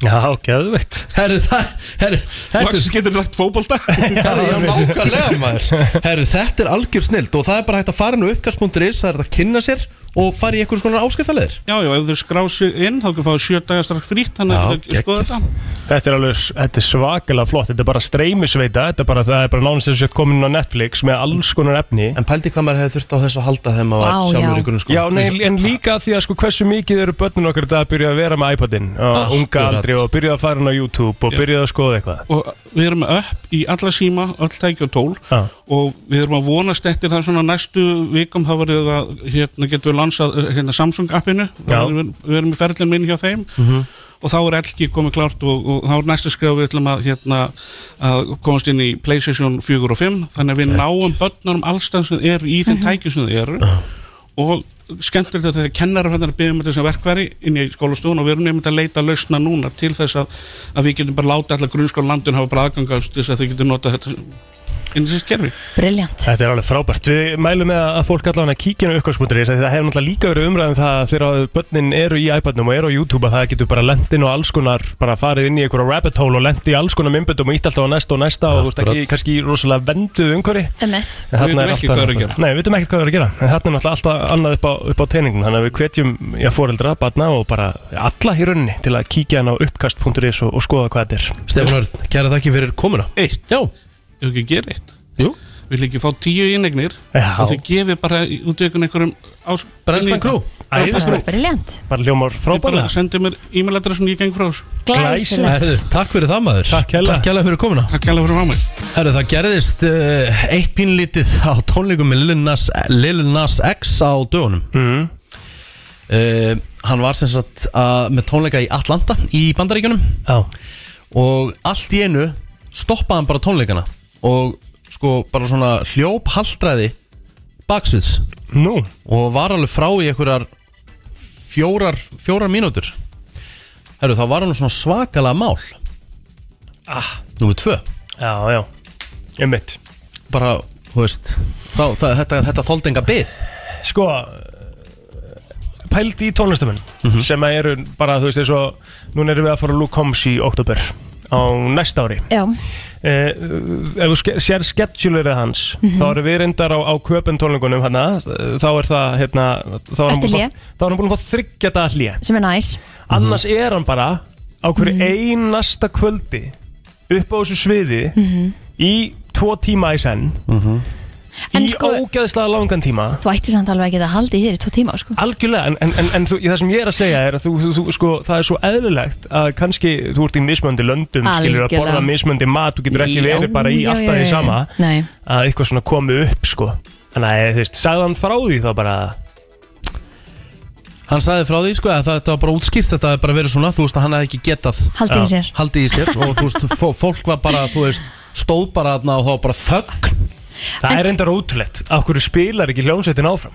Speaker 1: Já, geðveikt.
Speaker 3: herru, það, herru þetta er
Speaker 8: Loksins getur lagt fótbolta
Speaker 3: Herri, já, nákvæmlega maður Herri, þetta er algjör snild og það er bara hægt að fara inn á uppkast.is það er hægt að kynna sér og fara í einhvers konar áskriftaleðir
Speaker 8: Já, já, ef þau skrá sig inn þá kan fáið sjö dagar strax frýtt þannig
Speaker 3: Já,
Speaker 8: að þau skoða
Speaker 3: geggjað.
Speaker 8: þetta
Speaker 1: Þetta er alveg, s- þetta er svakalega flott, þetta er bara streymisveita, þetta er bara, það er bara nánast þess að komin inn á Netflix með alls konar efni.
Speaker 3: En pældi hvað maður hefði þurft á þess að halda þegar maður
Speaker 2: Vá,
Speaker 3: var sjálfur
Speaker 2: já.
Speaker 3: í grunnskóla
Speaker 1: Já, nei, en líka því að sko hversu mikið eru börnin okkar í dag að byrja að vera með iPadin og unga
Speaker 3: Akkurat.
Speaker 1: aldri og byrja að fara hann á YouTube og byrja að skoða eitthvað.
Speaker 8: og við erum með upp í alla síma, öll tæki og tól
Speaker 1: Já.
Speaker 8: og við erum að vonast eftir það svona næstu vikum þá verður það, hérna getum við lansað eh, hérna Samsung appinu,
Speaker 1: Já.
Speaker 8: við, við erum í ferlinn minn hjá þeim og þá er LG komið klart og, og þá er næsta skref við ætlum að, hérna, að komast inn í Playstation 4 og 5 þannig að við náum börnunum allstað sem þau eru í þeim tæki sem þau eru og skemmtilegt að þegar kennarar hérna byggjum með þessum verkværi inn í skólastofun og við erum nefnd að leita að lausna núna til þess að, að við getum bara láta allar grunnskóla landin hafa bara aðgangast til þess að þau getum notað þetta inn í þessi skerfi
Speaker 2: Briljant
Speaker 1: Þetta er alveg frábært. Við mælum með að fólk allavega kíkina uppgáðsmútur í þess að það hefur náttúrulega líka verið umræðum það að þegar börnin eru í iPadnum og eru á YouTube að það getur bara lent inn á alls konar, bara farið inn í einhverja rabbit hole og lent í alls konar myndböndum og ítt alltaf á næsta og næsta og þú veist ekki kannski í rosalega venduð umhverfi.
Speaker 2: Emmett
Speaker 1: En þarna
Speaker 8: Við vitum
Speaker 1: er
Speaker 8: ekki
Speaker 1: allt annað. Nei, við vitum ekkert hvað er að
Speaker 8: hvað er að gera.
Speaker 1: gera. En þarna er náttúrulega alltaf annað upp á, upp á teiningum. Þannig að við hvetjum já, fóreldra, barna og bara alla í rauninni til að kíkja hann á uppkast.is og, og skoða hvað þetta er.
Speaker 3: Stefán Örn, kæra þakki fyrir komuna
Speaker 8: Eitt,
Speaker 3: Já,
Speaker 8: ef ekki gera eitt
Speaker 3: jú,
Speaker 8: Við líkið fá tíu ínegnir
Speaker 1: Já.
Speaker 8: og þau gefið bara í- út í einhvern einhverjum ás...
Speaker 3: brennstan krú
Speaker 1: Æðislegt.
Speaker 2: Briljant
Speaker 1: Bara hljómar
Speaker 8: Ég bara
Speaker 1: frábælega.
Speaker 8: sendið mér e-mailadressun ég geng frá þessu
Speaker 2: Glæsilegt
Speaker 3: Herðu, takk fyrir það maður
Speaker 1: Takk hérlega.
Speaker 3: Takk kærlega fyrir komuna
Speaker 8: Takk alveg fyrir mámið
Speaker 3: Herru, það gerðist uh, eitt pínlítið á tónleikum með Lil Nas, Lil Nas X á dögunum
Speaker 1: Mm.
Speaker 3: uh, Hann var sem sagt að, með tónleika í Atlanta í Bandaríkjunum
Speaker 1: Já.
Speaker 3: og allt í einu stoppaði hann bara tónleikana og sko bara svona hljóp haldræði baksviðs
Speaker 1: Nú.
Speaker 3: og var alveg frá í einhverjar fjórar, fjórar mínútur herru þá var hann svona svakalega mál ah, númer tvö
Speaker 1: Já, já. Ég mitt.
Speaker 3: bara, þú veist þá, það, þetta, þetta þoldenga byð
Speaker 1: Sko, pælt Sko, í tónlistamenn sem að eru bara, þú veist, eins og núna erum við að fara að Luke Combs í oktober á næsta ári
Speaker 2: já,
Speaker 1: eh, ef þú ske- sér sketsjulerið hans
Speaker 2: Mhm.
Speaker 1: þá eru við reyndar á, á köpen tónlingunum hana, þá er það hérna, þá er hann
Speaker 2: Eftir
Speaker 1: búinn
Speaker 2: hlé.
Speaker 1: að fá- þá er hann búin að fá þryggja dag hlýja
Speaker 2: sem er næs
Speaker 1: annars er hann bara á hverju
Speaker 2: Mhm.
Speaker 1: einasta kvöldi upp á þessu sviði
Speaker 2: Mhm.
Speaker 1: í tvo tíma í senn
Speaker 2: En
Speaker 1: í
Speaker 2: sko-
Speaker 1: ógeðslega langan tíma
Speaker 2: Þú ætti samt alveg að geta haldið í þér í tvo tíma sko.
Speaker 1: Algjörlega, en, en, en, en þú, það sem ég er að segja er að þú, þú, þú, sko, það er svo eðlilegt að kannski þú ert í mismöndi löndum skilur að
Speaker 2: Algjörlega.
Speaker 1: borða mismöndi mat þú getur ekki verið bara í
Speaker 2: Já, já,
Speaker 1: alltaf því
Speaker 2: já, já.
Speaker 1: sama
Speaker 2: Nei,
Speaker 1: að eitthvað svona komi upp sko Þannig að þú veist, sagði hann frá því þá bara
Speaker 3: Hann sagði frá því sko að það- þetta var bara útskýrt Þetta hafði bara verið svona, þú veist að hann hefði ekki getað
Speaker 2: haldið í sér
Speaker 3: Haldið í sér og þú veist, fó- fólk var bara, þú veist Stóð bara þarna og það var bara þögn
Speaker 1: Það er reyndar ótrúlegt, af hverju spilar ekki hljómsveitin áfram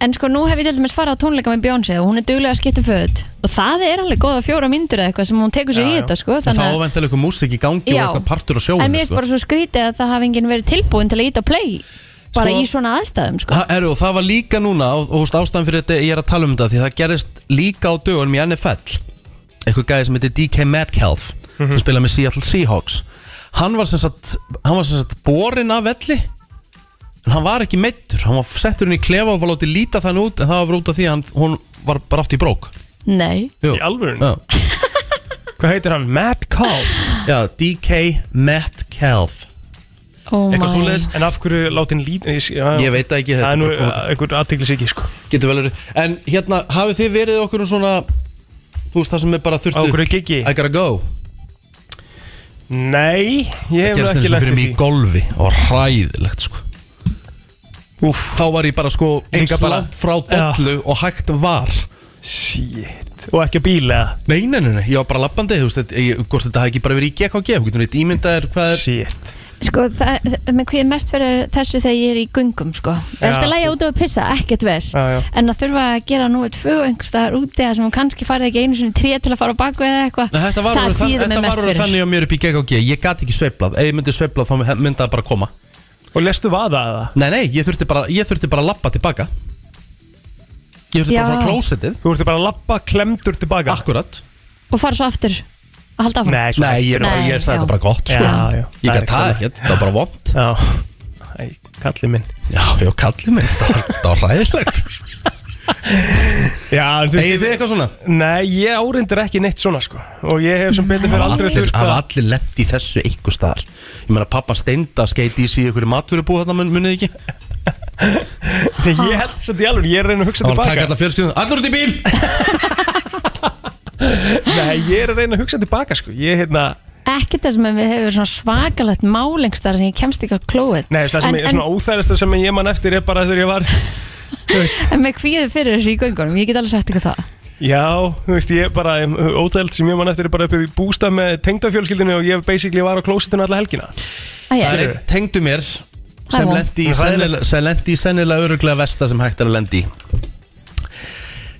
Speaker 2: En sko nú hef ég til dæmis farið á tónleika með Beyoncé og hún er duglega að skipta um föt og það er alveg góða fjóra myndur eða eitthvað sem hún tekur sér
Speaker 1: Já,
Speaker 2: í
Speaker 1: já.
Speaker 2: þetta sko
Speaker 3: Það
Speaker 2: þannig að
Speaker 3: ávendilega eitthvað músík í gangi
Speaker 2: Já.
Speaker 3: og eitthvað partur á
Speaker 2: En
Speaker 3: sjóinu sko.
Speaker 1: sko.
Speaker 2: mér finnst bara svo skrítið að það hafi enginn verið tilbúin til að íta play bara
Speaker 3: Sko-
Speaker 2: í svona aðstæðum sko.
Speaker 3: Ha, heru, og það var líka núna og, og þú veist, ástæðan fyrir þetta ég er að tala um þetta því það gerist líka á dögunum í NFL eitthvað gæði sem heitir DK Metcalf
Speaker 1: Mhm.
Speaker 3: sem spilaði með Seattle Seahawks hann var sem sagt, hann var sem sagt borin af velli en hann var ekki meittur, hann var settur inn í klefa og var látið líta þann út en það var út af því að hann, hún var bara átt í brók
Speaker 2: Nei,
Speaker 3: Jú.
Speaker 1: Í alvörun,
Speaker 3: Já.
Speaker 1: hvað heitir hann? Matt Call
Speaker 3: Já, DK Metcalf
Speaker 2: oh
Speaker 3: Eitthvað
Speaker 2: my
Speaker 3: svoleiðis.
Speaker 1: En af hverju láti hann lít
Speaker 3: Ég veit það ekki, þetta
Speaker 1: Það er nú
Speaker 3: er bara provokað.
Speaker 1: einhver aðteglis ekki sko
Speaker 3: getur vel verið en hérna, hafið þið verið okkur um svona þú veist það sem er bara
Speaker 1: Á
Speaker 3: þurftu
Speaker 1: hverju gigi?
Speaker 3: I gotta go
Speaker 1: Nei, ég hef
Speaker 3: gerist
Speaker 1: ekki
Speaker 3: eins og
Speaker 1: lent
Speaker 3: fyrir
Speaker 1: í
Speaker 3: mig í
Speaker 1: því.
Speaker 3: golfi og ræðilegt sko Úf. þá var ég bara sko eins
Speaker 1: Líka bara-
Speaker 3: langt frá dollu og hægt var
Speaker 1: Shit, og ekki á bíl eða
Speaker 3: nei, nei, nei, nei, ég var bara lappandi þú veist, þetta- ég- hvort þetta hafi ekki bara verið í GKG þú getur neitt ímyndaðir hvað er
Speaker 1: Shit
Speaker 2: Sko, það, það- mér kvíði mest fyrir þessu þegar ég er í gungum, sko. Það er alltaf að lægja út og að pissa, ekkert veðs.
Speaker 1: Já, já.
Speaker 2: En að þurfa að gera nú eitt fög einhverstaðar úti það sem hún kannski farið ekki einu sinni tré til að fara á baku eða eitthvað.
Speaker 3: Nei, þetta var
Speaker 2: það
Speaker 3: orðið þann-
Speaker 2: kvíðir
Speaker 3: þetta
Speaker 2: mér
Speaker 3: var
Speaker 2: mest fyrir.
Speaker 3: orðið þannig á mér upp í GKG ég gat ekki sveiplað, ef ég myndi sveiplað þá myndi það bara koma
Speaker 1: Og lestu vaða að það?
Speaker 3: nei, nei, ég þurfti bara, ég þurfti bara að lappa tilbaka ég þurfti
Speaker 2: Já.
Speaker 3: bara frá klósettið
Speaker 1: Þú ertu bara að lappa klemdur tilbaka
Speaker 3: akkurat,
Speaker 2: Og fara svo aftur að halda áfram.
Speaker 1: Nei,
Speaker 3: Ah.
Speaker 1: sko.
Speaker 3: nei, ég,
Speaker 2: Nei,
Speaker 3: ég sagði
Speaker 2: já.
Speaker 3: þetta bara gott sko.
Speaker 1: Já, já.
Speaker 3: ég
Speaker 1: Það er
Speaker 3: gat
Speaker 1: ekki
Speaker 3: það ekki, þetta var bara vond
Speaker 1: Já Æ, kallið minn
Speaker 3: já, já, kallið mig, þetta var- þetta var ræðilegt
Speaker 1: Já, en þú
Speaker 3: Egið þið eitthvað svona?
Speaker 1: Nei, ég áreindir ekki neitt svona sko Og ég hef sem betur fyrir aldrei
Speaker 3: Allir,
Speaker 1: þurft
Speaker 3: hafa
Speaker 1: að
Speaker 3: allir lett í þessu einhver staðar Ég meina pappa steinda skeiti í sig í einhverju matvörubú þarna mun, munið ekki Það
Speaker 1: Ég held svolítið í alveg, ég er að reyna að hugsa
Speaker 3: var að taka
Speaker 1: tilbaka
Speaker 3: alla fjölskyldun Allir út í bíl!
Speaker 1: Nei, ég er að reyna að hugsa tilbaka sko Ég hérna
Speaker 2: Ekkert það sem við hefur svona svakalegt málengstar sem ég kemst ekki á klóið.
Speaker 1: Nei, það sem
Speaker 2: en,
Speaker 1: er svona óþægilegsta sem ég man eftir er bara þegar ég var
Speaker 2: en, en mér kvíði fyrir þessu í göngunum, ég get alveg sagt ykkur það.
Speaker 1: Já, þú veist, ég bara óþægilegt sem ég man eftir er bara uppi í bústa með tengdafjölskyldinu og ég basically var á klósitinu alla helgina
Speaker 2: Æ,
Speaker 3: Það er
Speaker 2: ég-
Speaker 3: einn tengdu mér
Speaker 2: Það
Speaker 3: sem
Speaker 2: er
Speaker 3: lendi í
Speaker 1: Það er
Speaker 3: sennilega, sem lendi í sennilega öruglega vesta sem hægt er að lendi í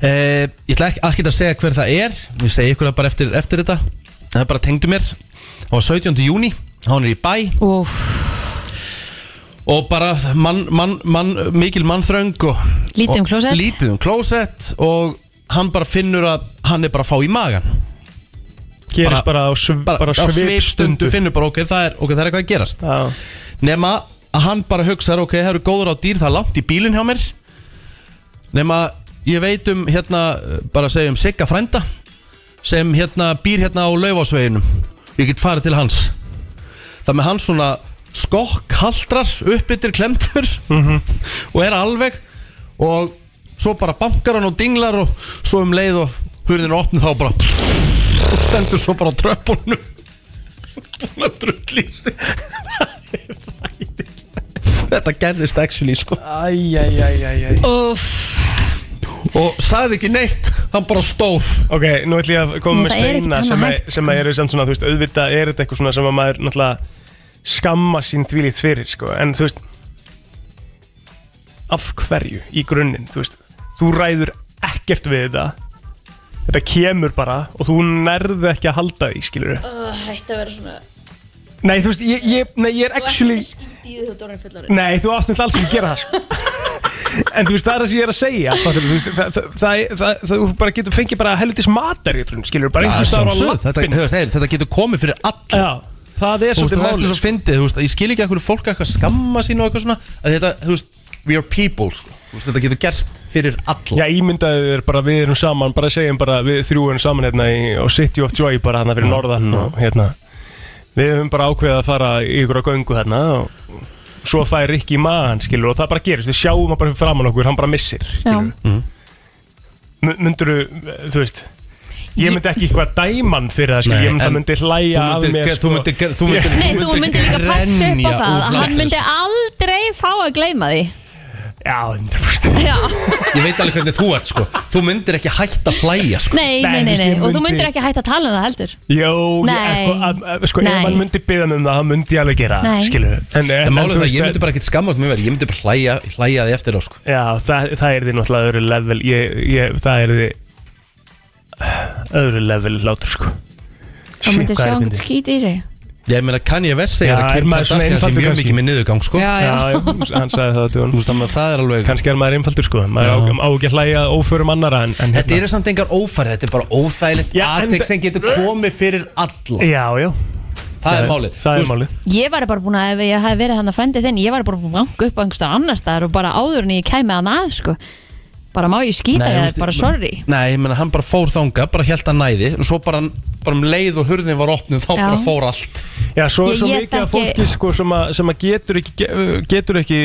Speaker 3: eh, Ég ætla ekki ekki að segja hver það er Ég segi ykkur það bara eftir, eftir þetta Það er bara tengdu mér Það var 17. júni, hann er í bæ
Speaker 2: Úff,
Speaker 3: og bara mann, mann, mann, mikil mannþröng og,
Speaker 2: Lítið um
Speaker 3: og-
Speaker 2: klósett.
Speaker 3: lítið um klósett og hann bara finnur að hann er bara að fá í magan
Speaker 1: Gerist bara á, sv
Speaker 3: bara,
Speaker 1: bara
Speaker 3: á svipstundu
Speaker 1: svipstundu
Speaker 3: finnur bara ok, það er, okay, það er eitthvað að gerast
Speaker 1: Já.
Speaker 3: nema að hann bara hugsaður ok, það eru góður á dýr, það er langt í bílinn hjá mér nema ég veit um hérna, bara segjum Sigga frænda sem hérna býr hérna á laufásveginum ég get farið til hans það með hann svona skokkaldrar uppbyttir klemtur og er alveg og svo bara bankar hann og dinglar og svo um leið og hurðin er opnið þá bara og stendur svo bara á tröpunum að drulli í sig Þetta gerðist actually sko
Speaker 1: Æjæjæjæjæj
Speaker 2: úff.
Speaker 3: Og sagði ekki neitt, hann bara stóð
Speaker 1: Ok, nú ætlum ég að koma
Speaker 2: Nú,
Speaker 1: með
Speaker 2: það er ekkert
Speaker 1: steina
Speaker 2: annað
Speaker 1: sem, að-
Speaker 2: hægt, sko.
Speaker 1: sem að eru samt svona, þú veist, auðvitað er þetta eitthvað svona sem að maður náttúrulega skamma sín þvílíkt fyrir, sko, en þú veist af hverju í grunninn, þú veist þú ræður ekkert við þetta þetta kemur bara og þú nærði ekki að halda því, skilur við uh, Hætti að vera svona Nei, þú veist, ég, ég, nei, ég er actually Þú ert ekki skýtt í því þú dórnir fullorinn Nei, þú ástund alls ekki að gera það, sko En þú veist, það er það sem ég er að segja fattar þú, þú veist, það, það, það, það, það, þú bara getur fengið bara helvitis matar skilur, bara einhvers staðar á
Speaker 3: Sjálfsögð, þetta,
Speaker 1: lappinu
Speaker 3: þú veist, hey, þetta getur komið fyrir alla
Speaker 1: Já, það er
Speaker 3: Þú veist,
Speaker 1: svolítið
Speaker 3: það er
Speaker 1: málið sko.
Speaker 3: svo sko. fyndið, þú veist, ég skil ekki að hverju fólk er eitthvað að skamma sín og eitthvað svona að þetta, þú veist, we are people sko. Þú veist, þetta getur gerst fyrir alla
Speaker 1: Já, ímyndaðu þér bara við erum saman bara segjum bara við þrjú erum saman hérna í, og City of Joy bara hérna fyrir norðan og hérna við höfum bara ákveðið að fara í ykkur á göngu hérna og svo fær Rikki í maðan skilur og það bara gerist, við sjáum hann bara fyrir framann okkur hann bara missir
Speaker 2: Já.
Speaker 1: skilur Munduru, þú veist Ég myndi ekki eitthvað dæman fyrir það, skilur,
Speaker 3: Nei,
Speaker 1: ég myndi,
Speaker 3: en
Speaker 1: það myndi hlæja
Speaker 3: Þú myndir,
Speaker 1: af mér, sko.
Speaker 3: ger- þú myndir, ger- þú myndir
Speaker 2: Nei, þú myndir líka passa upp á
Speaker 3: grenja
Speaker 2: það
Speaker 3: úr
Speaker 2: að hann
Speaker 3: hlátri,
Speaker 2: myndi aldrei fá að gleyma því
Speaker 1: já, 100%.
Speaker 2: Já,
Speaker 3: Ég veit alveg hvernig þú ert, sko Þú myndir ekki hætta að hlæja, sko
Speaker 2: nei,
Speaker 1: Nei, þú
Speaker 2: nei, nei,
Speaker 1: veist,
Speaker 2: nei
Speaker 1: ég
Speaker 2: og þú
Speaker 1: myndi-
Speaker 2: myndir ekki hægt að tala um það heldur
Speaker 1: Jó, ég,
Speaker 2: Nei.
Speaker 1: sko, að, að, sko ef
Speaker 2: Nei.
Speaker 1: hann myndi byggja mig um það, það myndi ég alveg gera,
Speaker 2: Nei.
Speaker 1: skilur En,
Speaker 3: En
Speaker 1: þú
Speaker 3: málið er það,
Speaker 1: veist, eh,
Speaker 3: ég myndi bara ekki skammast mjög verið Ég myndi bara hlæja, hlæja því eftir á, sko
Speaker 1: Já, það, það er því náttúrulega öðru level ég, ég, Það er því öðru level hlátur sko
Speaker 2: Þá
Speaker 1: Shit,
Speaker 2: myndir
Speaker 1: hvað
Speaker 2: sjá
Speaker 1: er
Speaker 2: einhvern
Speaker 1: fyndið.
Speaker 2: skít í sig
Speaker 3: Ég meina, kann ég vest
Speaker 1: Já,
Speaker 3: segja að
Speaker 1: er
Speaker 3: Kim
Speaker 1: maður svona
Speaker 3: Kardashian sé
Speaker 1: einfaldur
Speaker 3: mjög
Speaker 1: kannski?
Speaker 3: mikið með niðurgang, sko
Speaker 2: Já,
Speaker 1: Já,
Speaker 2: já,
Speaker 1: ég- hann sagði það á
Speaker 3: Þú
Speaker 1: dögun
Speaker 3: veist, þannig að það er alveg
Speaker 1: Kannski er maður einfaldur sko maður á, á ekki að hlæja að óförum annara en, en
Speaker 3: Þetta eru samt engar ófærið, þetta er bara óþægilegt
Speaker 1: Hérna. Já, en-
Speaker 3: aðtek sem getur komið fyrir alla
Speaker 1: Já, já,
Speaker 3: Það er málið
Speaker 1: Það
Speaker 3: Þú
Speaker 1: er
Speaker 3: veist,
Speaker 1: málið
Speaker 2: Ég var bara búin að, ef ég hef verið hann að frændi þinn Ég var bara búin að banka upp á einhverstað annar staðar Og bara áður en ég kæmi hann að, sko Bara má ég skýta
Speaker 3: Nei, þú
Speaker 2: þér,
Speaker 3: veist,
Speaker 2: bara
Speaker 3: ég-
Speaker 2: sorry
Speaker 3: Nei, ég meina, hann bara fór þanga, bara held að næði og svo bara, bara um leið og hurðin var opnum þá
Speaker 2: Já.
Speaker 3: bara fór allt
Speaker 1: Já, svo er
Speaker 2: Ég-
Speaker 1: svo
Speaker 2: ég
Speaker 1: mikið af
Speaker 2: þekki-
Speaker 1: fólki sko sem að, sem að getur, ekki, ge- getur ekki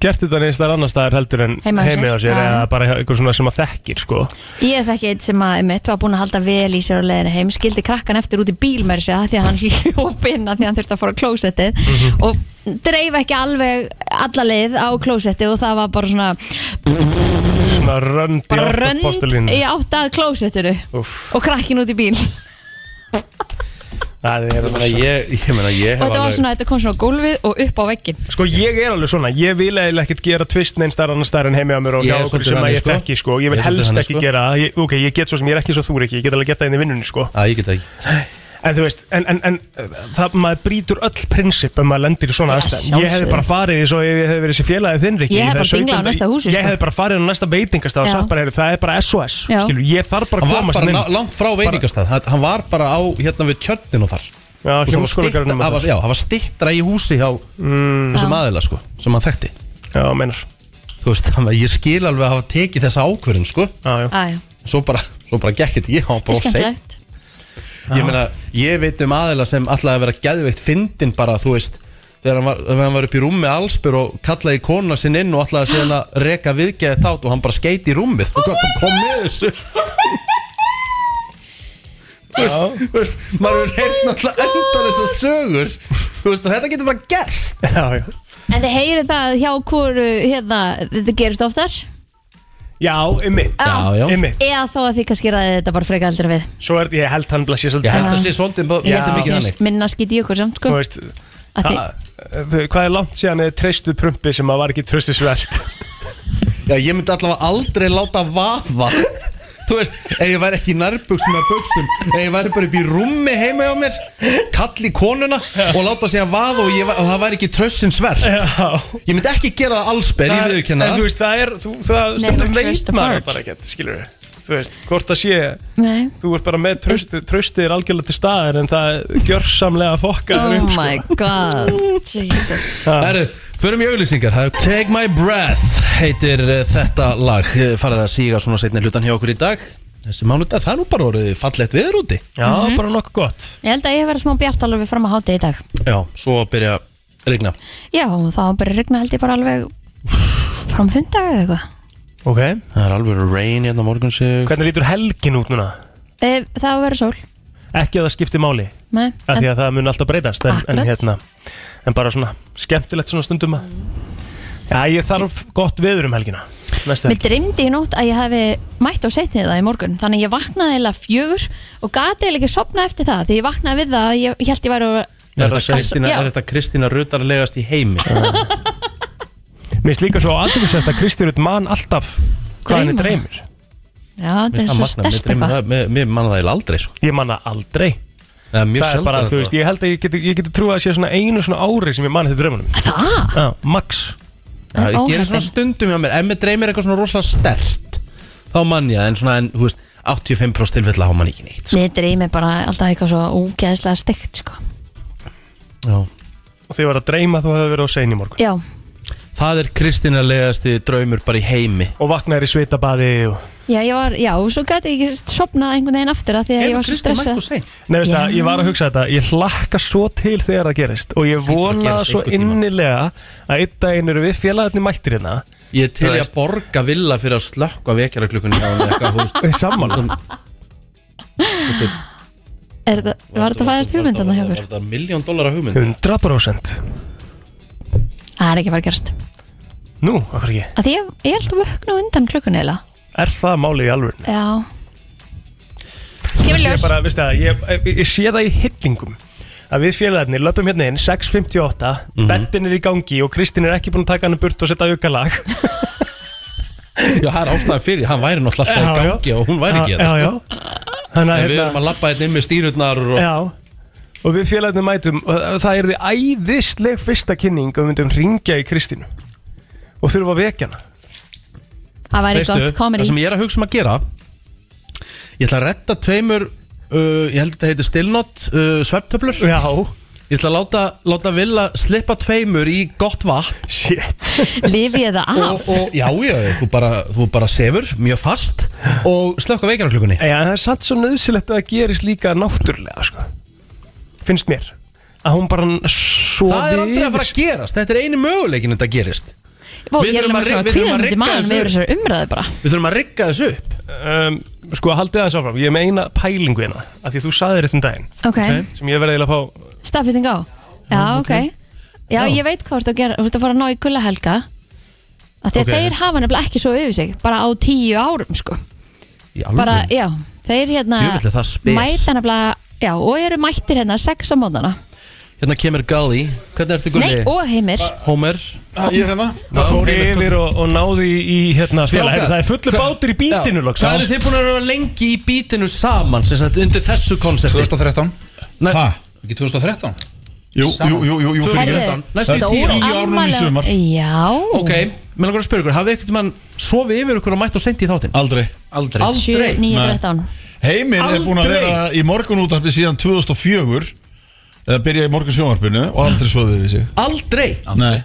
Speaker 1: gert þetta neins þar annars staðar heldur en
Speaker 2: Heima hjá sér.
Speaker 1: heimi á sér
Speaker 2: Já, já.
Speaker 1: eða bara eitthvað svona sem að þekkir sko
Speaker 2: Ég þekki eitt sem að mitt var búin að halda vel í sér á leiðinu heim, skildi krakkan eftir út í bíl mér sér að því að hann hljóf inn að því að hann þurfti að fara á klósettið og dreif ekki alveg alla leið á klósettið og það var bara svona
Speaker 1: Svona rönd í
Speaker 2: bara
Speaker 1: átt að
Speaker 2: rönd í
Speaker 1: postulínu
Speaker 2: átt að klósettinu
Speaker 1: Úff.
Speaker 2: og krakkin út í bíl
Speaker 1: Það er
Speaker 3: Þannig að ég, ég meina, ég
Speaker 2: og
Speaker 3: hef
Speaker 2: þetta var svona, þetta kom svona á gólfið og upp á veggin
Speaker 1: Sko ég er alveg svona, ég vil eiginlega ekkert gera tvist neins þar annars þar en heimi á mér og
Speaker 3: Ég
Speaker 1: hjá
Speaker 3: er
Speaker 1: okkur
Speaker 3: svolítið
Speaker 1: sem að
Speaker 3: þannig,
Speaker 1: ég
Speaker 3: sko.
Speaker 1: þekki sko, ég vil
Speaker 3: Ég er svolítið
Speaker 1: helst
Speaker 3: þannig,
Speaker 1: ekki
Speaker 3: sko.
Speaker 1: gera það, Ég- ok, ég get svo sem ég er ekki svo þúr ekki, ég get alveg gert það inn í vinnunni sko
Speaker 3: Æ, ég get það ekki
Speaker 1: En þú veist, en, en, en uh, það, maður brýtur öll prinsip ef maður lendir í svona
Speaker 2: Já,
Speaker 1: aðstæðum Ég hefði
Speaker 2: sjálfsögðu.
Speaker 1: bara farið eins og ef ég hefði verið þessi félagið þinn Rikki
Speaker 2: Ég hefði
Speaker 1: það er
Speaker 2: bara dinglað
Speaker 1: 17
Speaker 2: á næsta húsi,
Speaker 1: Ég
Speaker 2: sko.
Speaker 1: hefði bara farið á næsta veitingastað og
Speaker 2: Já.
Speaker 1: sagt bara, heyrðu, það er bara SOS,
Speaker 2: Já.
Speaker 1: skilur, ég þarf bara
Speaker 3: Hann
Speaker 1: að
Speaker 3: var
Speaker 1: komast
Speaker 3: bara ná,
Speaker 1: inn
Speaker 3: langt frá veitingastað Hann- Hann var bara á, hérna við tjörnin og þar
Speaker 1: Já, um
Speaker 3: Þú veist, það var styttra-
Speaker 1: hljómskólagarnum
Speaker 3: það var- Já, það var stittra í húsi hjá
Speaker 1: Mm.
Speaker 3: þessum aðila, sko sem hann þekkti
Speaker 1: Já, meinar
Speaker 3: Þú veist, þannig að ég skil alveg að hafa tekið þessa ákvörðin, sko
Speaker 1: Já, já.
Speaker 2: Æ,
Speaker 3: Svo bara, svo bara gekk þetta, ég hafa
Speaker 2: það
Speaker 3: bara
Speaker 2: er
Speaker 3: of seinn.
Speaker 2: skemmtilegt
Speaker 3: Ég meina, ég veit um aðila sem alltaf að vera geðveikt fyndin bara, þú veist þegar hann var, þegar hann var upp í rúmi allspur og kallaði konuna sinn inn og alltaf að segja hann að reka viðgeðið tát og hann bara skeiti í rúmið og bara kom með þessu Þú veist, maður er heyrt alltaf endar þessar sögur þú veist, og þetta getur bara gerst
Speaker 1: Já, já.
Speaker 2: En þið heyrið það hjá hvoru hérna, þetta gerist oftar
Speaker 1: Já, um ymmit
Speaker 2: Já.
Speaker 3: já
Speaker 1: Ymmit
Speaker 2: eða þó að þið kannski ræði þetta bara frekar aldrei við
Speaker 1: Svo er, ég held hann blessi
Speaker 3: Ég held
Speaker 1: svolítið
Speaker 3: að það sé svolítið,
Speaker 1: Já.
Speaker 3: svolítið mikið þannig
Speaker 2: minna skýti í okkur samt
Speaker 1: Þú
Speaker 2: sko
Speaker 1: veist,
Speaker 2: Að
Speaker 1: Þa-
Speaker 2: því-
Speaker 1: þau- Ah, Hvað er langt síðan eða treystu prumpi sem að var ekki tröstisvert
Speaker 3: Já, ég myndi allavega aldrei láta vafa Þú veist, ef ég væri ekki í nærbuksum eða buksum Ef ég væri bara upp í rúmi heima hjá mér Kalli konuna og láta sig að vaða og, ég, væ- og það væri ekki trössin svert
Speaker 1: Já
Speaker 3: Ég myndi ekki gera það allsber, ég
Speaker 1: En
Speaker 3: viðurkenna
Speaker 1: þú
Speaker 3: það
Speaker 1: veist, það er, þú, það
Speaker 2: Nei,
Speaker 1: stundum
Speaker 2: no
Speaker 1: veit
Speaker 2: trust
Speaker 1: maður
Speaker 2: apart.
Speaker 1: bara ekkert, skilur við Þú veist, hvort það sé,
Speaker 2: Nei.
Speaker 1: þú ert bara með trösti, trösti er algjörlega til staðar en það gjörsamlega fokkar
Speaker 2: Oh
Speaker 1: um, sko.
Speaker 2: my god Jesus.
Speaker 3: Herru, förum í auglýsingar Það er Take My Breath heitir eh, þetta lag Eh, Farið að síga svona setni hlutan hjá okkur í dag Þessi mánudag, það er nú bara orðið fallegt viður úti
Speaker 1: Já,
Speaker 2: Mhm.
Speaker 1: bara nokkuð gott
Speaker 2: Ég held að ég hef verið smá bjart alveg fram að háti í dag
Speaker 3: Já, svo að byrja að rigna
Speaker 2: Já, og þá bara regna held ég bara alveg fram fundag eða eitthvað
Speaker 1: Ok
Speaker 3: Það er alveg rain hérna morgun sig
Speaker 1: Hvernig lítur helgin út núna?
Speaker 2: e, Það var verið sól
Speaker 1: Ekki að það skipti máli,
Speaker 2: Nei,
Speaker 1: af því
Speaker 2: en,
Speaker 1: að það mun alltaf breytast en, en
Speaker 2: Akkurat.
Speaker 1: hérna, en bara svona skemmtilegt svona stundum að Já, ég þarf gott veður um helgina Næstu
Speaker 2: Mm. Mér dreymdi í nótt að ég hefði mætt á setnið það í morgun Þannig að ég vaknaði eiginlega fjögur og gati eiginlega ekki sopna eftir það Því ég vaknaði við það að ég, ég held ég væri að-
Speaker 3: Er þetta
Speaker 1: Verða
Speaker 3: Kristína,
Speaker 2: Já.
Speaker 3: er þetta Kristína rutarlegast í heimi?
Speaker 1: Mér finnst líka svo aðtökusett að Kristjórn man alltaf hvað henni
Speaker 2: Dreymar.
Speaker 1: dreymir.
Speaker 2: Já, þetta er
Speaker 3: Það
Speaker 2: svo
Speaker 3: magna, mér
Speaker 2: stelp
Speaker 3: dreymir
Speaker 2: eitthvað
Speaker 3: það, mér- mér manna það eiginlega aldrei sko.
Speaker 1: Ég manna aldrei.
Speaker 3: Það er mjög
Speaker 1: það er bara, þú veist,
Speaker 3: sjálfdæðan
Speaker 1: ég held að ég geti, ég geti trúið að sé svona einu svona ári sem ég man þetta draumunum.
Speaker 2: Það?
Speaker 1: Já, max.
Speaker 2: En
Speaker 3: Það gerir svona
Speaker 2: óheppin.
Speaker 3: stundum hjá mér Ef mér dreymir eitthvað svona rosalega stert Þá mann ég, það, en svona en, þú veist, 85% tilfella þá mann ekki neitt sko.
Speaker 2: Mér dreymi bara alltaf eitthvað svo ógeðslega steikt sko.
Speaker 3: Já.
Speaker 1: Og því var að dreyma þú hefði verið á sein í morgun
Speaker 2: Já,
Speaker 3: Það er kristinarlegasti draumur bara í heimi
Speaker 1: Og vaknaðir í svitabaði og...
Speaker 2: já, ég var, já, svo gæti ég ekki sopnað einhvern veginn aftur að því að ég
Speaker 3: Hefur
Speaker 2: var svo
Speaker 3: Kristín mætt
Speaker 2: stressað
Speaker 3: og seint?
Speaker 1: Nei, veist það,
Speaker 2: Já.
Speaker 1: ég var að hugsa þetta Ég hlakka svo til þegar það gerist Og ég
Speaker 3: að
Speaker 1: vona
Speaker 3: gerast
Speaker 1: svo
Speaker 3: einhvern tímann.
Speaker 1: innilega Að einn daginn eru við félagarnir mættir hérna
Speaker 3: Ég er til
Speaker 1: Þú
Speaker 3: í að
Speaker 1: veist.
Speaker 3: borga villa fyrir að slökka vekjara klukkunni hjá hann eitthvað, þú veist
Speaker 1: Við Saman
Speaker 2: Er þetta- Var þetta að fæðast hugmyndana hjá okkur?
Speaker 3: Var þetta miljón dólar að hugmynd?
Speaker 1: 100%
Speaker 2: Það er ekki að fara að gerast
Speaker 1: Nú, okkur ekki
Speaker 2: að Því ég, ég er alltaf vöknu undan klukkunni eiginlega.
Speaker 1: Er það málið í alvöru?
Speaker 2: Já Kemur
Speaker 1: Ég
Speaker 2: ljós
Speaker 1: bara, veistu það, ég, ég, ég sé það í hillingum að við félagarnir löpum hérna inn 6.58,
Speaker 3: Mhm.
Speaker 1: mm er í gangi og Kristín er ekki búin að taka hann burt og setja auka lag
Speaker 3: Já, það er ástæðan fyrir, hann væri náttúrulega alltaf í gangi og hún væri ekki
Speaker 1: Já,
Speaker 3: þetta
Speaker 1: já Þannig að
Speaker 3: En við
Speaker 1: hérna-
Speaker 3: erum að labba hérna inn með stýrurnar og
Speaker 1: Já Og við félagarnir mætum og það er því æðisleg fyrsta kynning og við myndum ringja í Kristínu og þurfa að vekja hana
Speaker 2: Það væri
Speaker 3: Veistu,
Speaker 2: gott
Speaker 3: það
Speaker 2: komið
Speaker 3: sem ég er að hugsa um að gera Ég ætla að retta tveimur uh, Ég held að þetta heitir stillnott uh, Svepptöflur
Speaker 1: Já,
Speaker 3: Ég ætla að láta, láta vilja slippa tveimur í gott vatn
Speaker 1: shit
Speaker 2: í Lifi ég það
Speaker 3: og,
Speaker 2: af
Speaker 3: og já, já, þú bara, þú bara sefur mjög fast og slökka veikar á klukkunni
Speaker 1: Já, en það er satt svo nöðsilegt að það gerist líka náttúrulega sko. finnst mér að hún bara svo
Speaker 3: Það er aldrei að fara að gerast, þetta er eini möguleikin að þetta gerist
Speaker 2: Vó,
Speaker 3: við
Speaker 2: Ég er
Speaker 3: þurfum að
Speaker 2: alveg svo
Speaker 3: ri-
Speaker 2: að
Speaker 3: við þurfum að
Speaker 2: kvíðandi
Speaker 3: rigga
Speaker 2: maður
Speaker 3: þessu.
Speaker 2: með þessar umræðu bara
Speaker 3: Við þurfum að rigga þessu upp
Speaker 1: um, Sko, haldið aðeins áfram, ég er með eina pælingu hérna af því að þú saðir þetta um daginn
Speaker 2: Ok,
Speaker 1: sem ég verði eiginlega að fá
Speaker 2: staðfesting á Já, ok Já, ég veit hvað þú ert að gera, þú ert að fara að ná í gullahelga að því að
Speaker 3: Ok.
Speaker 2: þeir hafa nefnilega ekki svo yfir sig bara á tíu árum sko
Speaker 3: Í
Speaker 2: bara,
Speaker 3: alveg,
Speaker 2: já, þeir hérna
Speaker 3: Djöfull er það spes.
Speaker 2: mæta nefnilega, já, og eru mættir hérna sex á mótana,
Speaker 3: hérna kemur Gali Hvernig ertu
Speaker 2: nei,
Speaker 3: Gulli?
Speaker 2: og heimir
Speaker 3: Homer
Speaker 5: Ég er hérna
Speaker 1: og fór
Speaker 3: Heimir,
Speaker 1: yfir og, og náði í, í hérna stela,
Speaker 3: Strákar,
Speaker 1: Heyrðu, það er fullu
Speaker 3: hva-
Speaker 1: bátur í bítinu
Speaker 3: Já,
Speaker 1: loks
Speaker 3: Hvað eru þið búin að vera lengi í bítinu saman sem sagt undir þessu konsepti?
Speaker 5: 2013
Speaker 3: Nei.
Speaker 5: Hæ? Ekki 2013? Jú, jú, jú, jú, jú
Speaker 2: Herðu,
Speaker 3: þetta. Næstu
Speaker 2: stór
Speaker 3: tíu
Speaker 5: ár núna í
Speaker 2: afmæli-
Speaker 5: sumar.
Speaker 2: já,
Speaker 3: Ok, mér langar að spyrja ykkur, hafið ekkert mann sofið yfir ykkur og mætt og sent í þáttinn?
Speaker 5: Aldrei Aldrei
Speaker 3: Aldrei
Speaker 2: 7, 9, 13
Speaker 5: Heimir er búin að vera í morgunútarpi síðan 2004 eða byrja í morgun sjónvarpinu og
Speaker 4: Mm.
Speaker 5: aldrei svoðið við sig
Speaker 3: Aldrei
Speaker 5: Nei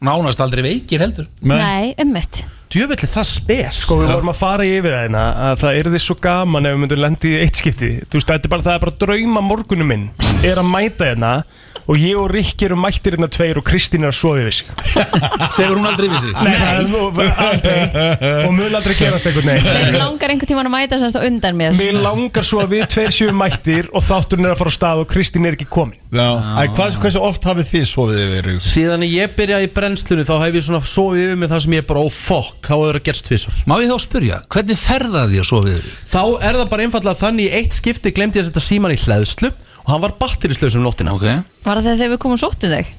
Speaker 4: Nánast aldrei veikir heldur
Speaker 2: nei, ummitt
Speaker 3: Djöfelli það spes
Speaker 1: Sko við vorum að fara yfir það hérna að það er þið svo gaman ef við myndum lendi í eitt skipti Þú veist, þetta er bara, það er bara drauma morgunum minn er að mæta hérna og ég og Rikki eru mættir hérna tveir og Kristín er að sofa yfir sig
Speaker 4: Segur hún aldrei við sig
Speaker 1: Nei, það er nú aldrei og mun aldrei gerast einhvern
Speaker 2: þeir
Speaker 1: veginn
Speaker 2: langar einhvern tíman að mæta semst á undan mér
Speaker 1: Mér langar svo að við tveir séum mættir og þátturinn er að fara á stað og Kristín er ekki komin
Speaker 5: Já, Æ, hvað, hversu oft hafið þið sofið yfir ykkur?
Speaker 3: Síðan að ég byrjaði í brennslunni þá hef ég svona sofið yfir með það sem ég bara oh fuck, þá hefur það gerst tvisvar
Speaker 4: Má ég þá spyrja, hvernig ferða því að svo við þig?
Speaker 3: Þá er það bara einfallega þannig í eitt skipti glemdi ég að setja síman í hleðslu og hann var batterislausum nóttina
Speaker 4: Ok
Speaker 2: var það þegar við komum og sóttum þig?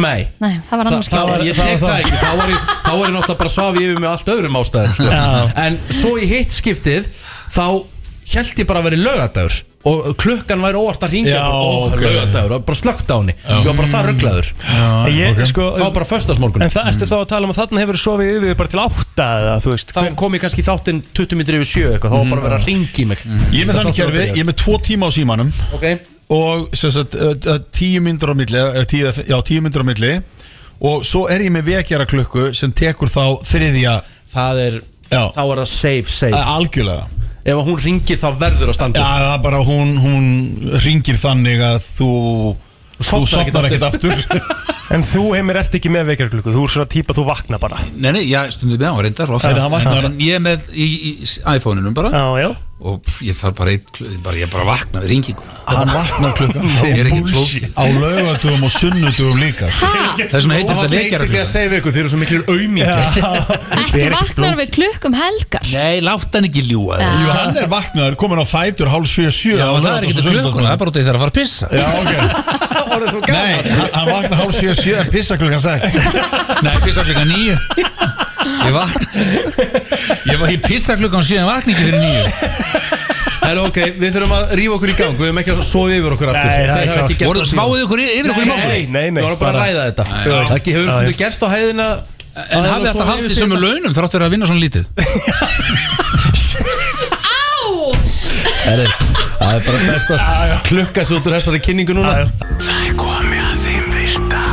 Speaker 3: Nei
Speaker 2: nei, það var
Speaker 3: Þa,
Speaker 2: annars
Speaker 3: það var,
Speaker 2: skipti
Speaker 3: ég tek það ekki, þá var ég, þá var ég náttúrulega bara að svafi yfir með allt öðrum ástæðum sko.
Speaker 1: Já.
Speaker 3: En svo í hitt skiptið, þá held ég bara að vera lögadagur Og klukkan væri óvart að ringja
Speaker 5: Já,
Speaker 3: bara,
Speaker 5: ok.
Speaker 3: okay. Lögadagur, og bara slögt á henni Ég var bara það rugglaður Það
Speaker 1: ég, sko,
Speaker 3: var bara föstasmorgun
Speaker 1: En það ertu þá að tala um að þarna hefur sofið yfir bara til átta eða þú veist
Speaker 3: Þá kom ég kannski í þáttinn 20 minnir yfir 7 eitthvað, þá var bara að vera að ringi mig
Speaker 5: Mm. Ég er með þannig kerfi, ég er með tvo tíma á símanum
Speaker 3: Ok.
Speaker 5: og sem sagt, eh, eh, tíu myndur á milli eh, tíu, já, tíu myndur á milli og svo er ég með vekjara klukku sem tekur þá þriðja
Speaker 3: Það er,
Speaker 5: Já.
Speaker 3: þá er það safe, safe
Speaker 5: eh, algjörlega
Speaker 3: Ef að hún ringir þá verður að
Speaker 5: Já,
Speaker 3: standa upp.
Speaker 5: það er bara hún, hún ringir þannig að þú þú
Speaker 3: Sofnar ekkert
Speaker 5: sopnar ekkert aftur
Speaker 1: En þú heimir ert ekki með vekjarklukku, þú er svona típa þú vakna bara
Speaker 4: Nei, nei, já, stundum við á reyndar oft.
Speaker 5: Það er það vaknar.
Speaker 4: En Ég er með í, í iPhone-unum bara
Speaker 1: Já, já
Speaker 4: Og pff, ég þarf bara eitt klukk bara, Ég bara vakna við ringinguna
Speaker 5: hann vaknar klukkan
Speaker 4: er
Speaker 5: fimm
Speaker 4: ekkert flókið.
Speaker 5: á laugatugum og sunnutugum líka Sko,
Speaker 4: Þess vegna heitir
Speaker 3: Það var
Speaker 4: þetta vekjara
Speaker 3: basically að segja við ykkur, þeir eru svo miklir aumingar
Speaker 2: ekki vaknar við klukkum helgar
Speaker 4: Nei, látt hann ekki ljúa þig
Speaker 5: Jú, hann er vaknaður, komin á fætur hálf
Speaker 4: Já,
Speaker 5: 7-7
Speaker 4: það er ekki þetta klukkuna, það er bara út af því það er að fara að pissa
Speaker 5: Já, ok Nei, hann hann vaknar hálf 7-7 en pissa klukkan 6
Speaker 4: Nei, pissa klukkan nýju Ég vakna Ég, var- ég pissa klukkan síðan vakna ekki fyrir nýju
Speaker 3: En ok, við þurfum að rífa okkur í gang Við höfum ekki að sofa yfir okkur aftur
Speaker 1: Nei, það er
Speaker 3: Þeir hafa
Speaker 1: klárt.
Speaker 3: ekki gert
Speaker 4: Voruð
Speaker 3: það
Speaker 4: það
Speaker 3: síðan.
Speaker 4: smáðið ykkur yfir ykkur í morgun?
Speaker 1: Nei, nei, nei
Speaker 3: Við vorum bara að ræða þetta Það ekki hefur stundu gerst á hæðina
Speaker 4: En hafið þetta haldið sem með launum þráttur að vinna svona lítið?
Speaker 3: Herri, Það er bara best að klukka svo út úr þessari kynningu núna
Speaker 1: Já, já.
Speaker 9: Það er komið að þeim virta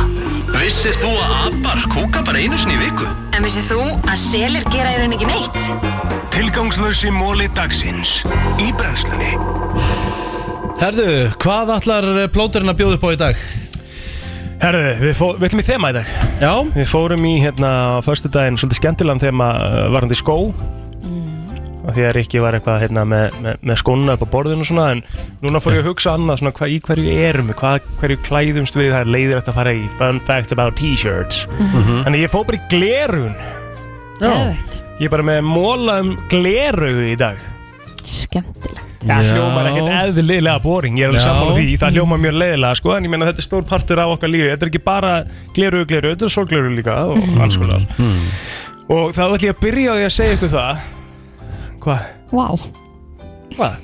Speaker 9: Vissir þú að abar kúka bara einu sinni í viku?
Speaker 10: En vissið þú að selir gera í raun ekki neitt?
Speaker 9: Tilgangslösi móli dagsins Í brennslunni
Speaker 3: Herðu, hvað ætlar plóterinn að bjóða upp á í dag?
Speaker 1: Herðu, við, fó, við ætlum í þema í dag
Speaker 3: Já,
Speaker 1: Við fórum í hérna á föstu daginn svolítið skemmtilegan þema uh, varandi skó mm. Því að Rikki var eitthvað hérna, með, með, með skóna upp á borðinu og svona En núna fór ég að hugsa annað svona hvað í hverju erum við Hvað hverju klæðumst við, það er leiðir að fara í Fun facts about t-shirts Þannig ég fór bara í glerun
Speaker 2: Geðveikt.
Speaker 1: Ég er bara með móla um glerugu í dag
Speaker 2: Skemmtilegt
Speaker 1: Það
Speaker 3: Já.
Speaker 1: hljómar ekkert eðlilega boring, ég er alveg
Speaker 3: Já.
Speaker 1: sammála því, það hljómar mjög leðilega sko, en ég meina þetta er stór partur af okkar lífi, þetta er ekki bara gleru, gleru, þetta er sorgleru líka og
Speaker 3: Mm.
Speaker 1: alls konar. Og þá ætlum ég að byrja á því að segja ykkur það, hvað,
Speaker 2: Vá
Speaker 1: hvað,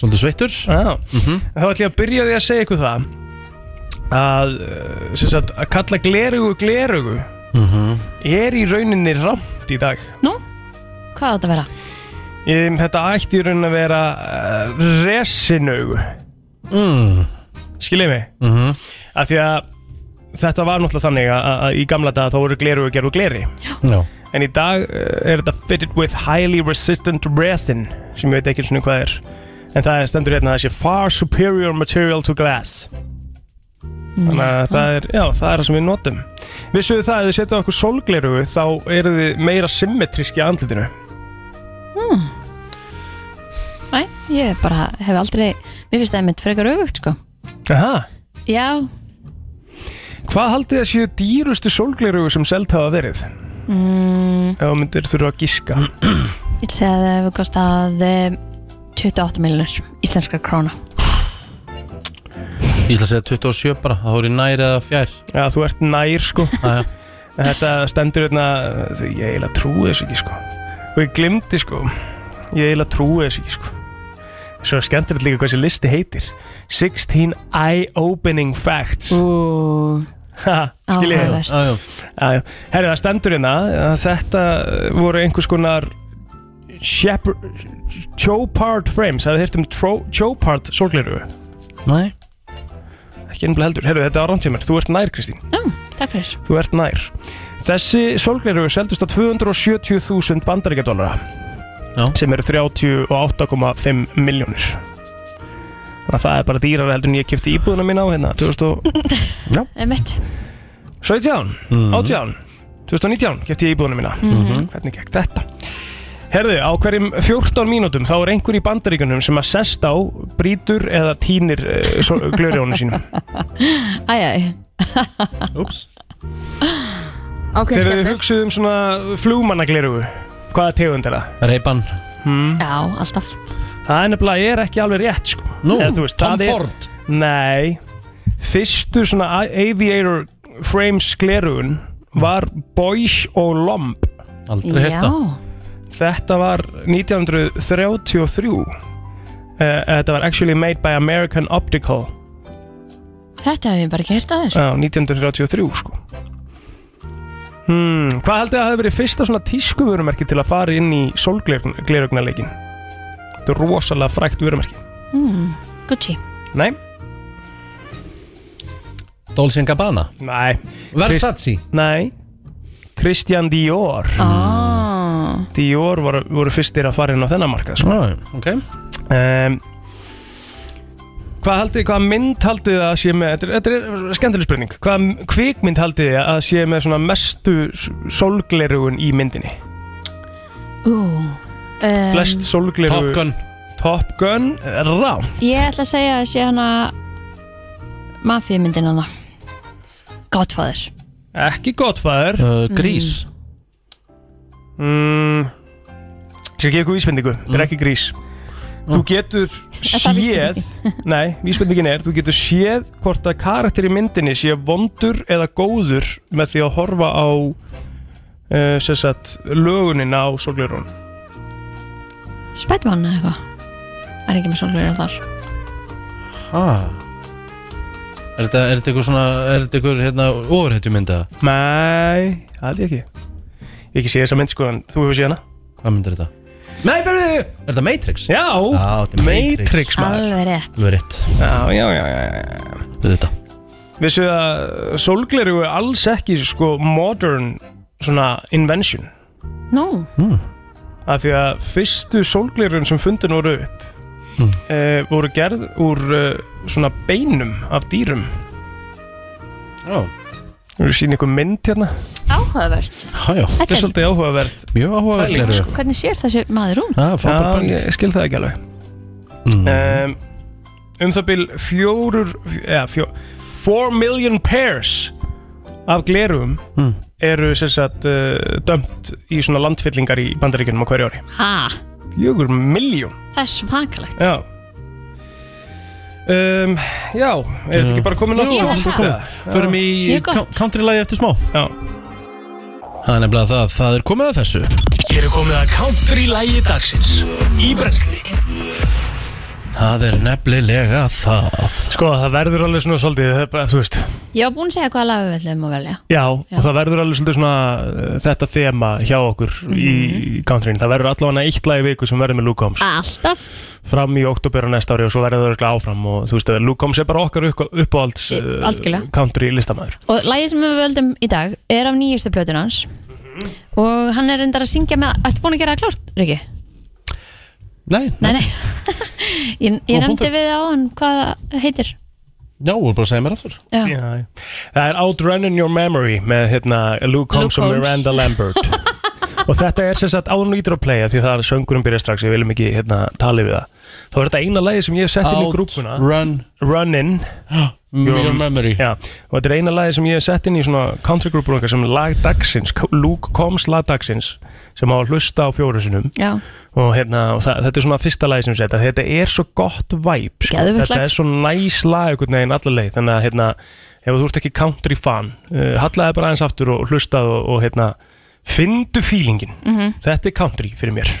Speaker 3: svolítið sveittur
Speaker 1: já,
Speaker 3: Mhm.
Speaker 1: þá ætlum ég að byrja á því að segja ykkur það að, eh, sem sagt, að kalla glerugu glerugu
Speaker 3: Mhm.
Speaker 1: er í rauninni ramt í dag.
Speaker 2: Nú, hvað átt að vera?
Speaker 1: Ég, þetta ætti í rauninni að vera uh, resinaugu mm. Skiljið mig mm -hmm. Af því að þetta var náttúrulega þannig að, að- að í gamla daga þá voru gleru og gerðu gleri
Speaker 3: Já
Speaker 1: En í dag uh, er þetta fitted with highly resistant resin sem ég veit ekki svona hvað er En það er stendur hérna að það sé far superior material to glass Þannig að það er, já, það er það sem við notum Vissuðu það að þið setja okkur sólgleru þá eru þið meira symmetríski að andlitinu
Speaker 2: Næ, ég bara hef aldrei Mér finnst það einmitt frekar öfugt sko
Speaker 1: Aha
Speaker 2: Já,
Speaker 1: Hvað haldið það séu dýrustu sólglerugu sem selt hafa verið? Mm. Ef þú myndir þurfa að giska
Speaker 2: ég vil segja að það hefur kostað eh, 28 miljonur íslenskar króna
Speaker 3: Ég ætla að segja 27 bara, það voru næri eða fjær
Speaker 1: Já, þú ert nær sko
Speaker 3: já.
Speaker 1: En Þetta stendur hérna þau- Ég eiginlega trúi þessu ekki sko Og ég glimti sko Ég eiginlega trúi þessu ekki sko Svo er skemmtilegt líka hvað þessi listi heitir 16 eye-opening facts
Speaker 2: Ú,
Speaker 1: Ha, hérna. Skiljið þið?
Speaker 2: áhugavert
Speaker 3: Já, já.
Speaker 1: Herri, það stendur hérna að þetta voru einhvers konar Shepard Chopard frames, hafið hirt um tro- Chopard sorgleiru,
Speaker 3: Nei
Speaker 1: ekki ennbla heldur Herri, þetta er árangt sem er, þú ert nær Kristín
Speaker 2: Takk fyrir
Speaker 1: þú ert nær Þessi sorgleiru seldust á 270.000 bandaríkjadólara
Speaker 3: Já.
Speaker 1: sem eru 38,5 miljónir Þannig að það er bara dýrar heldur en ég kipti íbúðuna mín á hérna 2017,
Speaker 2: Einmitt
Speaker 1: 18 2019 kipti ég íbúðuna mína hvernig gekk þetta Herðu, á hverjum 14 mínútum þá er einhver í bandaríkunum sem að sest á, brýtur eða týnir uh, glöriónu sínum.
Speaker 2: Æjæj
Speaker 3: Úps
Speaker 10: Ákveðin
Speaker 1: Þegar þið
Speaker 10: skellur.
Speaker 1: hugsuðum svona flugmannaglerugu, hvaða tegund er það?
Speaker 3: Reipan
Speaker 2: Já, alltaf
Speaker 1: Það er nefnilega er ekki alveg rétt sko.
Speaker 3: Nú,
Speaker 1: Eða, þú veist,
Speaker 3: Tom
Speaker 1: það er-
Speaker 3: Ford
Speaker 1: Nei, fyrstu svona a- aviator frames glerugun var Boyce og Lomb.
Speaker 3: Aldrei
Speaker 2: Já,
Speaker 3: hérta
Speaker 1: Þetta var 1933. Uh, þetta var actually made by American Optical
Speaker 2: þetta hef ég bara ekki hérta þér
Speaker 1: á 1933 sko. Hmm, hvað haldið að það hefði verið fyrsta svona tískuvörumerki til að fara inn í sólglerugnarleikin? Þetta er rosalega frækt vörumerki.
Speaker 2: Gucci
Speaker 1: Nei,
Speaker 3: Dolce Gabbana
Speaker 1: nei.
Speaker 3: Versace
Speaker 1: Nei Christian Dior
Speaker 2: Ah,
Speaker 1: Dior voru, voru fyrstir að fara inn á þennan markað sko.
Speaker 3: Right. Ok
Speaker 1: um, Hvað haldið, hvaða mynd haldið þið að sé með Þetta er, þetta er skemmtileg spurning Hvaða kvikmynd haldið þið að sé með svona mestu s- sólglerugun í myndinni
Speaker 2: ú um,
Speaker 1: Flest sólglerugu
Speaker 3: Top Gun
Speaker 1: Top Gun Rá
Speaker 2: Ég ætla að segja að sé hana Mafíumyndin hana Godfather
Speaker 1: Ekki gott fæður
Speaker 3: uh, Grís
Speaker 1: mm, Sér ekki eitthvað vísbendingu Þetta er ekki grís Þú getur
Speaker 2: það
Speaker 1: séð Nei, vísbendingin er Þú getur séð hvort að karakter í myndinni sé vondur eða góður með því að horfa á uh, sem sagt, lögunina á sorglirun
Speaker 2: Spiderman eða eitthvað er ekki með sólglerun þar Mm.
Speaker 3: ah. Er þetta, er þetta eitthvað svona, er þetta eitthvað hérna ofurhetju mynda?
Speaker 1: Nei, aldrei ekki Ég ekki sé þessa mynd sko en þú hefur séð hana
Speaker 3: Hvað mynd er þetta? Nei, berðu, er þetta Matrix?
Speaker 1: Já,
Speaker 3: þetta er
Speaker 1: Matrix,
Speaker 3: Matrix.
Speaker 1: maður
Speaker 2: Alveg rétt
Speaker 3: Þú er rétt,
Speaker 1: Já, já, já, já, já.
Speaker 3: þú veit það
Speaker 1: Vissu að sólgleru er alls ekki sko modern svona invention
Speaker 2: Nú,
Speaker 1: af því að fyrstu sólglerun sem fundin voru upp
Speaker 3: Mm.
Speaker 1: eh, voru gerð úr eh, svona beinum af dýrum
Speaker 3: Já,
Speaker 1: Þú eru sín ykkur mynd hérna
Speaker 2: áhugavert
Speaker 3: já,
Speaker 1: Þetta er
Speaker 2: Þetta er,
Speaker 1: svolítið áhugaverð
Speaker 3: mjög áhugaverð
Speaker 1: Pæling,
Speaker 3: gleru
Speaker 1: sko.
Speaker 2: hvernig sér þessi maður út?
Speaker 3: Já, frábær
Speaker 1: Já,
Speaker 3: pæling
Speaker 1: ég skil það ekki alveg
Speaker 3: Mm.
Speaker 1: um, um það byl fjórur eða, fjó, four million pairs af glerum
Speaker 3: Mm.
Speaker 1: eru sem sagt uh, dömt í svona landfyllingar í bandaríkjunum á hverju ári
Speaker 2: Ha,
Speaker 1: fjögur miljón
Speaker 2: það er svakalegt
Speaker 1: já um, já, er þetta ekki bara komin
Speaker 2: Ég
Speaker 3: Jú, þetta er
Speaker 2: held
Speaker 3: bara komið. Förum í
Speaker 2: Ég er gott.
Speaker 3: coun- country-lagi eftir smá
Speaker 1: Já.
Speaker 3: Það er nefnilega það, það er komið að þessu
Speaker 4: Hér er komið að country-lægi dagsins Í brensli
Speaker 3: Það er nefnilega það
Speaker 1: sko það verður alveg svona svolítið eh, þú veist,
Speaker 2: Ég var búin að segja hvaða lag við ætlum að velja
Speaker 1: já,
Speaker 2: Já.
Speaker 1: og það verður alveg svolítið svona eh, þetta þema hjá okkur í countryinu, það verður allavega eitt lag í viku sem verður með Luke Holmes
Speaker 2: Alltaf
Speaker 1: fram í oktober á næsta ári og svo verður það örugglega áfram og þú veist að Luke Combs er bara okkar upp, uppáhalds
Speaker 2: Í-
Speaker 1: eh,
Speaker 2: algjörlega.
Speaker 1: country listamæður
Speaker 2: Og lagið sem við völdum í dag er af nýjustu plötun hans Mhm. Og hann er reyndar að syngja með Ertu búin að gera það klárt, Riki?
Speaker 3: Nei,
Speaker 2: Nei, nei Ég, ég
Speaker 3: Góð
Speaker 2: nefndi
Speaker 3: punktur.
Speaker 2: við á hann hvað það heitir
Speaker 3: já, þú er bara að segja mér aftur
Speaker 2: Já,
Speaker 1: það er Outrunning Your Memory með hérna Luke Combs
Speaker 2: Luke
Speaker 1: og
Speaker 2: Combs.
Speaker 1: Miranda Lambert og þetta er sem sagt áðun og ítur að playa því það er söngurum byrja strax, ég viljum ekki hérna tali við það þá er þetta eina lagi sem ég hef sett inn í grúpuna
Speaker 3: run,
Speaker 1: Run In
Speaker 3: your memory
Speaker 1: Já, og þetta er eina lagi sem ég hef sett inn í svona country grúpur okkar sem er lag dagsins Luke Combs lag dagsins sem á að hlusta á fjórusunum
Speaker 2: já,
Speaker 1: og, hérna, og það, þetta er svona fyrsta lagi sem ég setja þetta er svo gott væp sko.
Speaker 2: Geðveikt
Speaker 1: þetta
Speaker 2: lag.
Speaker 1: er svo næs lag einhvern veginn alla leið þannig að hérna, ef þú ert ekki country fan uh, hallaði bara aðeins aftur og hlustað og, og hérna, fyndu feelingin
Speaker 2: Mhm.
Speaker 1: þetta er country fyrir mér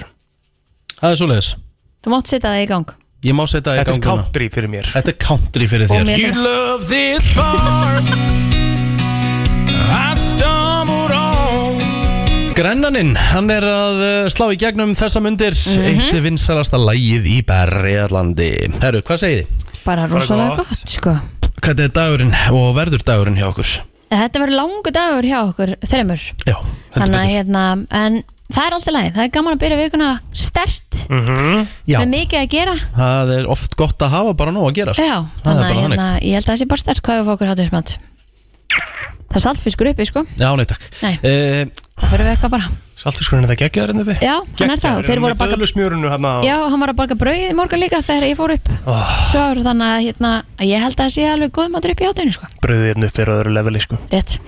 Speaker 3: Það er svoleiðis
Speaker 2: þú mátt setja það í gang
Speaker 3: Ég má setja það í
Speaker 1: þetta er
Speaker 3: ganguna
Speaker 1: country fyrir mér
Speaker 3: Þetta er country fyrir
Speaker 2: Og
Speaker 3: þér
Speaker 2: mér
Speaker 4: You love this part I stumbled on
Speaker 3: Grennaninn, hann er að uh, slá í gegnum þessa mundir
Speaker 1: Mhm.
Speaker 3: Eitt vinsalasta lægið í Berriðarlandi Herru, hvað segið þið?
Speaker 2: bara rosalega
Speaker 1: gott.
Speaker 2: gott, sko
Speaker 3: Hvernig er dagurinn og verður dagurinn hjá okkur?
Speaker 2: Þetta verður langu dagur hjá okkur þreymur
Speaker 3: Já,
Speaker 2: Þannig að hérna, en það er alltaf læg Það er gaman að byrja vikuna stert
Speaker 1: Mhm.
Speaker 3: Já,
Speaker 2: Með mikið að gera
Speaker 3: það er oft gott að hafa bara nóg að gera sko.
Speaker 2: Já,
Speaker 3: Það er
Speaker 2: þannig að
Speaker 3: bara
Speaker 2: hérna, ég held að það sé bara stert Hvað við fá okkur hátuðismat Það er saltfiskur uppi, sko
Speaker 3: Já, nei takk
Speaker 2: Nei.
Speaker 3: Eh,
Speaker 2: Það fyrir við eitthvað bara
Speaker 1: saltiskurinn þetta geggjaður enn uppi
Speaker 2: Já, hann er það, þeir voru að baka
Speaker 1: smjörunu hann hérna á
Speaker 2: Já, hann var að baka brauð í morgun líka þegar ég fór upp
Speaker 3: Ah.
Speaker 2: oh. Svar, þannig að hérna, að ég held að það sé alveg góð matur upp í átæðinu sko.
Speaker 1: bröðið hérna uppi er á öðru leveli sko.
Speaker 2: Rétt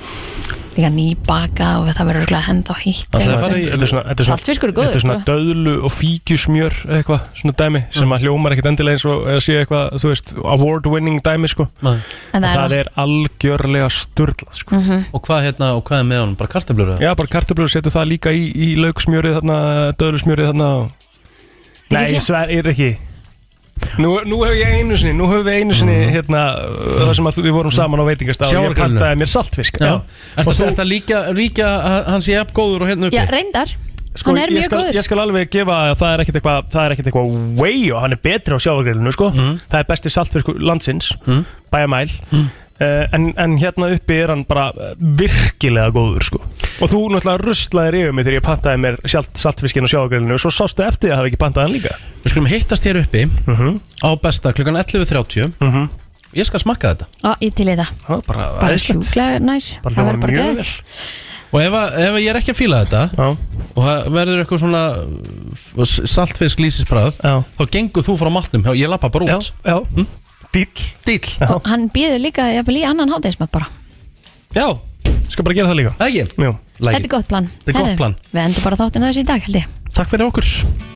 Speaker 2: Líka nýbaka og það verður örugglega hend á hýtt
Speaker 3: Það er
Speaker 2: eitthvað.
Speaker 3: farið í-
Speaker 1: þetta er svona, þetta er svona
Speaker 2: Saltfiskur er góður,
Speaker 1: Þetta er svona
Speaker 2: sko.
Speaker 1: döðlu og fíkjusmjör eitthvað, svona dæmi sem að hljómar ekkit endilega eins og eða sé eitthvað, þú veist, award winning dæmi sko
Speaker 3: nei.
Speaker 2: En
Speaker 1: það,
Speaker 2: það Mhm. er,
Speaker 1: er algjörlega sturlað sko.
Speaker 3: Og hvað hérna, og hvað er með honum? Bara kartablur?
Speaker 1: Já, bara kartöflur setur það líka í, í lauksmjörið þarna, döðlusmjörið þarna og...
Speaker 2: Ekki
Speaker 1: Nei,
Speaker 2: sé.
Speaker 1: ég sver, ég er ekki Nú, nú hef ég einu sinni, nú hef við einu sinni hérna, uh, það sem að þú- við vorum saman á veitingastaf og ég
Speaker 3: Sjávargrillinu.
Speaker 1: pantaði mér saltfisk
Speaker 3: Já,
Speaker 1: já.
Speaker 3: Er
Speaker 1: Og þú-
Speaker 3: þetta líka, ríkja að hann sé jafngóður og hérna uppi?
Speaker 2: Já, reyndar
Speaker 1: Sko,
Speaker 2: Hann er
Speaker 1: ég
Speaker 2: mjög
Speaker 1: skal,
Speaker 2: góður
Speaker 1: Ég skal alveg gefa að það er ekkert eitthvað Það er ekkert eitthvað way og hann er betri á sjávargrillinu sko. Það er besti saltfiskur landsins mm. Bæja mæl en, en hérna uppi er hann bara eh, virkilega góður sko. Og þú náttúrulega ruslaðir yfir mig þegar ég pantaði mér sjálft saltfiskinn á sjávargrillinu og svo sástu eftir að hafa ekki pantað hann líka
Speaker 3: Við skulum hittast hér uppi á besta klukkan 11.30 Ég skal smakka þetta
Speaker 2: Á, ég til í það
Speaker 1: Það var bara,
Speaker 2: Bara
Speaker 1: æðislegt.
Speaker 2: sjúklega næs
Speaker 1: Bara
Speaker 2: Það
Speaker 1: hljómar
Speaker 2: verður bara
Speaker 1: mjög
Speaker 2: gæðið
Speaker 3: Og ef, að, ef að ég er ekki að fíla þetta
Speaker 1: Já,
Speaker 3: og það verður eitthvað svona saltfisk lýsisbræð
Speaker 1: já,
Speaker 3: þá gengur þú frá matnum, hjá- ég lappa bara
Speaker 1: já,
Speaker 3: út
Speaker 1: já. Dýll
Speaker 3: Dýll,
Speaker 1: Já.
Speaker 2: Og hann býður líka jafnvel í annan hátuðismat bara
Speaker 1: Já, skal bara gera það líka
Speaker 3: ekki?
Speaker 1: Já
Speaker 2: Þetta er gott plan
Speaker 3: Þetta er gott
Speaker 2: Herðu,
Speaker 3: plan.
Speaker 2: Við endur bara þáttina þessu í dag held ég
Speaker 3: Takk fyrir okkur